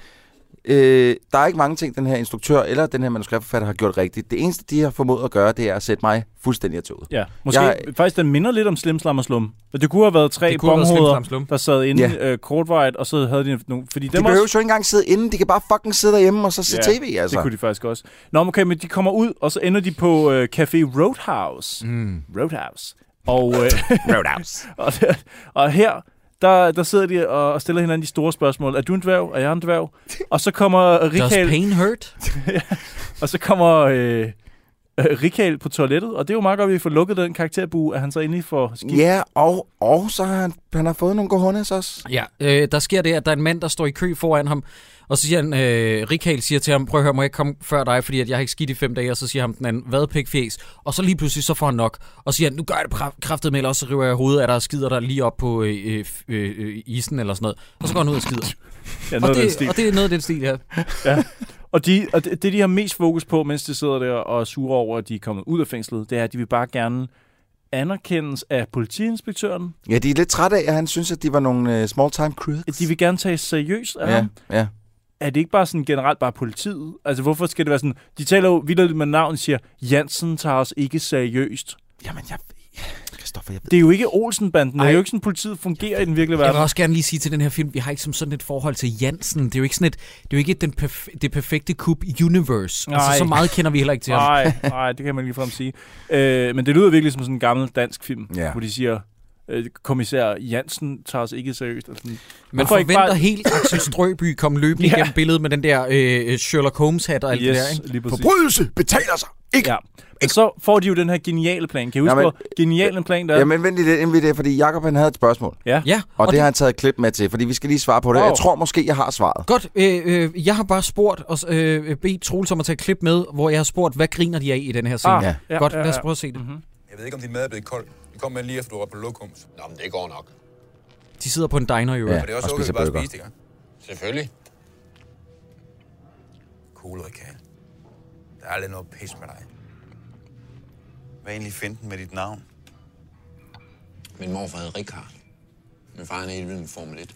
Speaker 7: øh, der er ikke mange ting, den her instruktør eller den her manuskriptforfatter har gjort rigtigt. Det eneste, de har formået at gøre, det er at sætte mig fuldstændig af toget.
Speaker 6: Ja, måske jeg,
Speaker 7: Jeg-
Speaker 6: faktisk den minder lidt om Slim Slam og Slum. Men Det kunne have været tre
Speaker 1: Det kunne have været Slim Slam
Speaker 6: bonghoveder,
Speaker 1: Slum.
Speaker 6: der sad inde
Speaker 7: Ja.
Speaker 6: ja. øh, kortvejet, og så havde de nogle... Fordi
Speaker 7: De
Speaker 6: dem
Speaker 7: behøver
Speaker 6: også,
Speaker 7: jo ikke engang sidde inde. De kan bare fucking sidde derhjemme og så se tv, altså.
Speaker 6: Det kunne de faktisk også. Nå, men okay, men de kommer ud, og så ender de på øh, Café Roadhouse. Mm. Roadhouse. Og, øh,
Speaker 7: Roadhouse.
Speaker 6: og, og her, der, der sidder de og og stiller hinanden de store spørgsmål. Er du en dværg? Er jeg en dværg? Og så kommer
Speaker 1: Does
Speaker 6: Rikal,
Speaker 1: pain hurt?
Speaker 6: og så kommer øh, øh, Rikal på toilettet, og det er jo meget godt, at vi får lukket den karakterbue, at han så endelig får skidt.
Speaker 7: Ja, og, og så har han, han har fået nogle gohundes også.
Speaker 1: Ja, øh, der sker det, at der er en mand, der står i kø foran ham, og så siger han, øh, Rikal siger til ham, prøv at høre, må jeg ikke komme før dig, fordi at jeg har ikke skidt i fem dage, og så siger ham den anden, hvad pikfjæs, og så lige pludselig, så får han nok, og så siger han, nu gør jeg det pra- kraftet med, og så river jeg hovedet af dig og skider dig lige op på øh, øh, øh, øh, isen eller sådan noget, og så går han ud og skider.
Speaker 6: Ja, noget
Speaker 1: og,
Speaker 6: af den
Speaker 1: det,
Speaker 6: stil.
Speaker 1: og det er noget af den stil her.
Speaker 6: Og, de, og det, det, de har mest fokus på, mens de sidder der og er sure over, at de er kommet ud af fængslet, det er, at de vil bare gerne anerkendes af politiinspektøren.
Speaker 7: Ja, de er lidt trætte af, at han synes, at de var nogle uh, small-time crew.
Speaker 6: At de vil gerne tage seriøst af ja.
Speaker 7: Ja,
Speaker 6: ham.
Speaker 7: ja.
Speaker 6: Er det ikke bare sådan generelt bare politiet? Altså, hvorfor skal det være sådan... De taler jo vildt med navn og siger, Jansen tager os ikke seriøst.
Speaker 7: Jamen, jeg... Kristoffer, jeg ved...
Speaker 6: Det er jo ikke Olsen-banden. Det er
Speaker 1: Ej.
Speaker 6: jo ikke sådan, politiet fungerer i den virkelige
Speaker 1: Jeg vil
Speaker 6: verden.
Speaker 1: også gerne lige sige til den her film, vi har ikke som sådan et forhold til Jansen. Det er jo ikke sådan et, det er jo ikke den perf- det perfekte kub universe.
Speaker 6: Nej.
Speaker 1: Altså, så meget kender vi heller ikke til ham.
Speaker 6: Nej, nej, det kan man ligefrem sige. Øh, men det lyder virkelig som sådan en gammel dansk film,
Speaker 7: Ja.
Speaker 6: hvor de siger, øh, kommissær Jansen tager os ikke seriøst. Og sådan,
Speaker 1: Man
Speaker 6: Hvorfor ikke
Speaker 1: forventer
Speaker 6: bare-
Speaker 1: bare... helt Axel Strøby kom løbende
Speaker 6: Ja.
Speaker 1: yeah. igennem billedet med den der øh, Sherlock Holmes-hat og alt det
Speaker 6: yes,
Speaker 1: der, ikke?
Speaker 6: lige præcis.
Speaker 7: Forbrydelse betaler sig! Ikke?
Speaker 6: Ja. Og så får de jo den her geniale plan. Kan I huske,
Speaker 7: Jamen-
Speaker 6: hvor genial en plan der
Speaker 7: Ja.
Speaker 6: er?
Speaker 7: Jamen, vent lige lidt, inden vi det, fordi Jacob han havde et spørgsmål.
Speaker 6: ja.
Speaker 1: Ja,
Speaker 7: Og, og det har han taget et klip med til, fordi vi skal lige svare på det.
Speaker 6: Wow.
Speaker 7: Jeg tror måske, jeg har svaret.
Speaker 1: Godt, øh, øh, jeg har bare spurgt og øh, bedt Troels om at tage et klip med, hvor jeg har spurgt, hvad griner de af i den her scene?
Speaker 6: Ah,
Speaker 1: Ah,
Speaker 7: Ja.
Speaker 6: ja,
Speaker 1: Godt,
Speaker 6: ja,
Speaker 1: lad os
Speaker 6: ja. Mhm.
Speaker 1: prøve at se det. Mm-hmm.
Speaker 8: Jeg ved ikke, om din mad er blevet kold. Den kom med lige efter, du var på lokummet. Nå, men det går nok.
Speaker 1: De sidder på en diner i øvrigt.
Speaker 7: Ja.
Speaker 8: Og det er også
Speaker 7: Og
Speaker 8: okay, at
Speaker 7: spiser
Speaker 8: vi bare
Speaker 7: burger.
Speaker 8: spiste, ikke? Selvfølgelig. Cool, Rikal.
Speaker 11: Der er aldrig noget pis med dig.
Speaker 9: Hvad er egentlig finden med dit navn?
Speaker 11: Min morfar hed Richard. Min far han er helt vild med Formel 1.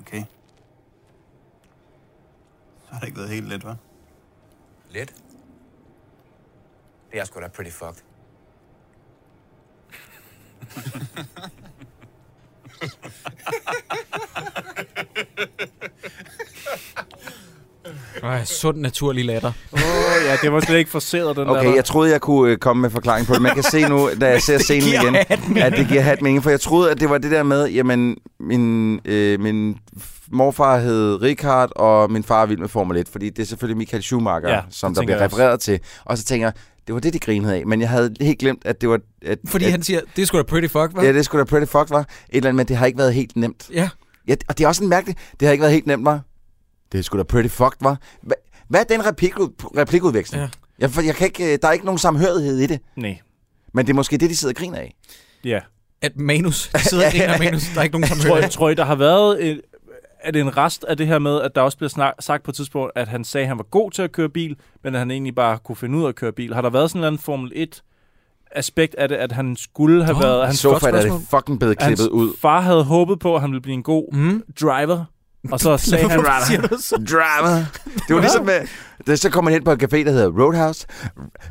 Speaker 9: Okay. Så har det ikke været helt let, hva'?
Speaker 11: Let? Det er sgu da pretty fucked.
Speaker 1: Ej, sund naturlig latter.
Speaker 6: Åh oh, ja, det var slet ikke forceret, den der.
Speaker 7: Okay, jeg troede, jeg kunne øh, komme med forklaring på det. Man kan se nu, da jeg ser scenen
Speaker 6: giver
Speaker 7: igen,
Speaker 6: hat mening.
Speaker 7: at det giver hat mening. For jeg troede, at det var det der med, jamen, min, øh, min f- morfar hed Richard, og min far er vild med Formel 1. Fordi det er selvfølgelig Michael Schumacher,
Speaker 6: Ja,
Speaker 7: ja,
Speaker 6: det
Speaker 7: som der
Speaker 6: tænker
Speaker 7: bliver
Speaker 6: jeg også.
Speaker 7: refereret til. Og så tænker jeg, det var det, de grinede af. Men jeg havde helt glemt, at det var... At,
Speaker 1: Fordi
Speaker 7: at,
Speaker 1: han siger, det er sgu da pretty fuck, hva'?
Speaker 7: Ja, det skulle da pretty fucked, var. Et eller andet, men det har ikke været helt nemt.
Speaker 1: Ja.
Speaker 7: ja og det er også en mærkelig... Det har ikke været helt nemt, var. Det skulle da pretty fucked, var. Hva, hvad er den replik, replikudveksling? Ja. Jeg, for jeg kan ikke, øh, der er ikke nogen samhørighed i det.
Speaker 6: Nej.
Speaker 7: Men det er måske det, de sidder og griner af.
Speaker 6: Ja.
Speaker 1: At manus. De sidder og griner af manus. Der er ikke nogen, som
Speaker 6: tror,
Speaker 1: hører
Speaker 6: jeg, tror I, der har været... En, er det en rest af det her med, at der også bliver snak, sagt på et tidspunkt, at han sagde, at han var god til at køre bil, men at han egentlig bare kunne finde ud af at køre bil? Har der været sådan en eller anden Formel 1 aspekt af det, at han skulle have
Speaker 7: Nå,
Speaker 6: været... Hans
Speaker 7: i så fald er det fucking blevet klippet ud.
Speaker 6: far havde håbet på, at han ville blive en god
Speaker 1: Mhm.
Speaker 6: mm. driver, og så sagde han...
Speaker 7: Hvorfor siger du sådan? Driver. Det var ligesom med... Det, så kom man hen på en café, der hedder Roadhouse.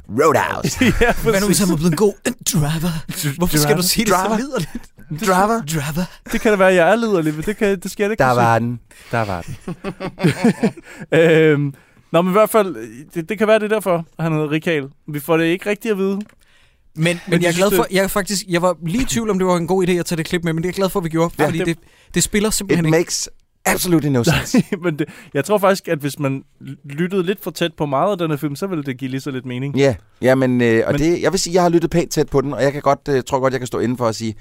Speaker 7: Roadhouse.
Speaker 6: ja,
Speaker 1: Hvad nu, hvis han var blevet en god driver? Hvorfor skal du sige det så
Speaker 7: Driver.
Speaker 1: liderligt?
Speaker 7: Driver.
Speaker 1: Driver.
Speaker 6: Det kan da være, at jeg er liderlig, men det, kan, det skal jeg ikke
Speaker 7: Der
Speaker 6: kunne
Speaker 7: var
Speaker 6: sige.
Speaker 7: den. Der var den.
Speaker 6: øhm, nå, men i hvert fald, det, det kan være, det er derfor, at han hedder Rikal. Vi får det ikke rigtigt at vide.
Speaker 1: Men, men jeg er glad for, jeg er faktisk, jeg var lige i tvivl om, det var en god idé at tage det klip med, men det er jeg glad for, at vi gjorde,
Speaker 6: Ja,
Speaker 1: fordi
Speaker 6: det-
Speaker 1: det, det spiller simpelthen
Speaker 7: It
Speaker 1: ikke.
Speaker 7: makes absolutely no sense.
Speaker 6: Nej, men det, jeg tror faktisk, at hvis man l- lyttede lidt for tæt på meget af den her film, så ville det give lige så lidt mening.
Speaker 7: Ja, ja men, øh, og det, jeg vil sige, jeg har lyttet pænt tæt på den, og jeg kan godt, øh, tror godt, jeg kan stå inden for og sige,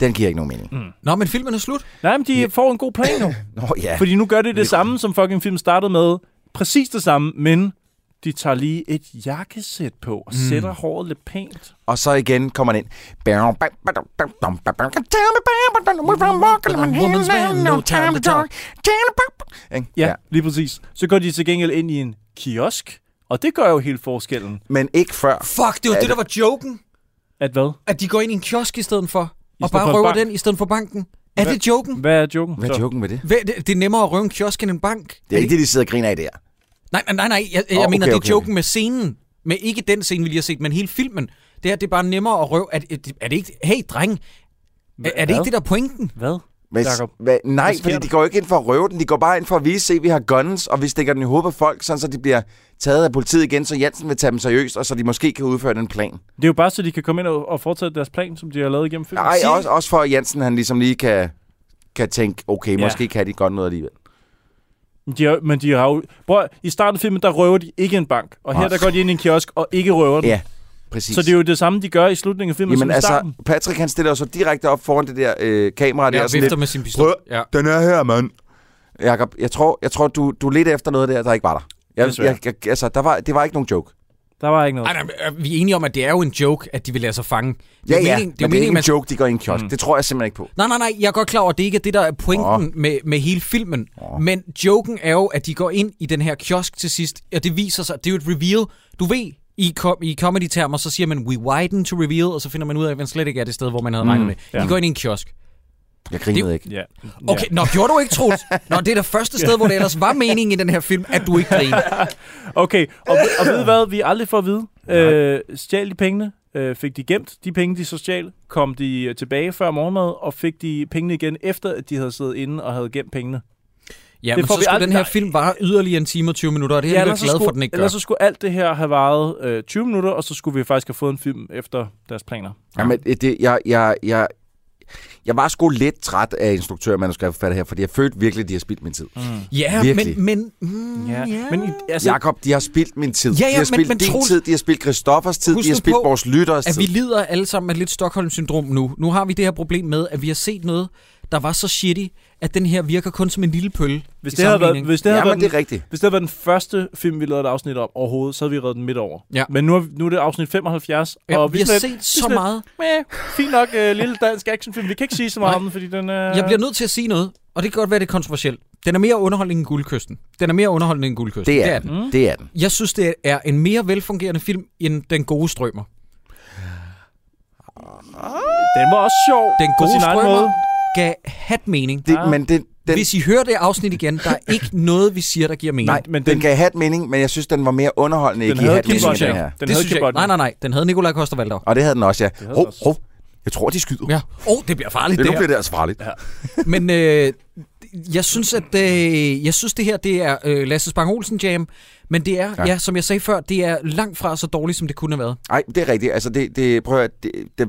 Speaker 7: den giver ikke nogen mening.
Speaker 6: Mm.
Speaker 1: Nå, men filmen er slut.
Speaker 6: Nej, men de får en god plan nu.
Speaker 7: Nå, ja.
Speaker 6: Fordi nu gør det det samme, som fucking film startede med. Præcis det samme, men de tager lige et jakkesæt på og mm. sætter håret lidt pænt.
Speaker 7: Og så igen kommer den ind. Ikke?
Speaker 6: Ja, ja, lige præcis. Så går de til gengæld ind i en kiosk, og det gør jo helt forskellen.
Speaker 7: Men ikke før.
Speaker 1: Fuck, det var det,
Speaker 7: Ja,
Speaker 1: der
Speaker 7: det-
Speaker 1: var joken.
Speaker 6: At hvad?
Speaker 1: At de går ind i en kiosk i stedet for, og
Speaker 6: stedet for
Speaker 1: bare
Speaker 6: en
Speaker 1: røver
Speaker 6: bank.
Speaker 1: den i stedet for banken. Er
Speaker 6: Hvad-
Speaker 1: det joken?
Speaker 6: Hvad er joken?
Speaker 7: Hvad er joken med det?
Speaker 1: Hvad, det, det er nemmere at røve en kiosk end en bank.
Speaker 7: Det er ikke det, de sidder og griner af der.
Speaker 1: Nej, nej, nej, nej. Jeg, jeg
Speaker 7: Åh,
Speaker 1: okay, mener,
Speaker 7: okay,
Speaker 1: det er
Speaker 7: okay,
Speaker 1: joken
Speaker 7: okay.
Speaker 1: med scenen. Men ikke den scene, vi lige har set, men hele filmen. Det her, det er bare nemmere at røve. Er, det- er det ikke... Hey, dreng. Er, er det ikke
Speaker 6: Hvad?
Speaker 1: det, der er pointen?
Speaker 6: Hvad?
Speaker 7: Hvis,
Speaker 6: Jakob,
Speaker 7: hvad, nej,
Speaker 6: hvad sker
Speaker 7: fordi
Speaker 6: der?
Speaker 7: de går ikke ind for at røve den. De går bare ind for at vise, se, vi har guns, og vi stikker den i hovedet på folk, sådan så de bliver taget af politiet igen, så Jansen vil tage dem seriøst, og så de måske kan udføre den plan.
Speaker 6: Det er jo bare, så de kan komme ind og og fortsætte deres plan, som de har lavet igennem filmen.
Speaker 7: Nej,
Speaker 6: Sig-
Speaker 7: også, også for at Jansen han ligesom lige kan, kan tænke, okay,
Speaker 6: Ja. Mm.
Speaker 7: ja. måske kan de godt noget alligevel.
Speaker 6: Men De har, men de har jo... Prøv, at- i starten af filmen, der røver de ikke en bank. Og her,
Speaker 7: Nej.
Speaker 6: der går de ind i en kiosk og ikke røver den.
Speaker 7: Ja, præcis.
Speaker 6: så det er jo det samme, de gør i slutningen af filmen Jamen, som
Speaker 7: Jamen
Speaker 6: i
Speaker 7: altså,
Speaker 6: starten.
Speaker 7: Patrick han stiller jo så direkte op foran det der øh, kamera der.
Speaker 1: Ja,
Speaker 7: og sådan
Speaker 1: vifter
Speaker 7: lidt,
Speaker 1: med sin pistol. Ja.
Speaker 7: Den er her, mand. Jakob, jeg tror, jeg tror du, du ledte efter noget der, der ikke var der. Jeg,
Speaker 6: Desværre.
Speaker 7: jeg, jeg, altså, der var, det var ikke nogen joke.
Speaker 6: Der var ikke noget.
Speaker 1: Ej, nej, men, øh, vi er enige om, at det er jo en joke, at de vil lade sig fange. Det er
Speaker 7: Ja,
Speaker 1: jo
Speaker 7: ja,
Speaker 1: meningen-
Speaker 7: men det er ikke
Speaker 1: man
Speaker 7: en joke, de går i en kiosk. Det tror jeg simpelthen ikke på.
Speaker 1: Nej, nej, nej, jeg er godt klar over, at det ikke er det, der er pointen oh. med, med hele filmen. Oh. Men joken er jo, at de går ind i den her kiosk til sidst, og det viser sig, det er jo et reveal. Du ved, i, kom, i comedy-termer, så siger man, we widen to reveal, og så finder man ud af, at man slet ikke er det sted, hvor man havde regnet med. De
Speaker 6: Mm, ja.
Speaker 1: går ind i en kiosk.
Speaker 7: Jeg grinede ikke.
Speaker 6: Ja.
Speaker 1: Okay, nå, gjorde du ikke, Troels? Nå, det er det første sted, hvor det ellers var meningen i den her film, at du ikke griner.
Speaker 6: Ja. Okay, og, og ved I hvad? Vi aldrig får at vide. Øh, stjal de pengene? Øh, fik de gemt de penge, de så stjal? Kom de øh, tilbage før morgenmad? Og fik de pengene igen, efter at de havde siddet inde og havde gemt pengene?
Speaker 1: Ja,
Speaker 6: Det
Speaker 1: men
Speaker 6: får
Speaker 1: så
Speaker 6: vi
Speaker 1: skulle
Speaker 6: aldrig-
Speaker 1: den her
Speaker 6: nej.
Speaker 1: film vare yderligere en time og 20 minutter, og det er jeg
Speaker 6: ellers
Speaker 1: lidt glad
Speaker 6: så
Speaker 1: for,
Speaker 6: skulle-
Speaker 1: at den ikke gør.
Speaker 6: Ellers så skulle alt det her have varet øh, 20 minutter, og så skulle vi faktisk have fået en film efter deres planer.
Speaker 7: Jamen, øh, det, jeg, jeg, jeg, jeg var sgu lidt træt af instruktør og manuskriptforfatter her, fordi jeg følte virkelig, at de har spildt min tid. Mm.
Speaker 1: Ja,
Speaker 7: Virkelig.
Speaker 1: men... men mm,
Speaker 6: Ja.
Speaker 1: ja.
Speaker 6: Men i, altså,
Speaker 7: Jakob, de har spildt min tid.
Speaker 1: Ja, ja,
Speaker 7: de har
Speaker 1: men-
Speaker 7: spildt
Speaker 1: men
Speaker 7: din
Speaker 1: Troels-
Speaker 7: tid, de har spildt Christoffers tid,
Speaker 1: Husk
Speaker 7: de har
Speaker 1: nu
Speaker 7: spildt
Speaker 1: på,
Speaker 7: vores lytteres
Speaker 1: at
Speaker 7: tid.
Speaker 1: vi lider alle sammen af lidt Stockholm-syndrom nu. Nu har vi det her problem med, at vi har set noget, der var så shitty, at den her virker kun som en lille pølle.
Speaker 6: Hvis
Speaker 1: i
Speaker 6: det, havde været,
Speaker 1: sammenligning.
Speaker 6: hvis, det havde
Speaker 7: Jamen,
Speaker 6: været
Speaker 7: det er
Speaker 6: den,
Speaker 7: rigtigt.
Speaker 6: hvis det havde været den første film, vi lavede et afsnit om overhovedet, så havde vi reddet den midt over.
Speaker 1: Ja.
Speaker 6: Men nu er, nu er det afsnit 75,
Speaker 1: Ja,
Speaker 6: og
Speaker 1: vi
Speaker 6: er
Speaker 1: har
Speaker 6: sådan
Speaker 1: set
Speaker 6: lidt-
Speaker 1: så
Speaker 6: vi er sådan
Speaker 1: meget.
Speaker 6: Lidt, meh, fint nok øh, lille dansk actionfilm. Vi kan ikke sige så meget om den, fordi den er...
Speaker 1: Jeg bliver nødt til at sige noget, Og det kan godt være, det er kontroversielt. Den er mere underholdende end Guldkysten. Den er mere underholdende end Guldkysten.
Speaker 7: Det er den. Det er den.
Speaker 1: Jeg synes, det er en mere velfungerende film end Den gode strømmer.
Speaker 6: Den var også sjov.
Speaker 1: Den
Speaker 6: på
Speaker 1: gode
Speaker 6: sin egen
Speaker 1: strømmer
Speaker 6: måde.
Speaker 1: gav hat mening.
Speaker 7: Det- men det- den-
Speaker 1: Hvis I hører det afsnit igen, der er ikke noget, vi siger, der giver mening.
Speaker 7: Nej, men den, den gav hat mening, men jeg synes, den var mere underholdende, ikke i hat mening, end den her.
Speaker 1: Den det synes jeg ikke. Nej, nej, nej. Den havde Nikolaj Kostervaldau.
Speaker 7: Og det havde den også, ja.
Speaker 1: havde
Speaker 7: Hov,
Speaker 1: den også.
Speaker 7: hov. Jeg tror, de skyder.
Speaker 1: Ja. Åh, oh, det bliver farligt,
Speaker 7: det,
Speaker 1: det
Speaker 7: nu
Speaker 1: her.
Speaker 7: bliver det altså farligt. Ja.
Speaker 1: Men øh, jeg synes, at øh, jeg synes, det her det er øh, Lasse Spang Olsen jam, men det er, ja.
Speaker 7: Ja.
Speaker 1: ja, som jeg sagde før, det er langt fra så dårligt, som det kunne have været.
Speaker 7: Nej, det er rigtigt. Altså, det, det, prøv at, høre, det, det,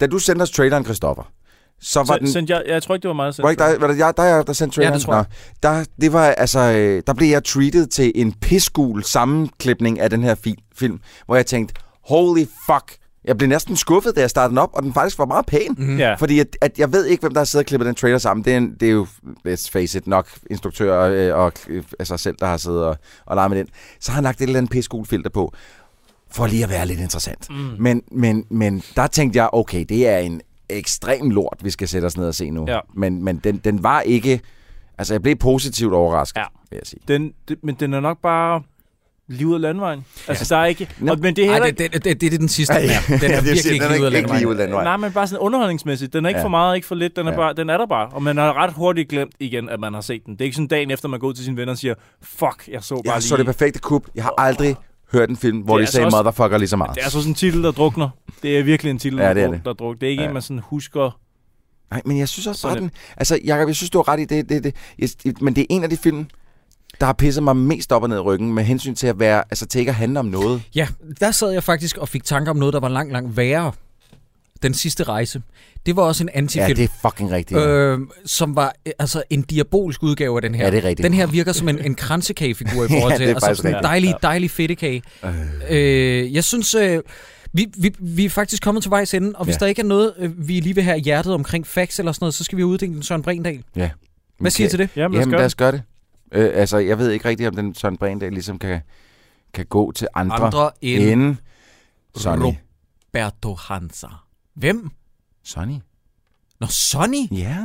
Speaker 7: da du sendte os traileren, Christoffer, så var
Speaker 6: Så,
Speaker 7: den...
Speaker 6: sendte jeg, jeg tror ikke, det var mig, der
Speaker 7: Var det
Speaker 6: sendte
Speaker 7: ikke dig, var det jeg, dig, der sendte
Speaker 1: Ja, det
Speaker 7: traileren?
Speaker 1: tror jeg.
Speaker 7: Nå, der, det var, altså, øh, der blev jeg treated til en pisgul sammenklipning af den her fi- film, hvor jeg tænkte, holy fuck, jeg blev næsten skuffet, da jeg startede den op, og den faktisk var meget pæn.
Speaker 1: Mhm.
Speaker 7: Mm.
Speaker 6: Ja.
Speaker 7: Fordi at, at jeg ved ikke, hvem der har siddet og klippet den trailer sammen. Det er, en, det er jo, let's face it, nok instruktører øh, og øh, altså selv, der har siddet og, og leget med den. Så har han lagt et eller andet pisgul filter på, for lige at være lidt interessant. Mm. Men, men, men der tænkte jeg, okay, det er en ekstrem lort, vi skal sætte os ned og se nu.
Speaker 6: Ja.
Speaker 7: Men, men den, den var ikke... Altså, jeg blev positivt overrasket,
Speaker 6: Ja.
Speaker 7: ja. vil jeg sige.
Speaker 6: Den, det, men den er nok bare livet af landvejen. Altså, der er ikke... Og, men det er
Speaker 1: Ej,
Speaker 6: heller
Speaker 1: det,
Speaker 6: ikke...
Speaker 1: det, det, det, det er den sidste,
Speaker 7: Ej,
Speaker 1: den er. Den er
Speaker 7: ja, det vil
Speaker 1: virkelig
Speaker 7: sige,
Speaker 1: ikke
Speaker 7: den er
Speaker 1: lige ud af
Speaker 7: ikke- ikke lige ud
Speaker 1: landevejen.
Speaker 7: af landvejen.
Speaker 6: Nej, men bare sådan underholdningsmæssigt. Den er ikke ja.
Speaker 7: Ja.
Speaker 6: for meget, ikke for lidt. Den er, ja.
Speaker 7: Ja.
Speaker 6: bare, den er der bare. Og man har ret hurtigt glemt igen, at man har set den. Det er ikke sådan dagen efter, man går ud til sine venner og siger, fuck, jeg så bare
Speaker 7: Jeg
Speaker 6: lige...
Speaker 7: så det perfekte kub. Jeg har aldrig hørt en film, hvor
Speaker 6: Det er
Speaker 7: de sagde
Speaker 6: altså også-
Speaker 7: motherfucker lige så meget.
Speaker 6: Det er så sådan en titel, der drukner. Det er virkelig en titel,
Speaker 7: Ja,
Speaker 6: ja,
Speaker 7: det
Speaker 6: der,
Speaker 7: er
Speaker 6: druk,
Speaker 7: det.
Speaker 6: der drukner. Det er ikke ja.
Speaker 7: Ja.
Speaker 6: en, man sådan husker.
Speaker 7: Nej, men jeg synes også bare,
Speaker 6: Sådan
Speaker 7: den... Altså, Jacob, jeg synes, du har ret i det. det, det jeg, men det er en af de film, der har pisset mig mest op og ned i ryggen med hensyn til at være... Altså, til ikke at handle om noget.
Speaker 1: Ja, der sad jeg faktisk og fik tanker om noget, der var langt, langt værre. Den sidste rejse. Det var også en
Speaker 7: Ja,
Speaker 1: antifilm.
Speaker 7: det er fucking rigtigt. Øh,
Speaker 1: Øh, som var øh, altså en diabolsk udgave af den her.
Speaker 7: Ja, det er rigtigt.
Speaker 1: Den her virker som en, en kransekagefigur i forhold
Speaker 7: Ja,
Speaker 1: til.
Speaker 7: det er
Speaker 1: altså
Speaker 7: faktisk
Speaker 1: sådan en
Speaker 7: rigtigt.
Speaker 1: dejlig, dejlig fedtekage. Øh, jeg synes, øh, vi, vi, vi er faktisk kommet til vejs ende, og hvis ja.
Speaker 7: Ja.
Speaker 1: der ikke er noget, øh, vi lige vil have i hjertet omkring facts eller sådan noget, så skal vi jo uddele den Søren Brindal.
Speaker 7: ja.
Speaker 1: Hvad siger I til det?
Speaker 6: Jamen, lad os
Speaker 7: Jamen,
Speaker 6: gøre
Speaker 7: lad
Speaker 6: det.
Speaker 7: os gøre det. Øh, altså, jeg ved ikke rigtigt, om den Søren Brindal ligesom kan, kan gå til andre,
Speaker 1: Andre end
Speaker 7: end Sonny.
Speaker 1: Roberto Hansa. Hvem?
Speaker 7: Sonny?
Speaker 1: Nå, Sonny?
Speaker 7: Ja.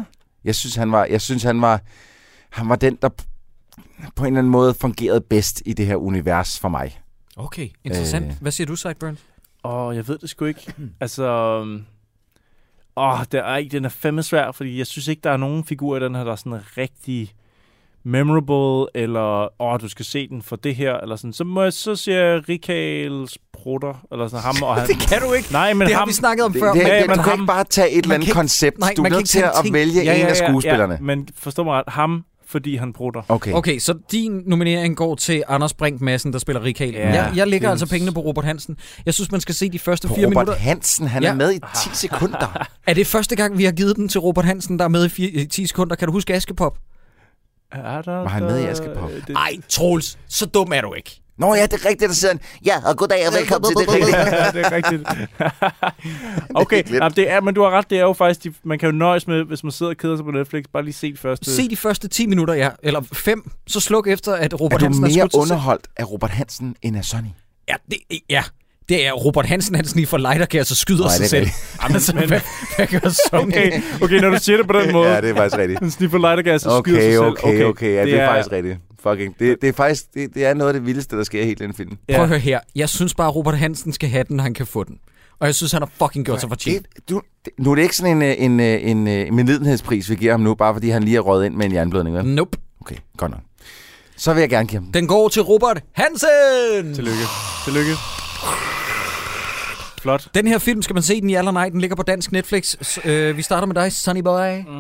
Speaker 7: Jeg synes, han var, jeg synes, han var, han var den, der på en eller anden måde fungerede bedst i det her univers for mig.
Speaker 1: Okay, interessant. Øh.
Speaker 7: Øh.
Speaker 1: Hvad siger du, Sideburn?
Speaker 6: Åh, jeg ved det sgu ikke.
Speaker 1: Hmm.
Speaker 6: Altså... øhm, Åh, der er ikke, den er fandme svær, fordi jeg synes ikke, der er nogen figur i den her, der er sådan rigtig memorable, eller åh, du skal se den for det her, eller sådan. Så må jeg så siger Rikals brutter, eller sådan ham og han.
Speaker 1: Det kan du ikke.
Speaker 6: Nej, men
Speaker 1: det
Speaker 6: ham,
Speaker 1: har vi snakket om
Speaker 7: Det,
Speaker 1: før.
Speaker 7: det,
Speaker 6: men-
Speaker 7: det,
Speaker 6: men
Speaker 7: du kan
Speaker 6: ham-
Speaker 7: ikke bare tage et eller
Speaker 1: kan
Speaker 7: andet
Speaker 1: ikke-
Speaker 7: koncept.
Speaker 1: nej,
Speaker 7: du
Speaker 1: man
Speaker 7: er
Speaker 1: kan
Speaker 7: nødt
Speaker 1: ikke
Speaker 7: til
Speaker 1: tage
Speaker 7: at
Speaker 1: ting.
Speaker 7: vælge en af skuespillerne.
Speaker 6: Ja, men forstå mig ret, ham, fordi han brutter.
Speaker 7: Okay.
Speaker 1: Okay, så din nominering går til Anders Brink Madsen, der spiller Rikal. Ja,
Speaker 7: Ja,
Speaker 1: jeg, jeg lægger
Speaker 7: det-
Speaker 1: altså pengene på Robert Hansen. Jeg synes, man skal se de første
Speaker 7: På
Speaker 1: fire
Speaker 7: Robert
Speaker 1: minutter.
Speaker 7: Hansen, han
Speaker 1: Ja.
Speaker 7: er med i 10 sekunder.
Speaker 1: Er det første gang, vi har givet den til Robert Hansen, der er med i fire, i 10 sekunder? Kan du huske Askepop?
Speaker 6: Er der, Øh,
Speaker 7: Var han med i Askepop?
Speaker 1: Nej, Troels, så dum er du ikke.
Speaker 7: Nå ja, det er rigtigt, der sidder han. Ja, og goddag og velkommen til det rigtige.
Speaker 6: ja, det er rigtigt. okay,
Speaker 7: glemt.
Speaker 6: nej, det er, men du har ret, det er jo faktisk, de, man kan jo nøjes med, hvis man sidder og keder sig på Netflix, bare lige se først.
Speaker 1: Se de første 10 minutter, ja. Eller 5, så sluk efter, at Robert
Speaker 7: Er du
Speaker 1: Hansen
Speaker 7: mere
Speaker 1: skudt sig selv.
Speaker 7: underholdt af Robert Hansen end af Sonny?
Speaker 1: Ja, det, ja, det er Robert Hansen, han sniffer lightergas og skyder
Speaker 7: Nej,
Speaker 1: sig
Speaker 7: det er
Speaker 1: selv. Jamen, altså, hvad, hvad gør sådan
Speaker 6: Okay, okay, når du siger det på den måde.
Speaker 7: Ja, det er faktisk rigtigt.
Speaker 6: Den sniffer lightergas og skyder sig
Speaker 7: Okay,
Speaker 6: selv.
Speaker 7: okay, okay. Ja, det, er faktisk rigtigt. Fucking. Det, det er faktisk det, det er noget af det vildeste, der sker i hele den film.
Speaker 1: Ja. Prøv at høre her. Jeg synes bare, at Robert Hansen skal have den, når han kan få den. Og jeg synes, han har fucking gjort sig fortjent.
Speaker 7: Det, du, det, nu er det ikke sådan en, øh, en, øh, en, øh, en medlidenhedspris, vi giver ham nu, bare fordi han lige er røget ind med en jernblødning. vel?
Speaker 1: Nope.
Speaker 7: Okay, godt nok. Så vil jeg gerne give ham den.
Speaker 1: Den går til Robert Hansen!
Speaker 6: Tillykke. Tillykke. Flot.
Speaker 1: Den her film skal man se den i aller nej. Den ligger på dansk Netflix. S- Øh, vi starter med dig, Sunny Boy.
Speaker 6: Mm,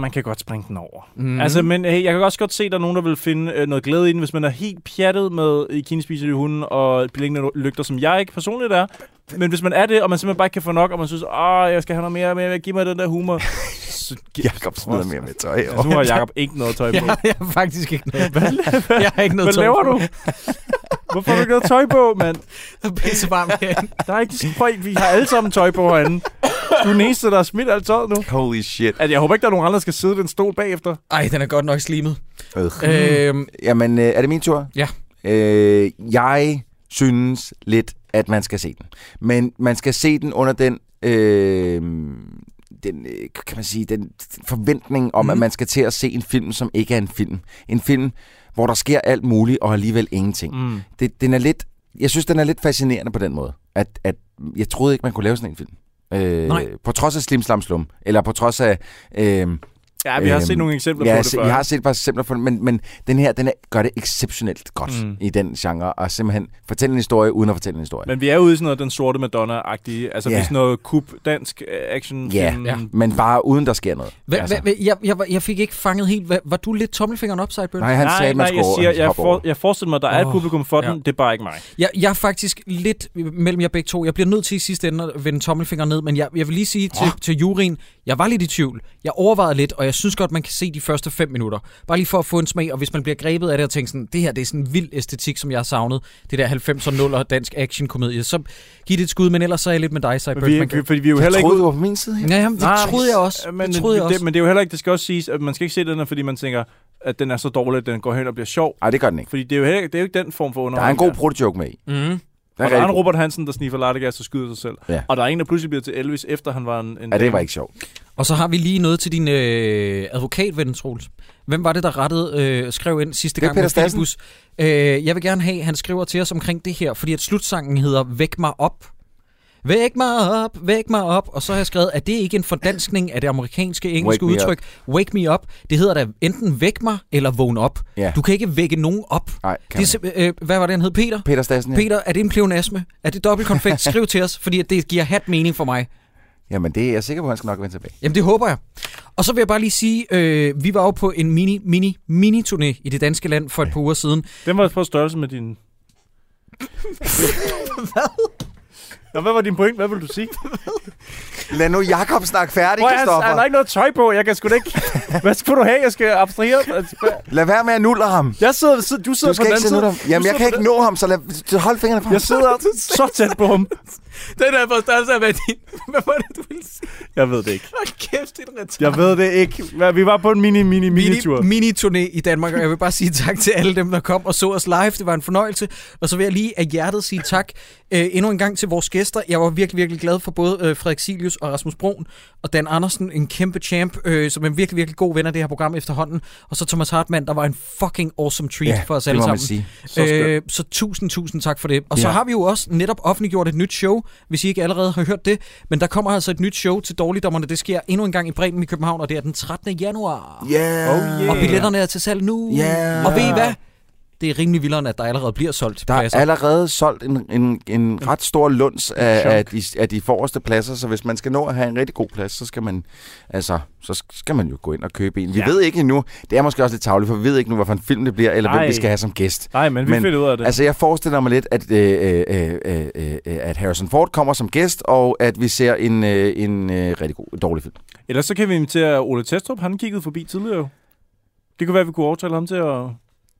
Speaker 6: man kan godt springe den over.
Speaker 1: Mhm.
Speaker 6: Mm. Altså, men hey, jeg kan også godt se, at der er nogen, der vil finde øh, noget glæde i den, hvis man er helt pjattet med i kinespiser i hunden og blinkende lygter, som jeg ikke personligt er. Men hvis man er det, og man simpelthen bare ikke kan få nok, og man synes, åh, jeg skal have noget mere, mere, mere giv mig den der humor. Så, gi-
Speaker 7: Jakob smider mere med tøj.
Speaker 6: altså, nu har Jacob ikke noget tøj på.
Speaker 1: Jeg, jeg har faktisk ikke noget. Hvad, jeg har ikke noget
Speaker 6: Hvad
Speaker 1: tøj
Speaker 6: laver
Speaker 1: på.
Speaker 6: du? Hvorfor har du ikke noget tøj på, mand?
Speaker 1: Det er pissevarmt herinde.
Speaker 6: Der er ikke prøv, vi har alle sammen tøj på herinde. Du er den eneste, der har smidt alt tøjet nu.
Speaker 7: Holy shit.
Speaker 6: Altså, jeg håber ikke, der er nogen andre, der skal sidde i den stol bagefter.
Speaker 1: Ej, den er godt nok slimet.
Speaker 6: Mm.
Speaker 7: Øh.
Speaker 1: Øhm,
Speaker 7: Jamen, øh, er det min tur?
Speaker 1: Ja.
Speaker 7: Øh, jeg synes lidt, at man skal se den. Men man skal se den under den... Øh, den, øh, kan man sige, den forventning om, mm. at
Speaker 6: Mhm.
Speaker 7: man skal til at se en film, som ikke er en film. En film, hvor der sker alt muligt og alligevel ingenting.
Speaker 6: Mm.
Speaker 7: Mm. Det, den er lidt, jeg synes, den er lidt fascinerende på den måde, at, at jeg troede ikke, man kunne lave sådan en film. Øh,
Speaker 6: Nej.
Speaker 7: På trods af Slim Slam Slum, eller på trods af... Øh,
Speaker 6: Ja, vi
Speaker 1: Øhm,
Speaker 6: har set nogle eksempler
Speaker 7: ja,
Speaker 6: på det
Speaker 7: se-
Speaker 6: før.
Speaker 7: Vi Øhm, har set et par eksempler på det, men, men den her den er, gør det exceptionelt godt
Speaker 6: Mm.
Speaker 7: mm. i den genre, og simpelthen fortælle en historie uden at fortælle en historie.
Speaker 6: Men vi er ude i sådan noget, den sorte Madonna-agtige, altså
Speaker 7: Ja.
Speaker 6: yeah. sådan noget kub dansk øh, action
Speaker 7: Ja, ja, men bare uden der sker noget.
Speaker 1: Hva, altså. hva, jeg, jeg, var- jeg fik ikke fanget helt... Hva, var du lidt tommelfingeren upside, Bøl?
Speaker 7: Nej, han sagde, at man
Speaker 6: nej, jeg,
Speaker 7: skulle
Speaker 6: siger,
Speaker 7: over-
Speaker 6: jeg,
Speaker 7: hoppe
Speaker 6: for,
Speaker 7: over.
Speaker 6: jeg forestiller mig, at der er et
Speaker 1: Åh,
Speaker 6: publikum for
Speaker 1: ja.
Speaker 6: den, det er bare ikke mig.
Speaker 1: Jeg, jeg er faktisk lidt mellem jer begge to. Jeg bliver nødt til i sidste ende at vende tommelfingeren ned, men jeg, jeg vil lige sige til, til juryen, jeg var lidt i tvivl. Jeg overvejede lidt, og jeg synes godt, man kan se de første fem minutter. Bare lige for at få en smag, og hvis man bliver grebet af det og tænker sådan, det her det er sådan en vild æstetik, som jeg har savnet. Det der 90'er 0'er dansk actionkomedie. Så giv det et skud, men ellers så er jeg lidt med dig, Cyber.
Speaker 6: Vi- vi- fordi vi er jo Jeg heller ikke troede, ude- du var på min side her.
Speaker 1: Ja, jamen, det
Speaker 6: Nej,
Speaker 1: troede jeg også.
Speaker 6: Men
Speaker 1: det troede jeg
Speaker 6: det,
Speaker 1: også.
Speaker 6: Men det er jo heller ikke, det skal også siges, at man skal ikke se den her, fordi man tænker, at den er så dårlig, at den går hen og bliver sjov.
Speaker 7: Nej, det gør den ikke.
Speaker 6: Fordi det er jo, heller, det er jo ikke den form for
Speaker 7: Der er en
Speaker 6: underholdning.
Speaker 7: god protojoke med i.
Speaker 6: Mm. Der
Speaker 7: er
Speaker 6: er, og der er en
Speaker 7: rigtig-
Speaker 6: Robert Hansen, der sniffer lattergas og skyder sig selv.
Speaker 7: Ja.
Speaker 6: Og der er en, der pludselig bliver til Elvis, efter han var en... en
Speaker 7: Ja, det var
Speaker 6: dame.
Speaker 7: ikke sjovt.
Speaker 1: Og så har vi lige noget til din øh, advokatven, Troels. Hvem var det, der rettede, øh, skrev ind sidste
Speaker 7: Det er
Speaker 1: gang med
Speaker 7: Peter Stassen.
Speaker 1: Filibus? Øh, jeg vil gerne have, han skriver til os omkring det her, fordi at slutsangen hedder Væk mig op. Væk mig op, væk mig op. Og så har jeg skrevet, at det ikke en fordanskning af det amerikanske engelske
Speaker 7: Wake me
Speaker 1: udtryk. Wake me up. Det hedder da enten væk mig eller vågn op.
Speaker 7: Ja.
Speaker 1: Du kan ikke vække nogen op.
Speaker 7: Nej,
Speaker 1: Det er, simp- øh, hvad var det, han hed? Peter?
Speaker 7: Peter Stassen, ja.
Speaker 1: Peter, er det en pleonasme? Er det dobbelt konfekt? Skriv til os, fordi at det giver hat mening for mig.
Speaker 7: Jamen, det er jeg sikker på, at han skal nok vende tilbage.
Speaker 1: Jamen det håber jeg. Og så vil jeg bare lige sige, øh, vi var jo på en mini, mini, mini turné i det danske land for et par uger siden.
Speaker 6: Den var på størrelse med din... Nå, hvad var din point? Hvad vil du sige?
Speaker 7: Lad nu Jakob snakke færdig,
Speaker 6: Prøv, at- han,
Speaker 7: Kristoffer.
Speaker 6: han har ikke noget tøj på. Jeg kan sgu da ikke... Hvad skal du have? Jeg skal abstrahere.
Speaker 7: Lad være med at nulle ham.
Speaker 6: Jeg sidder, ved siden- du sidder
Speaker 7: du skal
Speaker 6: på den
Speaker 7: ikke
Speaker 6: anden side.
Speaker 7: sidde
Speaker 6: Du
Speaker 7: ham. Jamen,
Speaker 6: sidder
Speaker 7: jeg kan
Speaker 6: på
Speaker 7: ikke
Speaker 6: den-
Speaker 7: nå ham, så lad, hold fingrene fra
Speaker 6: Jeg sidder så tæt på ham.
Speaker 1: Den er på størrelse af hvad din... Hvad var det, du ville sige?
Speaker 6: Jeg ved det ikke.
Speaker 1: Hold kæft, det er
Speaker 6: Jeg ved det ikke. Hvad- Vi var på en mini, mini, mini tur.
Speaker 1: mini-turné i Danmark, og jeg vil bare sige tak til alle dem, der kom og så os live. Det var en fornøjelse. Og så vil jeg lige af hjertet sige tak øh, endnu en gang til vores gæster. Jeg var virkelig, virkelig glad for både øh, Frederik Silius og Rasmus Broen, og Dan Andersen, en kæmpe champ, øh, som er en virkelig, virkelig god ven af det her program efterhånden. Og så Thomas Hartmann, der var en fucking awesome treat
Speaker 7: Ja,
Speaker 1: for os
Speaker 7: det
Speaker 1: alle
Speaker 7: må
Speaker 1: sammen.
Speaker 7: man sige. Så skønt.
Speaker 1: Øh, så tusind, tusind tak for det. Og så
Speaker 7: Ja.
Speaker 1: har vi jo også netop offentliggjort et nyt show, hvis I ikke allerede har hørt det. Men der kommer altså et nyt show til Dårligdommerne. Det sker endnu en gang i Bremen i København, og det er den 13. januar.
Speaker 7: Yeah.
Speaker 1: Oh, yeah. Og billetterne er til salg nu.
Speaker 7: Yeah.
Speaker 1: Og ved I hvad? Det er rimelig vildere, end at der allerede bliver solgt.
Speaker 7: Der er
Speaker 6: altså.
Speaker 1: pladser.
Speaker 7: allerede solgt en, en,
Speaker 6: Mm.
Speaker 7: en ret stor lunds af, af, de, af de forreste pladser, så hvis man skal nå at have en rigtig god plads, så skal man, altså, så skal man jo gå ind og købe en. Vi
Speaker 6: Ja.
Speaker 7: ja. ved ikke endnu, det er måske også lidt tavligt, for vi ved ikke nu, hvilken film det bliver, eller
Speaker 6: Nej.
Speaker 7: hvem vi skal have som gæst.
Speaker 6: Nej, men vi finder ud af det.
Speaker 7: Altså, jeg forestiller mig lidt, at, øh, øh, øh, øh, øh, at Harrison Ford kommer som gæst, og at vi ser en, øh, en øh, rigtig god, dårlig film.
Speaker 6: Ellers så kan vi invitere Ole Testrup. Han kiggede forbi tidligere jo. Det kunne være, at vi kunne overtale ham til at... Jeg,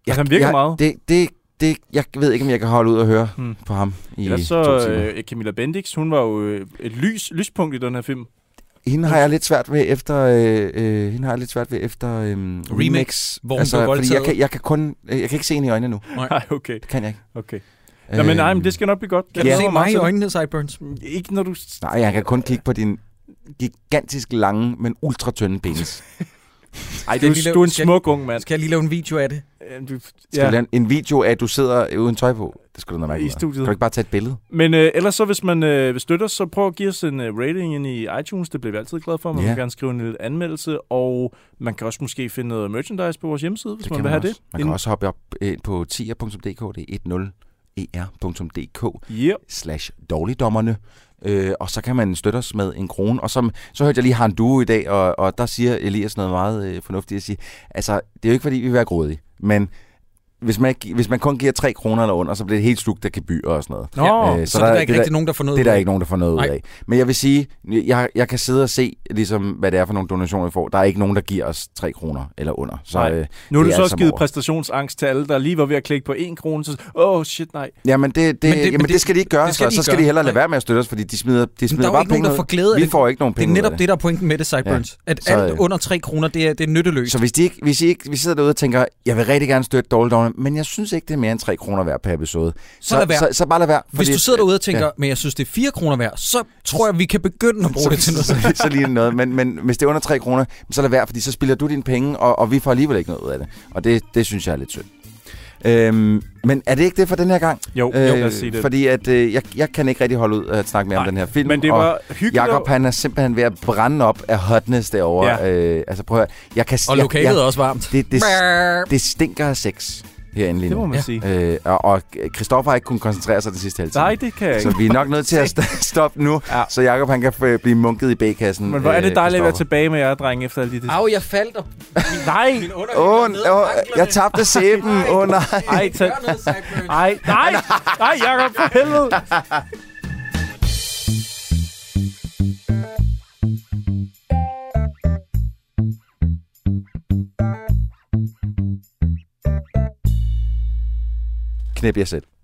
Speaker 6: Altså, han virker
Speaker 7: jeg,
Speaker 6: meget.
Speaker 7: Det, det, det, jeg ved ikke, om jeg kan holde ud og høre hmm. på ham i
Speaker 6: Ellers
Speaker 7: to
Speaker 6: så
Speaker 7: timer.
Speaker 6: øh, Camilla Bendix, hun var jo øh, et lys, lyspunkt i den her film.
Speaker 7: Hende har jeg lidt svært ved efter øh, øh, hende har jeg lidt svært ved efter øh, remix, Altså,
Speaker 6: hvor hun blev
Speaker 7: fordi jeg
Speaker 6: voldtaget.
Speaker 7: kan, jeg kan kun øh, jeg kan ikke se hende i øjnene nu.
Speaker 6: Nej, okay. Det
Speaker 7: kan jeg ikke. Øhm,
Speaker 6: Okay. Nå,
Speaker 7: Øh,
Speaker 6: men nej, men det skal nok blive godt.
Speaker 1: Kan du
Speaker 6: Jeg
Speaker 1: se
Speaker 6: glæder
Speaker 1: mig i
Speaker 6: til det.
Speaker 1: øjnene, Sideburns?
Speaker 6: Ikke når du...
Speaker 7: Nej, jeg kan kun kigge på din gigantisk lange, men ultratynde penis.
Speaker 6: Ej, du, du er en smuk ung mand. Øh,
Speaker 1: Skal jeg lige lave en video af det?
Speaker 6: Du,
Speaker 7: Skal ja. lave en en video af, at du sidder uden tøj på? Det skulle du nok
Speaker 6: I
Speaker 7: ikke. være.
Speaker 6: studiet.
Speaker 7: Kan du ikke bare tage et billede?
Speaker 6: Men øh, ellers så, hvis man øh, vil støtte os, så prøv at give os en øh, rating ind i iTunes. Det bliver vi altid glade for. Man
Speaker 7: Ja.
Speaker 6: kan gerne skrive en lille anmeldelse, og man kan også måske finde noget merchandise på vores hjemmeside, hvis
Speaker 7: Det
Speaker 6: man
Speaker 7: kan
Speaker 6: vil have
Speaker 7: også.
Speaker 6: det.
Speaker 7: Man
Speaker 6: En-
Speaker 7: kan også hoppe op ind på tier.dk, det er E 10er.dk
Speaker 6: yep.
Speaker 7: slash dårligdommerne. Øh, og så kan man støtte os med en krone. Og så, så hørte jeg lige har en duo i dag, og, og der siger Elias noget meget øh, fornuftigt at sige. Altså, det er jo ikke fordi, vi vil være grådige, men hvis man, ikke- hvis man kun giver 3 kroner eller under, så bliver det helt slugt af gebyr og sådan noget.
Speaker 1: Nå,
Speaker 7: øh,
Speaker 1: så det er der ikke rigtig nogen, der får noget
Speaker 7: Det
Speaker 1: ud
Speaker 7: er der
Speaker 1: af.
Speaker 7: ikke nogen, der får noget
Speaker 1: Nej.
Speaker 7: ud af. Men jeg vil sige, jeg, jeg kan sidde og se, ligesom, hvad det er for nogle donationer, vi får. Der er ikke nogen, der giver os 3 kroner eller under. Så,
Speaker 6: Nej.
Speaker 7: øh,
Speaker 6: nu har
Speaker 7: det
Speaker 6: du
Speaker 7: er
Speaker 6: så
Speaker 7: alt
Speaker 6: også
Speaker 7: sammen
Speaker 6: givet
Speaker 7: over.
Speaker 6: præstationsangst til alle, der lige var ved at klikke på en krone. Så, åh, oh, shit, nej.
Speaker 7: Jamen, det, det,
Speaker 6: Men
Speaker 7: men
Speaker 6: det-
Speaker 7: det,
Speaker 6: men
Speaker 7: jamen, det,
Speaker 6: det-
Speaker 7: skal de ikke gøre,
Speaker 6: det
Speaker 7: det
Speaker 6: skal
Speaker 7: skal
Speaker 6: de
Speaker 7: så,
Speaker 6: ikke
Speaker 7: så skal
Speaker 6: gøre.
Speaker 7: de hellere lade være med at støtte os, fordi de smider, de
Speaker 1: Men der
Speaker 7: smider
Speaker 1: er jo
Speaker 7: bare
Speaker 1: ikke nogen,
Speaker 7: penge
Speaker 1: der får
Speaker 7: ud.
Speaker 1: glæde af
Speaker 7: Vi
Speaker 1: det.
Speaker 7: får ikke nogen penge
Speaker 1: Det er netop
Speaker 7: ud af
Speaker 1: det, der er pointen med det, Sideburns. Ja. At
Speaker 7: Så,
Speaker 1: alt
Speaker 7: øh,
Speaker 1: under 3 kroner, det er, det er nytteløst.
Speaker 7: Så hvis, de ikke, hvis, I ikke, hvis I sidder derude og tænker, jeg vil rigtig gerne støtte Dårlig mig, men jeg synes ikke, det er mere end 3 kroner værd per episode.
Speaker 1: Så lad være.
Speaker 7: Så, så bare lad være.
Speaker 1: Hvis du sidder derude og tænker, men jeg synes, det er 4 kroner værd, så tror jeg, vi kan begynde at bruge det til noget.
Speaker 7: så, så, så lige noget. Men, men hvis det er under 3 kroner, så lad være, fordi så spilder du dine penge, og, og vi får alligevel ikke noget ud af det. Og det, det synes jeg er lidt synd. Øhm, men er det ikke det for den her gang?
Speaker 6: Jo, jo, lad os sige det.
Speaker 7: Fordi at, øh, jeg, jeg kan ikke rigtig holde ud at snakke mere Nej, om den her film.
Speaker 6: men det var
Speaker 7: og
Speaker 6: hyggeligt
Speaker 7: Jakob,
Speaker 6: at-
Speaker 7: han er simpelthen ved at brænde op af hotness derovre.
Speaker 6: Ja.
Speaker 7: Øh, altså prøv at, høre, jeg kan,
Speaker 1: Og
Speaker 7: jeg,
Speaker 1: lokalet
Speaker 7: jeg,
Speaker 1: er også varmt.
Speaker 7: Det, det, det stinker af sex herinde lige nu.
Speaker 6: Det må man Ja. sige.
Speaker 7: Øh, og, og Christoffer har ikke kunnet koncentrere sig den sidste halve time.
Speaker 6: Nej, det kan jeg
Speaker 7: Så
Speaker 6: ikke.
Speaker 7: vi er nok nødt til at st- stoppe nu, ja. så Jakob han kan øh, blive munket i øh, bagkassen.
Speaker 6: Men hvor er det dejligt at være tilbage med jer, drenge, efter alt det.
Speaker 7: Ah.
Speaker 1: Au, jeg faldt. og-
Speaker 6: Nej!
Speaker 1: Min under-
Speaker 7: Åh, oh, jeg tabte sæben. Åh oh, nej.
Speaker 6: Ej, tag... Ej, nej! Nej, Jacob, for helvede!
Speaker 7: Knep jer selv.